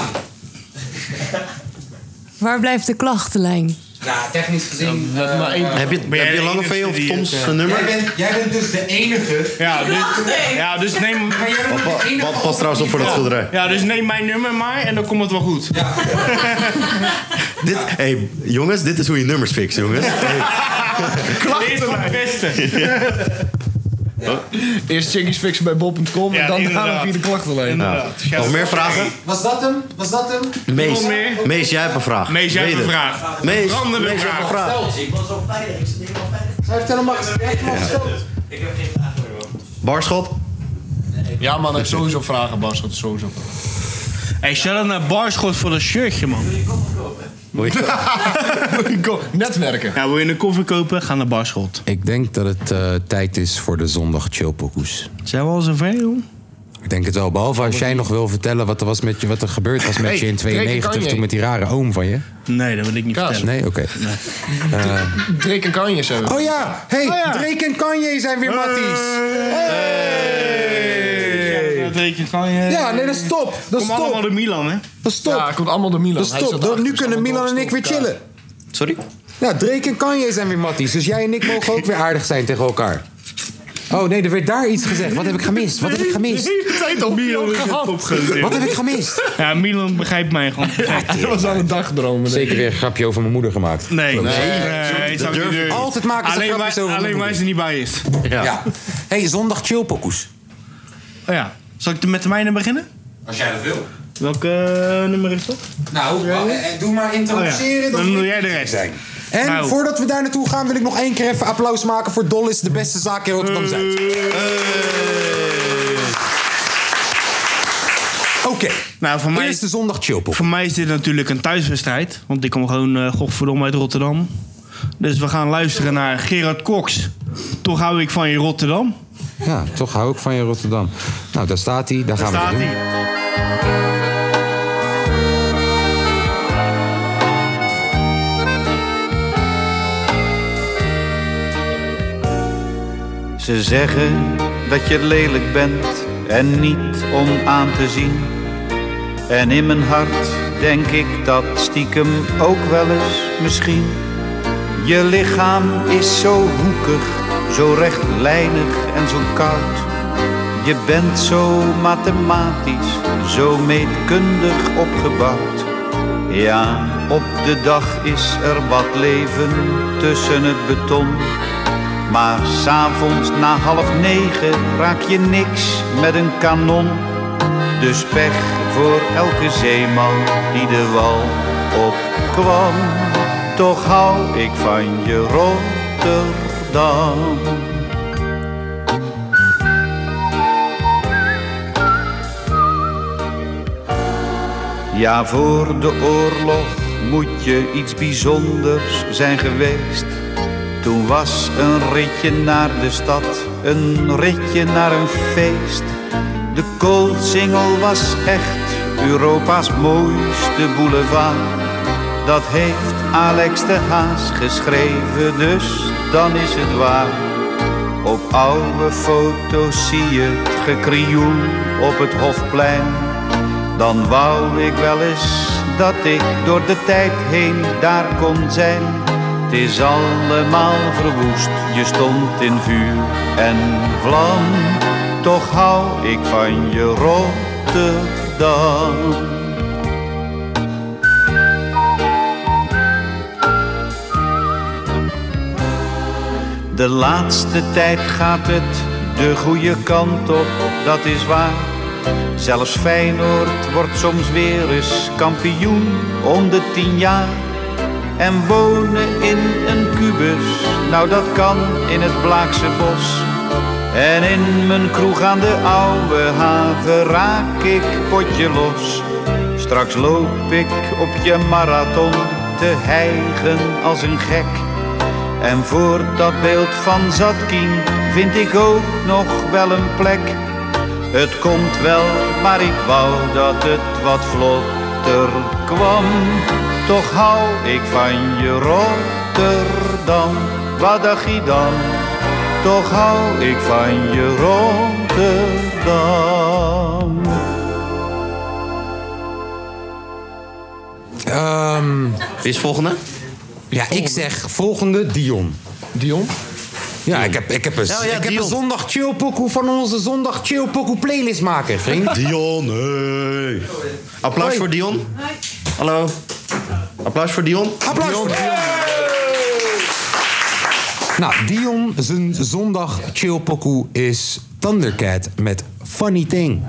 S21: Waar blijft de klachtenlijn?
S12: Nou, technisch gezien... eh,
S6: Heb je,
S4: Ben jij
S6: heb je
S4: de
S6: Lange
S4: enige
S6: V of
S4: die het,
S6: Toms
S4: eh,
S6: zijn nummer?
S12: Jij bent, jij bent dus de enige.
S4: Ja, dus,
S12: Prachtig.
S4: ja, dus neem...
S6: Wat- wat past trouwens op voor dat schilderij?
S4: Ja, dus neem mijn nummer maar en dan komt het wel goed.
S6: Dit, hey, jongens, dit is hoe je nummers fixt, jongens.
S4: Klachten is het beste.
S9: Eerst chickies fixen bij bol.com en dan
S4: inderdaad.
S9: daarna via de klachtenlijn.
S6: Ja. Nog meer vragen?
S12: Was dat hem? Was dat hem?
S6: Mees, Mees, jij hebt een vraag.
S4: Mees, jij hebt
S6: Weet
S4: een
S6: het.
S4: vraag.
S6: Mees,
S4: Brandende
S6: Mees, jij hebt een vraag.
S17: Ik was al veilig, ik zit helemaal veilig.
S2: Hij heeft helemaal
S17: Ik heb geen vraag meer, man.
S6: Barschot?
S8: Ja, man, hij heeft sowieso vragen, Barschot. Sowieso.
S4: Hey, stel dat naar Barschot voor dat shirtje, man.
S6: Moet
S4: je netwerken. Ja, wil je een koffer kopen? Ga naar Barschot.
S22: Ik denk dat het eh, tijd is voor de zondag chillpokoes.
S4: Zijn we al zover, joh?
S22: Ik denk het wel. Behalve als jij nog wil vertellen wat er, was met je, wat er gebeurd was met
S4: Hey,
S22: je in
S4: Drake en
S22: 92
S4: Kanye.
S22: toen met die rare oom van je.
S4: Nee, dat wil ik niet vertellen.
S22: Nee, oké. Eh,
S8: Drake en Kanye zijn
S2: Oh ja, hey, Drake en Kanye zijn weer matties.
S6: Eh,
S4: Dat weet je, kan je...
S2: Ja, nee, dat is top. Dat is
S4: Kom allemaal
S2: top.
S4: door Milan, hè?
S2: Dat is top.
S8: komt allemaal door Milan.
S2: Dat is top. Dan, nu kunnen Milan en ik weer chillen.
S6: Sorry?
S2: Ja, Drake en Kanye zijn weer matties. Dus jij en ik mogen ook weer aardig zijn tegen elkaar.
S22: Oh nee, er werd daar iets gezegd. Wat heb ik gemist? Wat heb ik gemist?
S4: Milan is het opgegeven.
S22: Wat heb ik gemist?
S4: Ja, Milan begrijpt mij gewoon. perfect.
S22: Dat was
S8: aan een dagdroom.
S22: Zeker weer een grapje over mijn moeder gemaakt.
S4: Nee,
S22: Klopt.
S4: nee, zou ik niet durven.
S22: Altijd maken ze
S4: alleen
S22: grapjes
S4: wij,
S22: over
S4: Alleen
S22: mijn
S4: wij zijn niet bij is.
S22: Ja. hey, zondag chillpokoes.
S4: Oh ja. Zal ik met de mijne beginnen?
S12: Als jij dat wil.
S4: Welk eh, nummer is dat?
S12: Nou, eh, eh, doe maar
S4: Oh ja.
S12: introduceren.
S4: Dan doe jij de rest.
S2: En
S4: Nou.
S2: voordat we daar naartoe gaan, wil ik nog één keer even applaus maken voor Dollis, de beste zaak in Rotterdam Zuid. Oké.
S4: Nou, voor mij
S2: Eerste zondag chillpop.
S4: Voor mij is dit natuurlijk een thuiswedstrijd. Want ik kom gewoon eh godverdomme uit Rotterdam. Dus we gaan luisteren naar Gerard Cox. Toch hou ik van je Rotterdam.
S22: Ja, toch hou ik van je Rotterdam. Nou, daar staat hij. Daar gaan we
S4: staat
S22: het doen.
S23: Ze zeggen dat je lelijk bent en niet om aan te zien. En in mijn hart denk ik dat stiekem ook wel eens misschien. Je lichaam is zo hoekig, zo rechtlijnig en zo koud. Je bent zo mathematisch, zo meetkundig opgebouwd. Ja, op de dag is er wat leven tussen het beton. Maar s'avonds na half negen raak je niks met een kanon. Dus pech voor elke zeeman die de wal op kwam. Toch hou ik van je Rotterdam. Ja, voor de oorlog moet je iets bijzonders zijn geweest. Toen was een ritje naar de stad, een ritje naar een feest. De Koolsingel was echt Europa's mooiste boulevard. Dat heeft Alex de Haas geschreven, dus dan is het waar. Op oude foto's zie je het gekrioel op het Hofplein. Dan wou ik wel eens dat ik door de tijd heen daar kon zijn. Het het is allemaal verwoest. Je stond in vuur en vlam, toch hou ik van je Rotterdam. De laatste tijd gaat het de goede kant op, dat is waar. Zelfs Feyenoord wordt soms weer eens kampioen om de tien jaar. En wonen in een kubus, nou dat kan in het Blaakse bos. En in mijn kroeg aan de oude haven raak ik potje los. Straks loop ik op je marathon te hijgen als een gek. En voor dat beeld van Zatkin vind ik ook nog wel een plek. Het komt wel, maar ik wou dat het wat vlotter kwam. Toch hou ik van je Rotterdam, wat dacht je dan? Toch hou ik van je Rotterdam.
S6: Wie is volgende?
S5: Ehm, Ja, ik zeg volgende Dion. Dion? Ja, ik heb, ik heb, een,
S2: Nou ja,
S5: ik heb
S2: Dion.
S5: een zondag chillpokoe van onze zondag chillpokoe playlist maken, vriend.
S6: Dion, hey. Applaus voor Dion. Hallo. Applaus voor Dion.
S5: Applaus voor Dion. Nou, Dion zijn zondag chillpokoe is Thundercat met Funny Thing.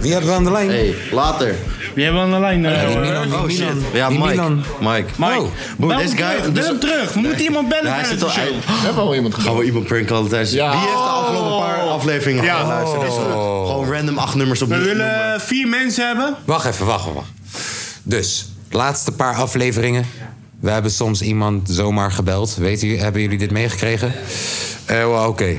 S5: Wie hebben we aan de lijn? Eh,
S6: Hey, later.
S4: Wie hebben we aan de lijn? eh,
S6: oh shit. Ja, Mike. Mike.
S5: Oh.
S4: Mike.
S6: Boer,
S4: Bel
S6: deze
S4: hem
S6: guy. dus
S4: terug, bel hem terug. We moeten iemand bellen
S6: Hij
S4: tijdens
S6: zit al,
S4: de show.
S6: We hebben al iemand Gaan we iemand pranken tijdens
S4: Ja.
S6: Wie heeft de afgelopen paar afleveringen
S4: Oh. Ja. Oh.
S6: ja. geluisterd? Is goed. Gewoon random acht nummers op
S4: We
S6: de
S4: willen vier mensen hebben.
S2: Wacht even, wacht even. wacht. Dus, laatste paar afleveringen. We hebben soms iemand zomaar gebeld. Weet u, hebben jullie dit meegekregen? Eh, wel, Oké.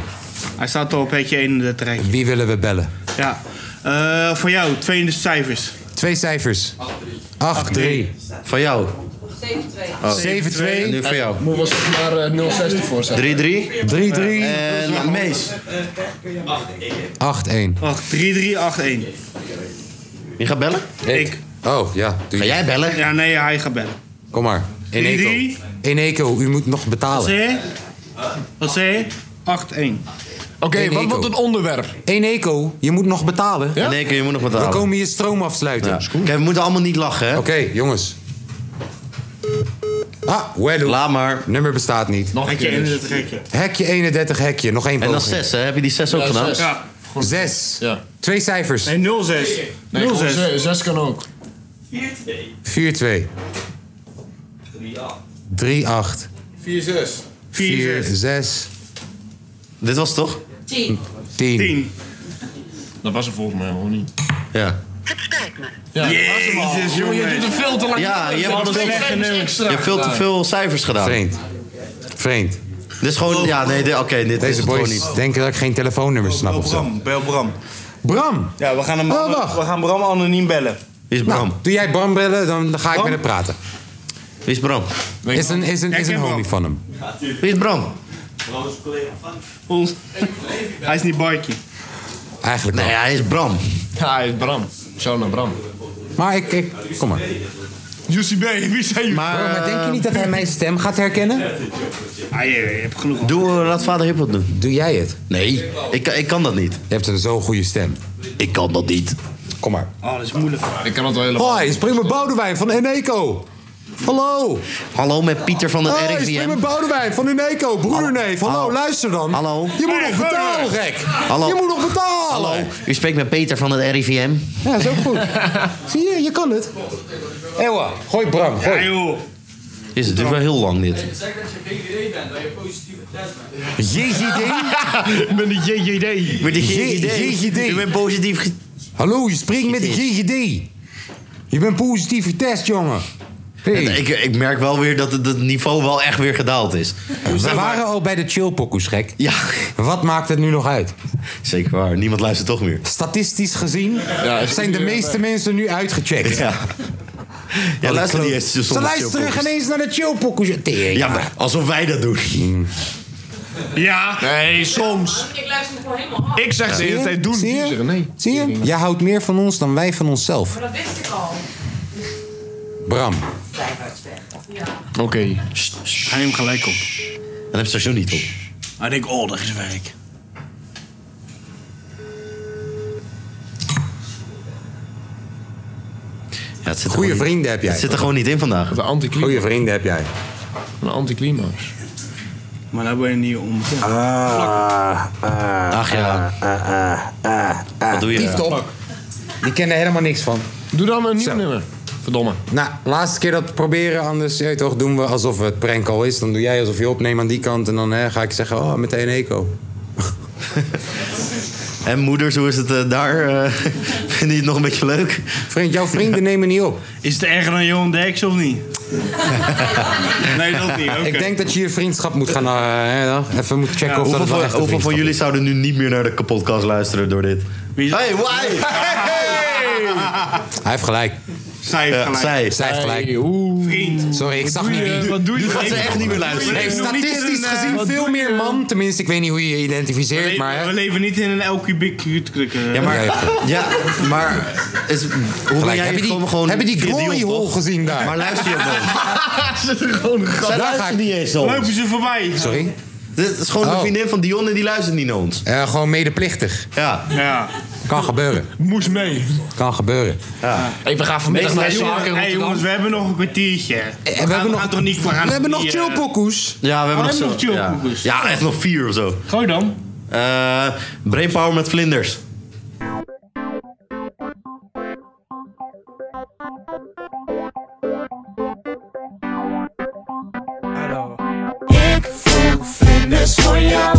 S4: Hij staat al op petje 31 rijtje.
S2: Wie willen we bellen?
S4: Ja. Eh, voor jou, twee cijfers.
S2: Twee cijfers. 8-3.
S6: Van jou?
S24: 7-2.
S6: Oh. 7-2. En nu voor jou.
S8: Moet was het maar eh, 060 voor zijn.
S6: 3-3.
S8: 3-3.
S6: En Mees.
S2: 8-1.
S4: 3-3-8-1.
S6: Wie gaat bellen?
S4: Ik.
S2: Oh, ja. Ga
S6: jij bellen?
S4: Ja, nee, hij gaat bellen.
S2: Kom maar. In
S4: Drie,
S2: Eco. In Eco, u moet nog
S4: Wat
S2: betalen.
S4: zei je? Wat zei je? 8-1.
S2: In Eco.
S8: onderwerp.
S2: In Eco, je moet nog betalen.
S6: In Eco, je moet nog betalen.
S2: We komen je stroom afsluiten.
S6: Kijk, we moeten allemaal niet lachen, hè?
S2: Oké, jongens. Ah, Wello.
S6: Laat maar.
S2: Nummer bestaat niet.
S4: Nog een Hekje keer dus. 31 hekje.
S2: Hekje 31 hekje. Nog één
S6: En dan
S2: poging.
S6: zes, hè? Heb je die zes ook
S2: Ja,
S6: gedaan?
S2: zes. Ja. Zes. Twee cijfers.
S4: Nee, 06.
S8: Nee, gewoon zes. Zes kan ook.
S2: 4-2.
S25: 4-6.
S2: 3-8. 4-6.
S6: Dit was toch?
S25: 10.
S2: 10.
S8: Dat was er volgens mij gewoon niet.
S6: Ja.
S11: Jezus, jongen. Je doet er veel te lang
S6: Ja,
S11: over.
S6: je hebt, al
S11: Nog
S6: veel,
S11: steeds
S6: te-
S11: cijfers
S6: je
S11: extra
S6: hebt veel te
S11: gedaan.
S6: veel cijfers gedaan.
S2: Vreemd. Vreemd.
S6: Dit is gewoon, ja, nee, dit- oké, dit is
S2: Deze
S6: het
S2: boys
S6: gewoon niet.
S2: denken dat ik geen telefoonnummers snap of zo.
S4: Bel Bram.
S2: Bram?
S4: Ja, we gaan hem
S2: Oh, wacht.
S4: we gaan Bram anoniem bellen.
S6: Wie is
S2: Bram? Nou, doe jij Bram bellen, dan, dan ga ik met hem praten.
S6: Wie is Bram?
S2: Is een, is een, is een homie van hem.
S6: Wie is Bram?
S4: Ons. Hij is niet Barkie.
S2: Eigenlijk
S6: Nee, hij is Bram.
S26: Ja, hij is Bram. Shona Bram.
S2: Maar ik, ik kom maar.
S4: Jussie B, wie zijn jullie?
S2: Maar, eh, maar denk je niet dat hij mijn stem gaat herkennen?
S4: Ah, je, je hebt genoeg.
S6: Doe, eh, laat vader Hippel doen.
S2: Doe jij het?
S6: Nee, ik, ik kan dat niet.
S2: Je hebt een zo'n goede stem.
S6: Ik kan dat niet.
S2: Kom maar.
S8: Ah,
S4: Oh, dat is moeilijk.
S26: Ik kan het wel helemaal.
S2: Hoi, Oh, is Prima Boudewijn van Eneco. Hallo.
S6: Hallo met Pieter van de
S2: Hoi,
S6: RIVM.
S2: is Prima Boudewijn van Eneco, broederneef. Hallo, luister dan.
S6: Hallo.
S2: Je moet nog betalen, gek.
S6: Hallo.
S2: Je moet nog betalen.
S6: Hallo, u spreekt met Peter van het RIVM.
S2: Ja, is ook goed. Zie je, je kan het. Ewa, gooi Bram, gooi.
S6: Is het duurt wel heel lang dit.
S13: Zeg dat je GGD bent, dat je positieve test bent.
S6: JGD? Met een JJD. Met een JJD.
S2: JJD.
S6: U bent positief ge-
S2: Hallo, je spreekt met de GGD. Je bent positief getest, jongen.
S6: Het- Ik, ik merk wel weer dat het, het niveau wel echt weer gedaald is.
S2: We waren al bij de chillpokkoes, gek.
S6: Ja.
S2: Wat maakt het nu nog uit?
S6: Zeker waar, niemand luistert toch meer.
S2: Statistisch gezien
S6: Ja, is-
S2: zijn de meeste mensen nu uitgecheckt.
S6: Ja. Ja, luister niet eens.
S2: Ze luisteren geen eens naar de chillpokkoes. Tering.
S6: Ja, maar alsof wij dat doen.
S4: Ja.
S5: Nee, soms.
S27: Ik luister me gewoon helemaal af.
S5: Ik zeg de hele tijd doen.
S2: Zie je? Zie je? Jij houdt meer van ons dan wij van onszelf.
S27: Maar dat wist ik al.
S2: Bram.
S26: Oké.
S4: Hij hem gelijk op.
S6: Dan heb station niet op.
S4: Hij denkt, oh, dat is werk.
S6: Ja, het zit er gewoon
S2: Goeie
S6: niet-
S2: vrienden heb jij.
S6: Het zit er gewoon niet in vandaag.
S26: De anticlimax.
S2: Goeie vrienden heb jij.
S26: Een anticlimax.
S4: Maar daar ben je niet om.
S2: Ah, eh,
S6: Ach ja.
S8: ah.
S23: Ah,
S6: Wat doe je?
S2: Pieftop. Die kennen er helemaal niks van.
S26: Doe dan een nieuw nummer. Verdomme.
S2: Nou, laatste keer dat we proberen, anders je weet toch, doen we alsof het prank al is. Dan doe jij alsof je opneemt aan die kant en dan hè, ga ik zeggen, oh, meteen eco.
S6: En moeders, hoe is het eh, daar? Eh, Vinden je het nog een beetje leuk?
S2: Vriend, jouw vrienden nemen niet op.
S4: Is het erger dan Johan Derks of niet? nee, dat niet. Oké.
S2: Ik denk dat je je vriendschap moet gaan, eh, hè, dan. even moeten checken of dat
S6: hoeveel
S2: het wel
S6: van,
S2: echt
S6: hoeveel
S2: een
S6: van
S2: vriendschap
S6: jullie zouden nu niet meer naar de podcast luisteren door dit?
S4: Hey,
S6: why?
S2: is. Hij heeft gelijk.
S4: Zij heeft
S6: Ja,
S4: gelijk.
S6: zij.
S2: Zij heeft gelijk.
S4: Vriend.
S2: Sorry, ik zag niet.
S5: Wat doe je?
S6: Nu gaat ze echt niet meer luisteren.
S2: Nee, statistisch gezien veel meer man. Tenminste, ik weet niet hoe je je identificeert, maar... hè.
S4: eh, We leven niet in een elke big cute krukken.
S6: Ja, maar... Ja, maar is, Dus hoe ben
S2: Gelijk.
S6: jij
S2: Hebben die,
S6: gewoon, gewoon
S2: hebben die
S6: via
S2: glory
S6: op, toch?
S2: hole gezien daar?
S6: Maar luister je ook wel.
S5: Zit er gewoon een
S6: Zij
S5: gat.
S6: luistert niet eens naar ons.
S4: Lopen ze voorbij?
S2: Sorry?
S6: Dit is gewoon een
S2: Oh.
S6: vriendin van Dion en die luistert niet naar ons.
S2: Eh, gewoon medeplichtig.
S6: Ja.
S4: Ja.
S2: Kan gebeuren.
S5: Moest mee.
S2: Kan gebeuren.
S6: ja.
S28: Even gaan vanmiddag naar
S4: Hey,
S28: zaken
S4: jongens, hey, jongens, we hebben nog een kwartiertje. we, gaan,
S2: Eh, hebben
S4: we
S2: nog-
S4: gaan toch niet we gaan
S2: We hebben nog
S4: niet, eh,
S2: chillpokkoes.
S6: Ja, we hebben
S4: Oh,
S6: nog
S4: hebben
S6: zo.
S4: nog chill
S6: ja.
S4: koekjes.
S6: ja, echt nog vier of zo.
S4: Gooi dan.
S6: Eh Brainpower met vlinders.
S11: Ik voel vlinders voor jou.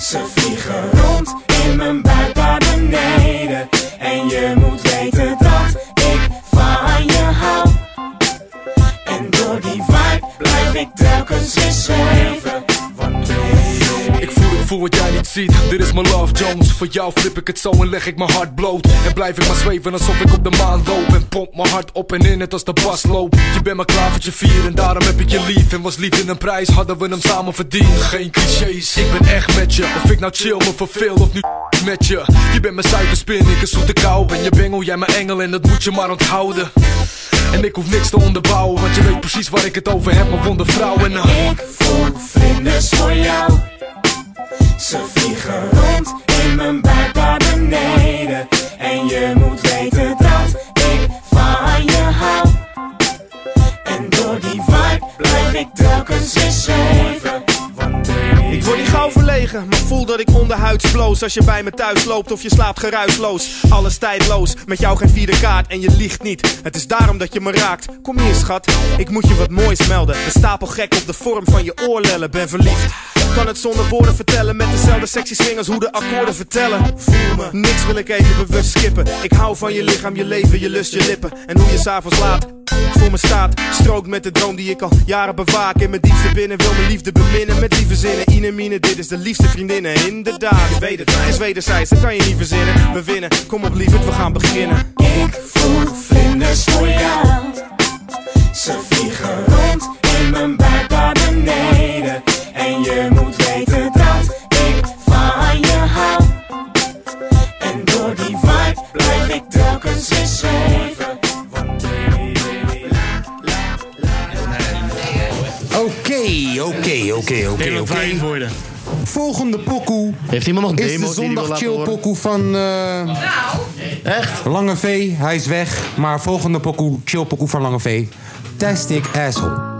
S11: Ze vliegen rond in mijn buik naar beneden. En je moet weten dat ik van je hou. En door die vibe blijf ik telkens weer zweven.
S8: Ik voel, ik voel wat jij niet ziet. Dit is mijn Love Jones. Voor jou flip ik het zo en leg ik mijn hart bloot. En blijf ik maar zweven alsof ik op de maan loop. En pomp mijn hart op en in het als de bas loopt. Je bent mijn klavertje vier en daarom heb ik je lief. En was liefde een prijs, hadden we hem samen verdiend. Geen clichés, ik ben echt met je. Of ik nou chill me verveel of nu met je. Je bent mijn suikerspin, ik een zoete kou. Ben je bengel, jij mijn engel en dat moet je maar onthouden. En ik hoef niks te onderbouwen, want je weet precies waar ik het over heb, mijn wondervrouw. En nou.
S11: voel vlinders voor jou. Ze vliegen rond in mijn buik naar beneden. En je moet weten dat ik van je hou. En door die vibe blijf ik telkens weer zweven.
S8: Ik word niet gauw verlegen.
S4: zeggen, maar voel dat ik onderhuids bloos Als je bij me thuis loopt of je slaapt geruisloos Alles tijdloos, met jou geen vierde kaart en je liegt niet Het is daarom dat je me raakt, kom hier schat Ik moet je wat moois melden, een stapel gek op de vorm van je oorlellen Ben verliefd, kan het zonder woorden vertellen Met dezelfde sexy swingers hoe de akkoorden vertellen Voel me, niks wil ik even bewust skippen Ik hou van je lichaam, je leven, je lust, je lippen En hoe je s'avonds laat voor me staat Strookt met de droom die ik al jaren bewaak In mijn diepste binnen wil mijn liefde beminnen Met lieve zinnen, inemine, dit is de liefste vriendinnen Inderdaad, ik weet het, het is wederzijds Dat kan je niet verzinnen, we winnen Kom op lieverd, we gaan beginnen Ik voel vlinders voor jou
S5: Ze vliegen rond in mijn buik naar beneden. En je moet weten dat ik van je hou. En door die vibe blijf ik telkens weer zweven.
S2: Oké, oké, oké, oké, oké.
S23: Volgende pokoe
S2: Heeft iemand nog
S23: is de
S2: demo's die hij wil
S23: zondag
S2: laten
S23: chill
S2: horen?
S23: pokoe van... eh,
S8: Nou.
S2: Echt?
S23: Lange V, hij is weg. Maar volgende pokoe, chill pokoe van Lange V. Tastic Asshole.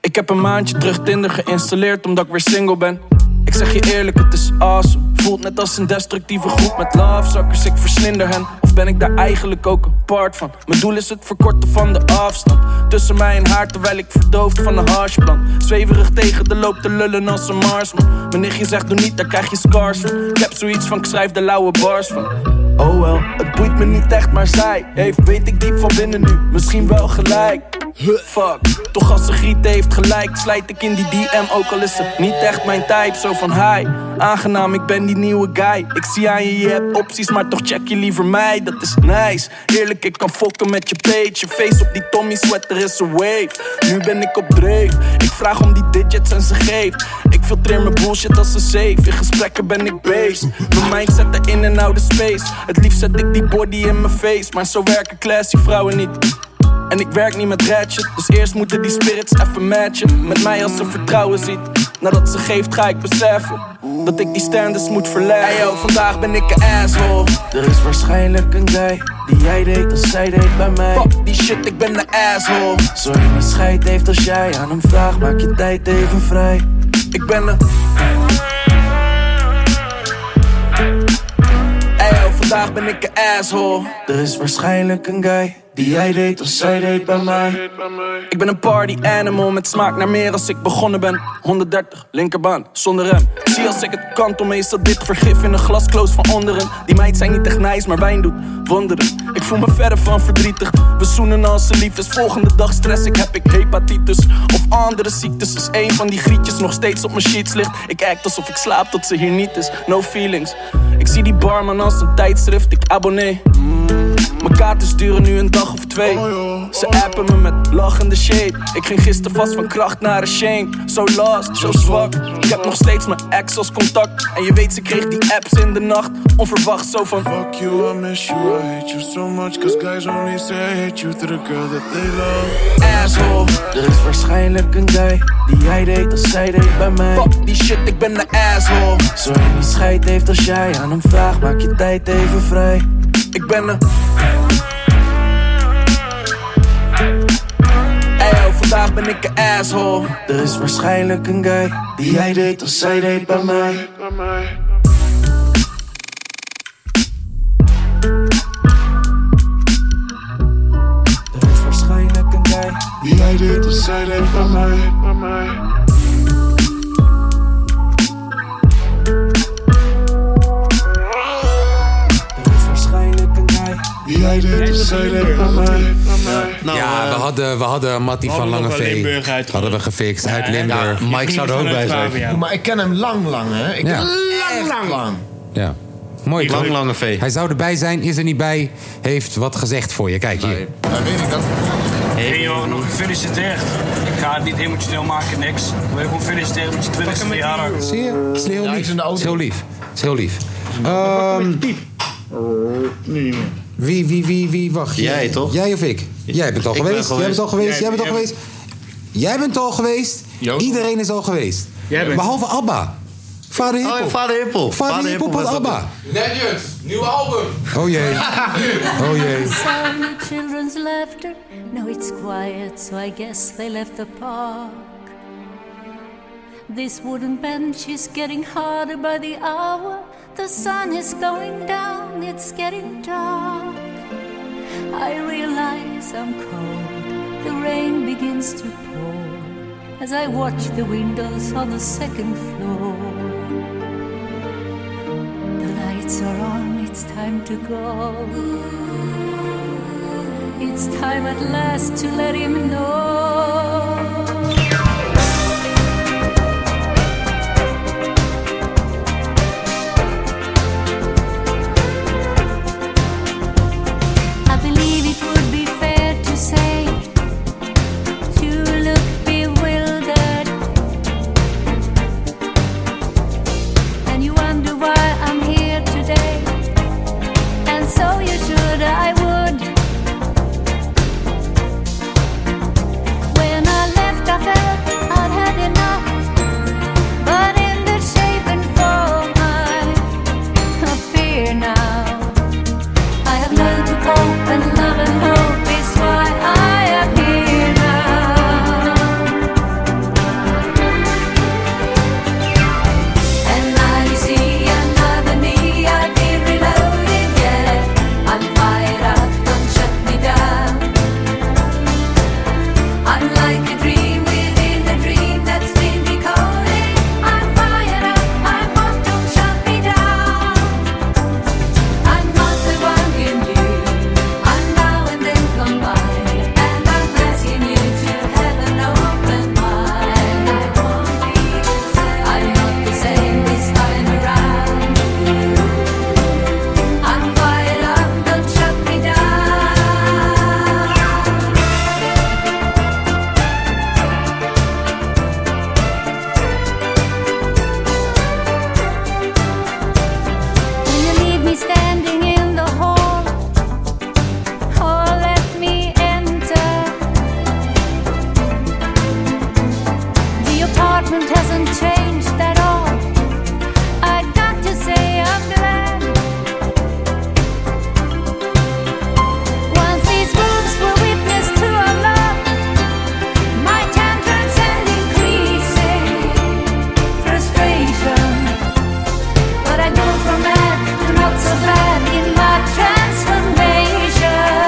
S11: Ik heb een maandje terug Tinder geïnstalleerd omdat ik weer single ben. Ik zeg je eerlijk, het is awesome. Voelt net als een destructieve groep met lovezakkers, ik verslinder hen. Of ben ik daar eigenlijk ook een part van? Mijn doel is het verkorten van de afstand. Tussen mij en haar terwijl ik verdoofd van een harsplan. Zweverig tegen de loop te lullen als een marsman. Mijn nichtje zegt doe niet, daar krijg je scars van. Ik heb zoiets van, ik schrijf de lauwe bars van. Oh wel, het boeit me niet echt, maar zij heeft, weet ik diep van binnen nu, misschien wel gelijk. Huh, Fuck, toch als ze giet heeft gelijk, slijt ik in die DM, ook al is ze niet echt mijn type. Zo van hi, aangenaam, ik ben die nieuwe guy. Ik zie aan je, je hebt opties, maar toch check je liever mij, dat is nice. Heerlijk, ik kan fokken met je page, je face op die Tommy sweater is een wave. Nu ben ik op dreef, ik vraag om die digits en ze geeft. Ik filtreer mijn bullshit als een safe, in gesprekken ben ik beest. Mijn mind zet de in en oude space, het liefst zet ik die body in mijn face. Maar zo werken classy vrouwen niet. En ik werk niet met ratchet, dus eerst moeten die spirits even matchen. Met mij als ze vertrouwen ziet, nadat ze geeft ga ik beseffen dat ik die standards moet verleggen. Hey yo, vandaag ben ik een asshole. Er is waarschijnlijk een guy die jij deed als zij deed bij mij. Fuck die shit, ik ben een asshole. Zo je niet scheid heeft als jij aan hem vraagt, maak je tijd even vrij. Ik ben een. Hey yo, vandaag ben ik een asshole. Er is waarschijnlijk een guy die jij deed als zij deed bij mij. Ik ben een party animal met smaak naar meer als ik begonnen ben. 130, linkerbaan, zonder rem. Zie als ik het kant om is dat dit vergif in een glaskloof van onderen. Die meid zijn niet echt nice, maar wijn doet wonderen. Ik voel me verder van verdrietig. We zoenen als ze lief is. Volgende dag stress ik, heb ik hepatitis. Of andere ziektes is één van die grietjes nog steeds op mijn sheets ligt. Ik act alsof ik slaap tot ze hier niet is. No feelings. Ik zie die barman als een tijdschrift, ik abonnee. Mijn kaarten sturen nu een dag of twee. Ze appen me met lachende shade. Ik ging gisteren vast van kracht naar een shame. Zo last, zo zwak. Ik heb nog steeds mijn ex als contact. En je weet, ze kreeg die apps in de nacht. Onverwacht zo van. Fuck you, I miss you, I hate you so much. Cause guys only say I hate you to the girl that they love. Asshole, er is waarschijnlijk een guy die jij deed als zij deed bij mij. Fuck die shit, ik ben de asshole. Zo je niet scheid heeft als jij aan hem vraagt, maak je tijd even vrij. Ik ben een. Eyo, vandaag ben ik een asshole. Er is waarschijnlijk een guy die jij deed als zij deed bij mij. Er is waarschijnlijk een guy die jij deed als zij deed bij mij. Er is waarschijnlijk een guy die jij deed als zij deed bij mij.
S2: ja, we hadden, we hadden Mattie
S4: Nou, eh,
S2: van
S4: we hadden
S2: Lange
S4: nog wel
S2: V.
S4: Limburg uit-
S2: Hadden we gefixt uit
S4: Ja,
S2: Limburg.
S4: ja, Mike zou er ook bij zijn.
S8: Maar ik ken hem lang, lang, hè? Ik
S2: Ja.
S8: lang, lang, lang.
S2: Ja. Mooi
S8: Lang,
S2: lange V. Hij zou erbij zijn, is er niet bij, heeft wat gezegd voor je. Kijk hier.
S8: weet ik dat.
S10: Hey joh, nog gefeliciteerd. Ik ga het niet emotioneel maken, niks. Ik wil je gewoon feliciteren met je 20 verjaardag.
S2: Zie je? Is heel lief. Is heel lief. Is heel lief. Ehm, Wie, wie, wie, wie, wacht.
S23: Jij,
S2: toch? Jij of ik? Jij bent al
S23: Ik ben
S2: geweest. Jij bent al
S23: geweest.
S2: geweest. Jij bent al
S23: Jij-
S2: geweest. Jij bent al geweest. Iedereen is al geweest.
S4: Jij bent-
S2: Behalve Abba. Vader Hippel. Oh, vader Hippel. Vader Hippel had Abba.
S1: Legends, nieuw album.
S2: Oh jee. Oh jee.
S22: sound of children's laughter. No, it's quiet, so I guess they left the park. This wooden bench is getting harder by the hour. The sun is going down, it's getting dark. I realize I'm cold. The rain begins to pour as I watch the windows on the second floor. The lights are on, it's time to go. It's time at last to let him know. I believe it would be fair to say you look bewildered, and you wonder why I'm here today. And so you should, I would. When I left, I felt I'd had enough, but in the shape and form I appear now. I have learned to cope, and love and hope is why I appear now. And now you see another me, I've been reloaded, yeah. I'm fired up, don't shut me down. I'm like a dream within a dream that's been decoded. I'm fired up, I'm hot, don't shut me down. I'm not the one you knew. I'm now and then combined, and I'm asking you to have an open mind. I won't be the same. I'm not the same this time around. I'm fired up, don't shut me down. Will you leave me standing in the hall? Or let me enter? The apartment hasn't changed at all. I got to say I'm glad. Once these rooms were witness to our love, my tantrums and increasing frustration. But I go from bad to not so bad in my transformation.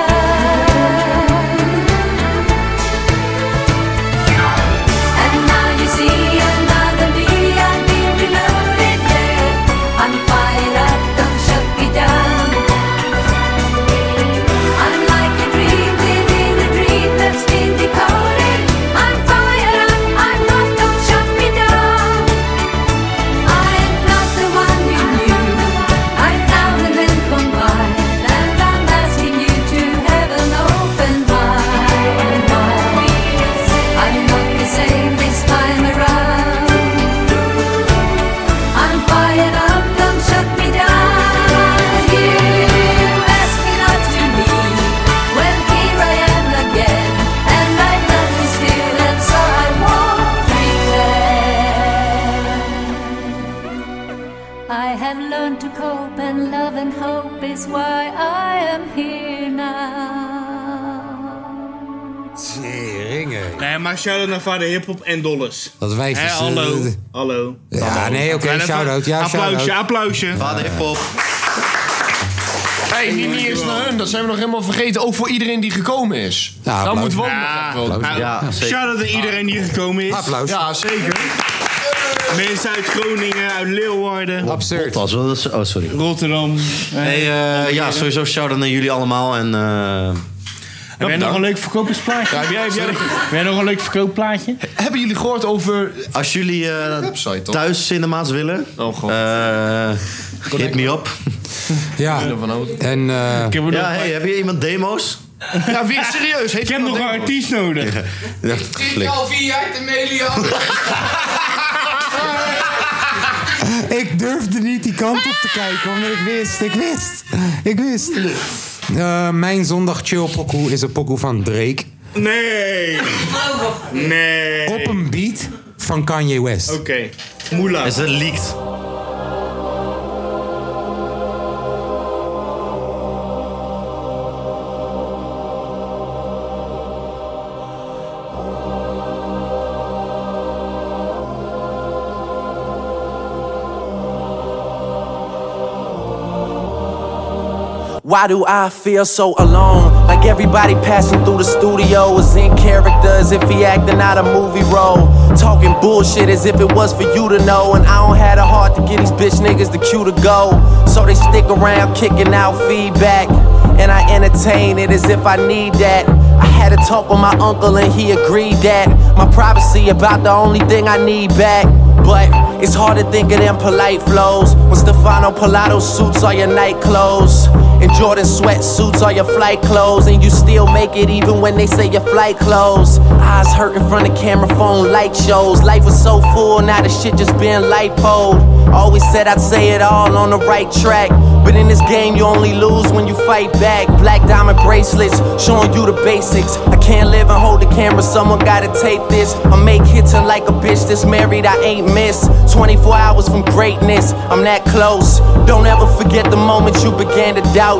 S22: And now you see another me, I've been reloaded, yeah. I'm fired up, don't shut me down. I'm like a dream within a dream that's been decoded. I'm fired up, I'm not, don't shut me down. I'm not the one you knew. I'm now and then combined, and I'm asking you to have an open mind. I'm not the same this time around. I'm fired up, don't shut me down. You ask me not to leave. Well, here I am again, and I'm not still, and so I won't pretend. I have learned to cope, and love and hope is why I am here now.
S2: Teringen.
S4: Nee, maar shout-out naar vader hiphop en dollars.
S2: Dat wijf
S4: Hé,
S2: is,
S4: hallo.
S2: eh,
S4: hallo.
S2: Ja,
S4: Hallo.
S2: nee, oké,
S4: Laten we-
S2: shout-out. Ja,
S4: applausje,
S2: shout-out.
S4: applausje.
S2: Vader
S4: hiphop.
S8: Hey, niet niet eens naar hun, dat zijn we nog helemaal vergeten. Ook voor iedereen die gekomen is.
S2: Ja,
S8: dat
S2: applaus.
S8: moet wel.
S4: Ja,
S8: Applaus.
S4: ja, shout-out aan iedereen die gekomen is.
S2: Applaus.
S4: Ja, zeker. Mensen uit Groningen, uit Leeuwarden.
S2: Absurd.
S6: Was wel, dat is- oh, sorry.
S4: Rotterdam.
S6: Hey, eh, ja, sowieso shout-out naar jullie allemaal. En, eh,
S4: Heb jij nog een leuk verkopersplaatje? heb jij, heb jij, heb jij nog een leuk verkoopplaatje?
S8: Hebben jullie gehoord over...
S6: Als jullie eh,
S8: toch? Oh,
S6: thuis cinema's willen, eh, hit me up.
S2: Ja. En, eh,
S4: Ik heb er nog-
S6: ja, hey, heb je iemand demo's?
S8: Ja, weer serieus.
S4: Ik heb nog een artiest nodig.
S6: Ja, flik.
S1: vier jaar te
S2: Ik durfde niet die kant op te kijken, omdat ik wist, ik wist, ik wist. Eh, mijn zondag chill pokoe is een pokoe van Drake.
S4: Nee. Nee.
S22: Op een beat van Kanye West.
S4: Oké. Moela.
S22: Is
S6: het leaked?
S19: Why do I feel so alone? Like everybody passing through the studio is in character as if he acting out a movie role. Talking bullshit as if it was for you to know. And I don't have the heart to get these bitch niggas the cue to go. So they stick around kicking out feedback. And I entertain it as if I need that. I had a talk with my uncle and he agreed that my privacy about the only thing I need back. But it's hard to think of them polite flows. When Stefano Pilato suits all your night clothes. And Jordan sweat suits all your flight clothes. And you still make it even when they say your flight clothes. Eyes hurting from the camera phone light shows. Life was so full, now the shit just been lipoed. Always said I'd say it all on the right track. But in this game, you only lose when you fight back. Black diamond bracelets, showing you the basics. I can't live and hold the camera, someone gotta tape this. I make hits and like a bitch that's married, I ain't miss. 24 hours from greatness, I'm that close. Don't ever forget the moment you began to doubt.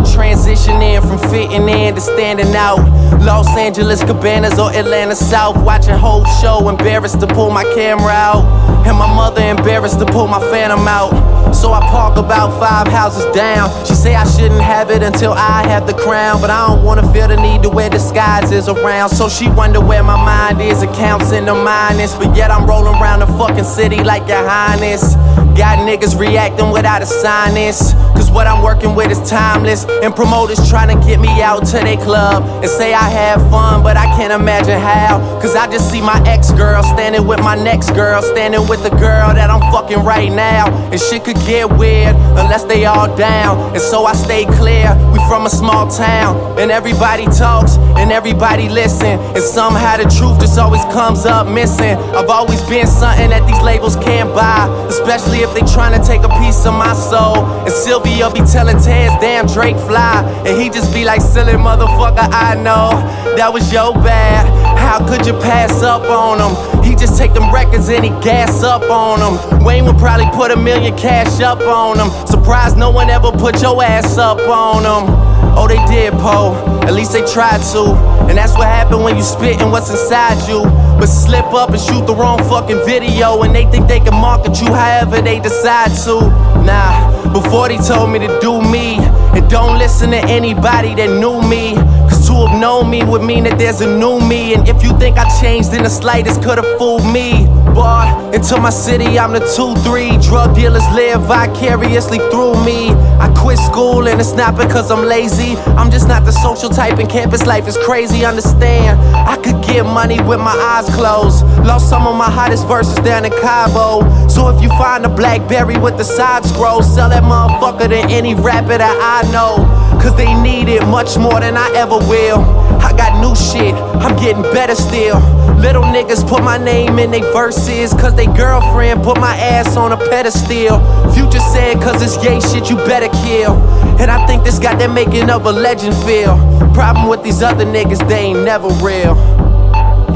S19: Transitioning from fitting in to standing out. Los Angeles Cabanas or Atlanta South. Watching whole show, embarrassed to pull my camera out. And my mother embarrassed to pull my phantom out. So I park about five houses down. She say I shouldn't have it until I have the crown. But I don't wanna feel the need to wear disguises around. So she wonder where my mind is. Accounts in the minus. But yet I'm rolling around the fucking city like your highness. Got niggas reacting without a sinus. Cause what I'm working with is timeless. And promoters trying to get me out to their club. And say I have fun, but I can't imagine how. Cause I just see my ex girl standing with my next girl. Standing with the girl that I'm fucking right now. And shit could get weird unless they all down. And so I stay clear. We from a small town. And everybody talks and everybody listen. And somehow the truth just always comes up missing. I've always been something that these labels can't buy. Especially if they trying to take a piece of my soul. And Sylvia be telling Taz, damn Drake fly. And he just be like, silly motherfucker, I know. That was your bad. How could you pass up on him? He just take them records and he gas up on them. Wayne would probably put a million cash up on him. Surprised no one ever put your ass up on him. Oh, they did, Poe. At least they tried to. And that's what happened when you spit and what's inside you. But slip up and shoot the wrong fucking video. And they think they can market you however they decide to. Nah, before they told me to do me. And don't listen to anybody that knew me. Cause to have known me would mean that there's a new me. And if you think I changed in the slightest, could've fooled me. Bar into my city, I'm the 2-3. Drug dealers live vicariously through me. I quit school and it's not because I'm lazy. I'm just not the social type, and campus life is crazy. Understand, I could get money with my eyes closed. Lost some of my hottest verses down in Cabo. So if you find a Blackberry with the side scroll, sell that motherfucker to any rapper that I know. Cause they need it much more than I ever will. I got new shit, I'm getting better still. Little niggas put my name in they verses, cause they girlfriend put my ass on a pedestal. Future said, cause it's gay shit, you better kill. And I think this got that making of a legend feel. Problem with these other niggas, they ain't never real.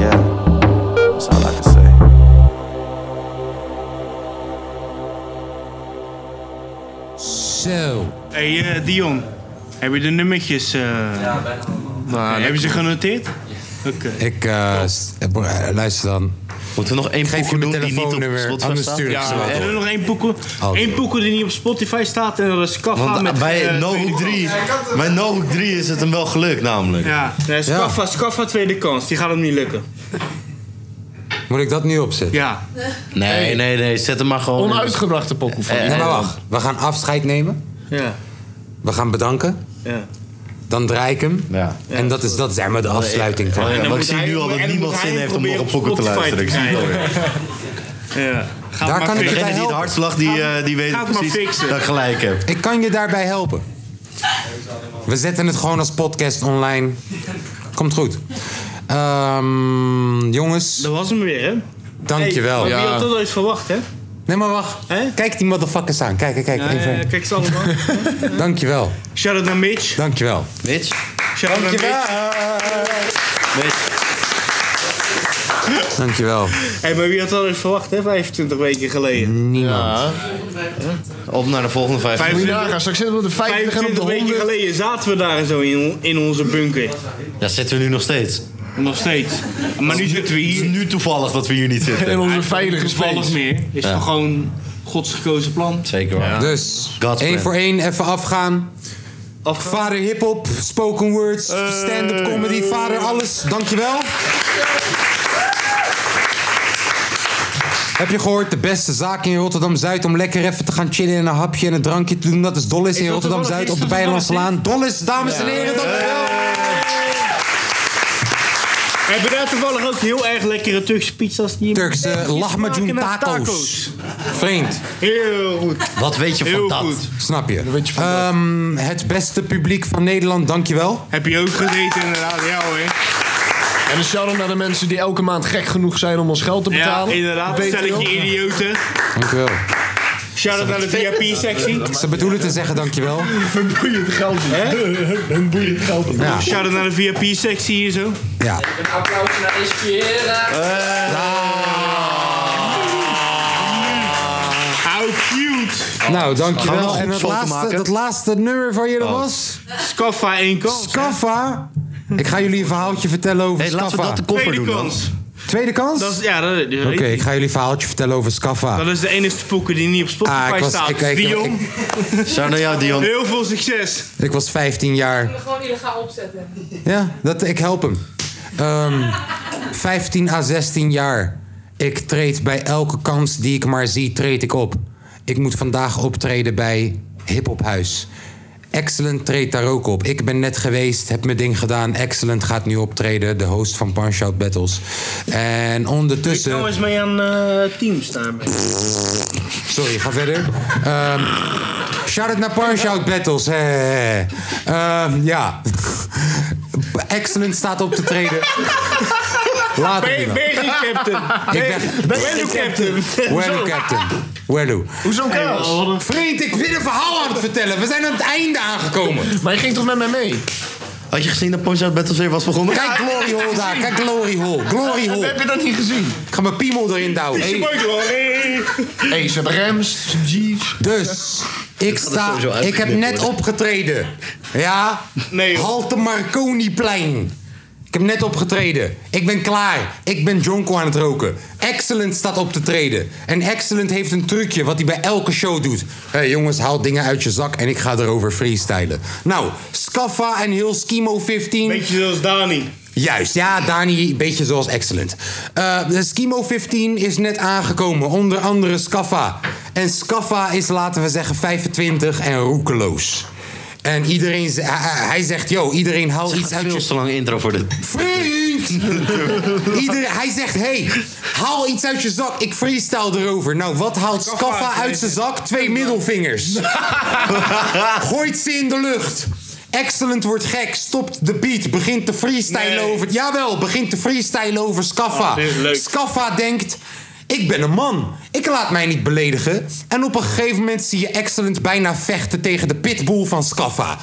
S19: Yeah, that's all I can say.
S22: Zo.
S4: Hey eh, Dion, heb je de nummertjes? eh ja,
S22: Nou,
S4: Hebben ze genoteerd? Oké.
S22: Ik eh, st- eh, bro- eh, luister dan.
S6: Moeten we nog één
S22: Geef je
S6: pokoe
S22: mijn
S6: doen die niet op
S22: telefoonnummer,
S6: Spotify
S22: anders
S6: staat? Oh.
S22: stuur ik
S4: Ja,
S22: ze wel
S4: we
S22: door.
S4: hebben nog één poekoe.
S22: Oké.
S4: Eén poekoe die niet op Spotify staat en dat is Kaffa
S6: Want ah,
S4: met...
S6: bij
S4: eh,
S6: No Hook 3, bij No Hook 3 is het hem wel gelukt namelijk.
S4: Ja, nee, Scaffa, Scaffa tweede kans. Die gaat hem niet lukken.
S22: Moet ik dat nu opzetten?
S4: Ja.
S6: Nee, nee, nee, zet hem maar gewoon. Eh,
S22: Onuitgebrachte pokoe
S6: van
S22: Nee,
S6: die
S22: maar
S6: man.
S22: wacht. We gaan afscheid nemen.
S4: Ja.
S22: We gaan bedanken.
S4: Ja.
S22: Dan draai ik hem. En dat is, dat is zeg maar de afsluiting van.
S6: Eh,
S4: En dan
S22: want
S4: moet hij- en dan moet hij proberen Spotify
S22: het
S4: krijgen.
S22: alweer.
S4: Ja. Ga
S22: Daar
S4: maar
S22: kan ik
S4: fixen.
S22: je bij
S4: Degene die de
S22: helpen.
S6: Hartslag die, eh, die weet
S4: Ga het maar
S6: precies
S4: fixen.
S6: dat ik gelijk heb.
S22: Ik kan je daarbij helpen. We zetten het gewoon als podcast online. Komt goed. Ehm, jongens. Dat
S4: was hem weer, hè?
S22: Dankjewel.
S4: Hey, maar Wie had dat ooit verwacht, hè?
S22: Nee, maar wacht. Kijk die motherfuckers aan. Kijk, kijk, kijk.
S4: Ja,
S22: even.
S4: ja, ja, kijk ze allemaal.
S22: Dankjewel.
S4: Shout-out naar Mitch.
S22: Dankjewel.
S6: Mitch.
S4: Shout-out naar Mitch.
S22: Dankjewel.
S6: Mitch.
S2: Dankjewel.
S4: Hé, maar wie had dat eens verwacht, hè, 25 weken geleden?
S2: Niemand.
S6: Op naar de volgende 50.
S4: dagen, straks zitten we op de
S6: 50 en op de
S4: 25 weken geleden zaten we daar zo in, in onze bunker.
S6: Ja, zitten we nu nog steeds.
S4: Nog steeds. Maar nu zitten we hier.
S6: Het is nu toevallig dat we hier niet zitten.
S4: In onze veilige Toevallig meer. Is
S6: Ja.
S4: toch gewoon Gods gekozen plan?
S6: Zeker waar.
S2: Dus, één voor één, even afgaan. Vader hip-hop, spoken words,
S4: Eh.
S2: stand-up comedy, vader alles. Dankjewel. Heb je gehoord, de beste zaak in Rotterdam-Zuid om lekker even te gaan chillen en een hapje en een drankje te doen? Dat is Dollis in Rotterdam-Zuid op de Bijlandse Laan. Dollis, dames en heren, dankjewel.
S4: Hebben daar toevallig ook heel erg lekkere Turkse pizza's? Die
S2: Turkse lahmacun tacos. Vriend.
S4: Heel goed.
S6: Wat weet je van
S4: Heel
S2: dat?
S4: goed.
S2: Snap je? Ehm, Het beste publiek van Nederland, dankjewel.
S4: Heb je ook gegeten inderdaad, ja hoor.
S8: En een shout-out naar de mensen die elke maand gek genoeg zijn om ons geld te
S4: Ja,
S8: betalen.
S4: inderdaad.
S8: Beter
S4: Stelletje
S8: nog.
S4: idioten.
S2: Dankjewel.
S4: Shout-out naar de VIP-sectie.
S2: Ze bedoelen te zeggen dankjewel.
S4: Hun boeiend geld Hun boeiend geld
S2: Ja.
S4: Shout-out naar de VIP-sectie hier zo.
S2: Ja.
S29: Een applaus naar Inspira.
S4: How cute.
S2: Nou, dankjewel. En het laatste, dat laatste nummer van jullie
S4: Oh.
S2: was?
S4: Scaffa 1 kans.
S2: Scaffa? Ik ga jullie een verhaaltje vertellen over
S4: Hey,
S2: Scaffa.
S4: laten we dat de koffer Tweede doen dan. kans.
S2: Tweede kans?
S4: Dat is, ja, dat, dat
S2: Oké,
S4: weet ik.
S2: ik ga jullie een verhaaltje vertellen over Scaffa.
S4: dat is de enige poeken die niet op Spotify
S2: Ah, ik was-
S4: staat.
S2: ik- ik-
S4: Dion.
S2: Shout naar jou, Dion.
S4: Heel veel succes.
S2: Ik was 15 jaar.
S5: Gewoon illegaal opzetten.
S2: Ja, dat, ik help hem. Ehm, 15 à 16 jaar. Ik treed bij elke kans die ik maar zie, treed ik op. Ik moet vandaag optreden bij Hip Hop Huis. Excellent treedt daar ook op. Ik ben net geweest, heb mijn ding gedaan. Excellent gaat nu optreden, de host van Punch Out Battles. En ondertussen...
S4: Nou eens mee aan eh, Teams daarmee.
S2: Sorry, ga verder. Ehm Shout-out naar Punch Out Battles. hè. Ehm, ja. Excellent staat op te treden. Later.
S4: Ben je- ben je geen captain?
S2: Ik ben...
S4: Ben- ben je geen captain?
S2: Wello
S4: Hoezo?
S2: captain. Wello.
S8: Hoezo kaas?
S2: Vriend, ik wil een verhaal aan het vertellen. We zijn aan het einde aangekomen.
S8: Maar je ging toch met mij mee?
S6: Had je gezien dat Punch Out Battles weer was begonnen?
S2: Kijk Glory Hole daar. Kijk Glory Hole. Glory Hole.
S8: Heb je dat niet gezien?
S2: Ik ga mijn piemel erin
S5: Ah,
S2: douwen.
S8: Hey. Hey, ze hebben rems, G's.
S2: Dus, ik sta... Ik heb net opgetreden. Ja? Nee. Halte Marconiplein. Ik heb net opgetreden. Ik ben klaar. Ik ben Jonko aan het roken. Excellent staat op te treden. En Excellent heeft een trucje wat hij bij elke show doet. Hé hey, jongens, haal dingen uit je zak en ik ga erover freestylen. Nou, Scaffa en heel Schemo 15. Beetje
S4: zoals Dani.
S2: Juist, ja, Dani, een beetje zoals Excellent. Eh, de Schemo 15 is net aangekomen, onder andere Scaffa. En Scaffa is, laten we zeggen, 25 en roekeloos. En iedereen, ze- hij- hij hij zegt, yo, iedereen haal iets uit je...
S6: Veel te lange intro voor dit.
S2: Vriend! Ieder, hij zegt, hey, haal iets uit je zak. Ik freestyle erover. Nou, wat haalt Scaffa uit zijn zak? Twee middelvingers. Gooit ze in de lucht. Excellent wordt gek, stopt de beat, begint te freestylen over... Jawel, begint te freestylen over Scaffa.
S4: Ah, dit is leuk.
S2: Scaffa denkt, ik ben een man. Ik laat mij niet beledigen. En op een gegeven moment zie je Excellent bijna vechten tegen de pitbull van Scaffa.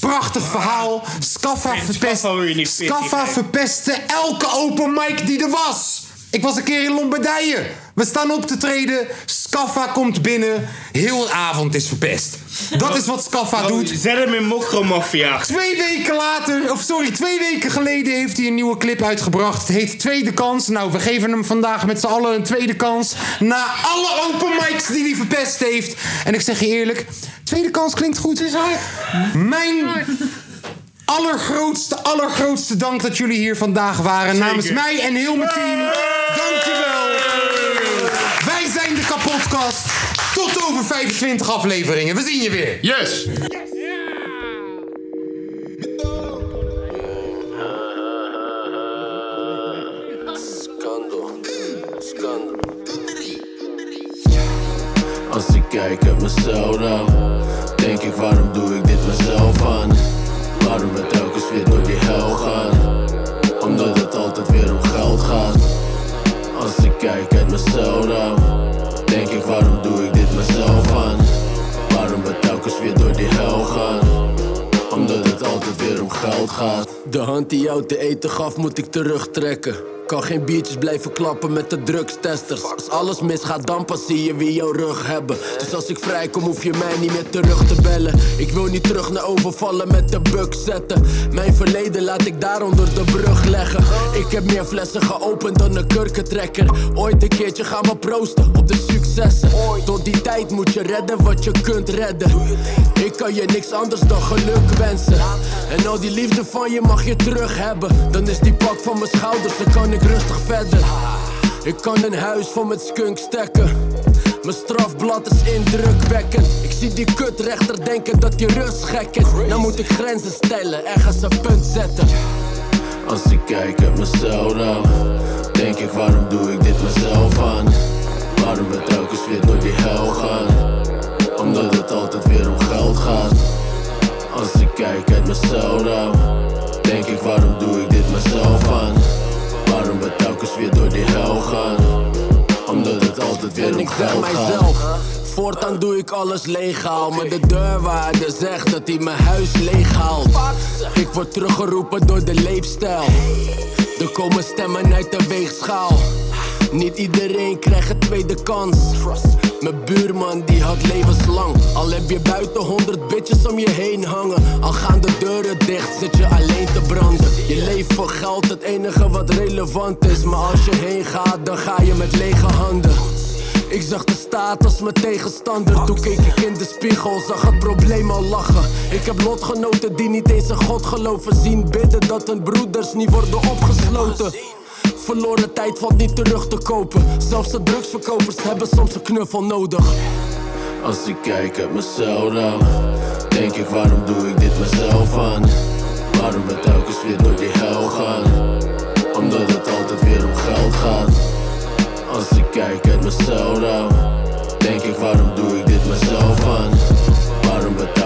S2: Prachtig verhaal. Scaffa verpest, Scaffa verpestte elke open mic die er was. Ik was een keer in Lombardije. We staan op te treden. Scaffa komt binnen. Heel de avond is verpest. Dat is wat Scaffa doet.
S4: Zet hem Oh, in Mokromafia.
S2: Twee weken later, of sorry, twee weken geleden heeft hij een nieuwe clip uitgebracht. Het heet Tweede Kans. Nou, we geven hem vandaag met z'n allen een tweede kans. Na alle open mics die hij verpest heeft. En ik zeg je eerlijk, Tweede Kans klinkt goed. Is Mijn allergrootste, allergrootste dank dat jullie hier vandaag waren. Namens mij en heel mijn team. Dankjewel. Wij zijn de kapotkast. Tot over 25 afleveringen. We zien je weer.
S8: Yes.
S21: Scandal. Scandal. Als ik kijk uit mezelf dan Denk ik waarom doe ik dit mezelf aan Waarom we telkens weer door die hel gaan Omdat het altijd weer om geld gaat Als ik kijk uit mezelf dan Denk ik waarom doe ik dit mezelf aan Waarom we telkens weer door die hel gaan omdat het altijd weer om geld gaat. De hand die jou te eten gaf, moet ik terugtrekken.
S30: Kan geen biertjes blijven klappen met de drugstesters. Als alles misgaat, dan pas zie je wie jouw rug hebben. Dus als ik vrijkom, hoef je mij niet meer terug te bellen. Ik wil niet terug naar overvallen met de buk zetten. Mijn verleden laat ik daaronder de brug leggen. Ik heb meer flessen geopend dan een kurkentrekker. Ooit een keertje gaan we proosten op de successen. Tot die tijd moet je redden wat je kunt redden. Ik kan je niks anders dan geluk wensen. En al die liefde van je mag je terug hebben. Dan is die pak van mijn schouders, dan kan ik rustig verder. Ik kan een huis voor met skunk stekken. Mijn strafblad is indrukwekkend. Ik zie die kutrechter denken dat die rust gek is. Dan moet ik grenzen stellen, ergens een punt zetten.
S21: Als ik kijk uit mezelf dan Denk ik waarom doe ik dit mezelf aan Waarom we telkens weer door die hel gaan Omdat het altijd weer om geld gaat Als ik kijk uit mezelf dan Denk ik waarom doe ik dit mezelf aan Waarom we telkens weer door die hel gaan Omdat het altijd weer
S30: En
S21: om
S30: ik zeg
S21: geld gaat
S30: mijzelf, voortaan doe ik alles legaal. Maar de deurwaarder zegt dat hij mijn huis leeghaalt. Ik word teruggeroepen door de leefstijl. Er komen stemmen uit de weegschaal. Niet iedereen krijgt een tweede kans. Mijn buurman die had levenslang. Al heb je buiten honderd bitches om je heen hangen. Al gaan de deuren dicht, zit je alleen te branden. Je leeft voor geld, het enige wat relevant is. Maar als je heen gaat, dan ga je met lege handen. Ik zag de staat als mijn tegenstander. Toen keek ik in de spiegel, zag het probleem al lachen. Ik heb lotgenoten die niet eens in God geloven. Zien bidden dat hun broeders niet worden opgesloten. Verloren tijd valt niet terug te kopen. Zelfs de drugsverkopers hebben soms een knuffel nodig.
S21: Als ik kijk uit mezelf dan Denk ik waarom doe ik dit mezelf aan Waarom we telkens weer door die hel gaan Omdat het altijd weer om geld gaat Als ik kijk uit mezelf dan Denk ik waarom doe ik dit mezelf aan Waarom we telkens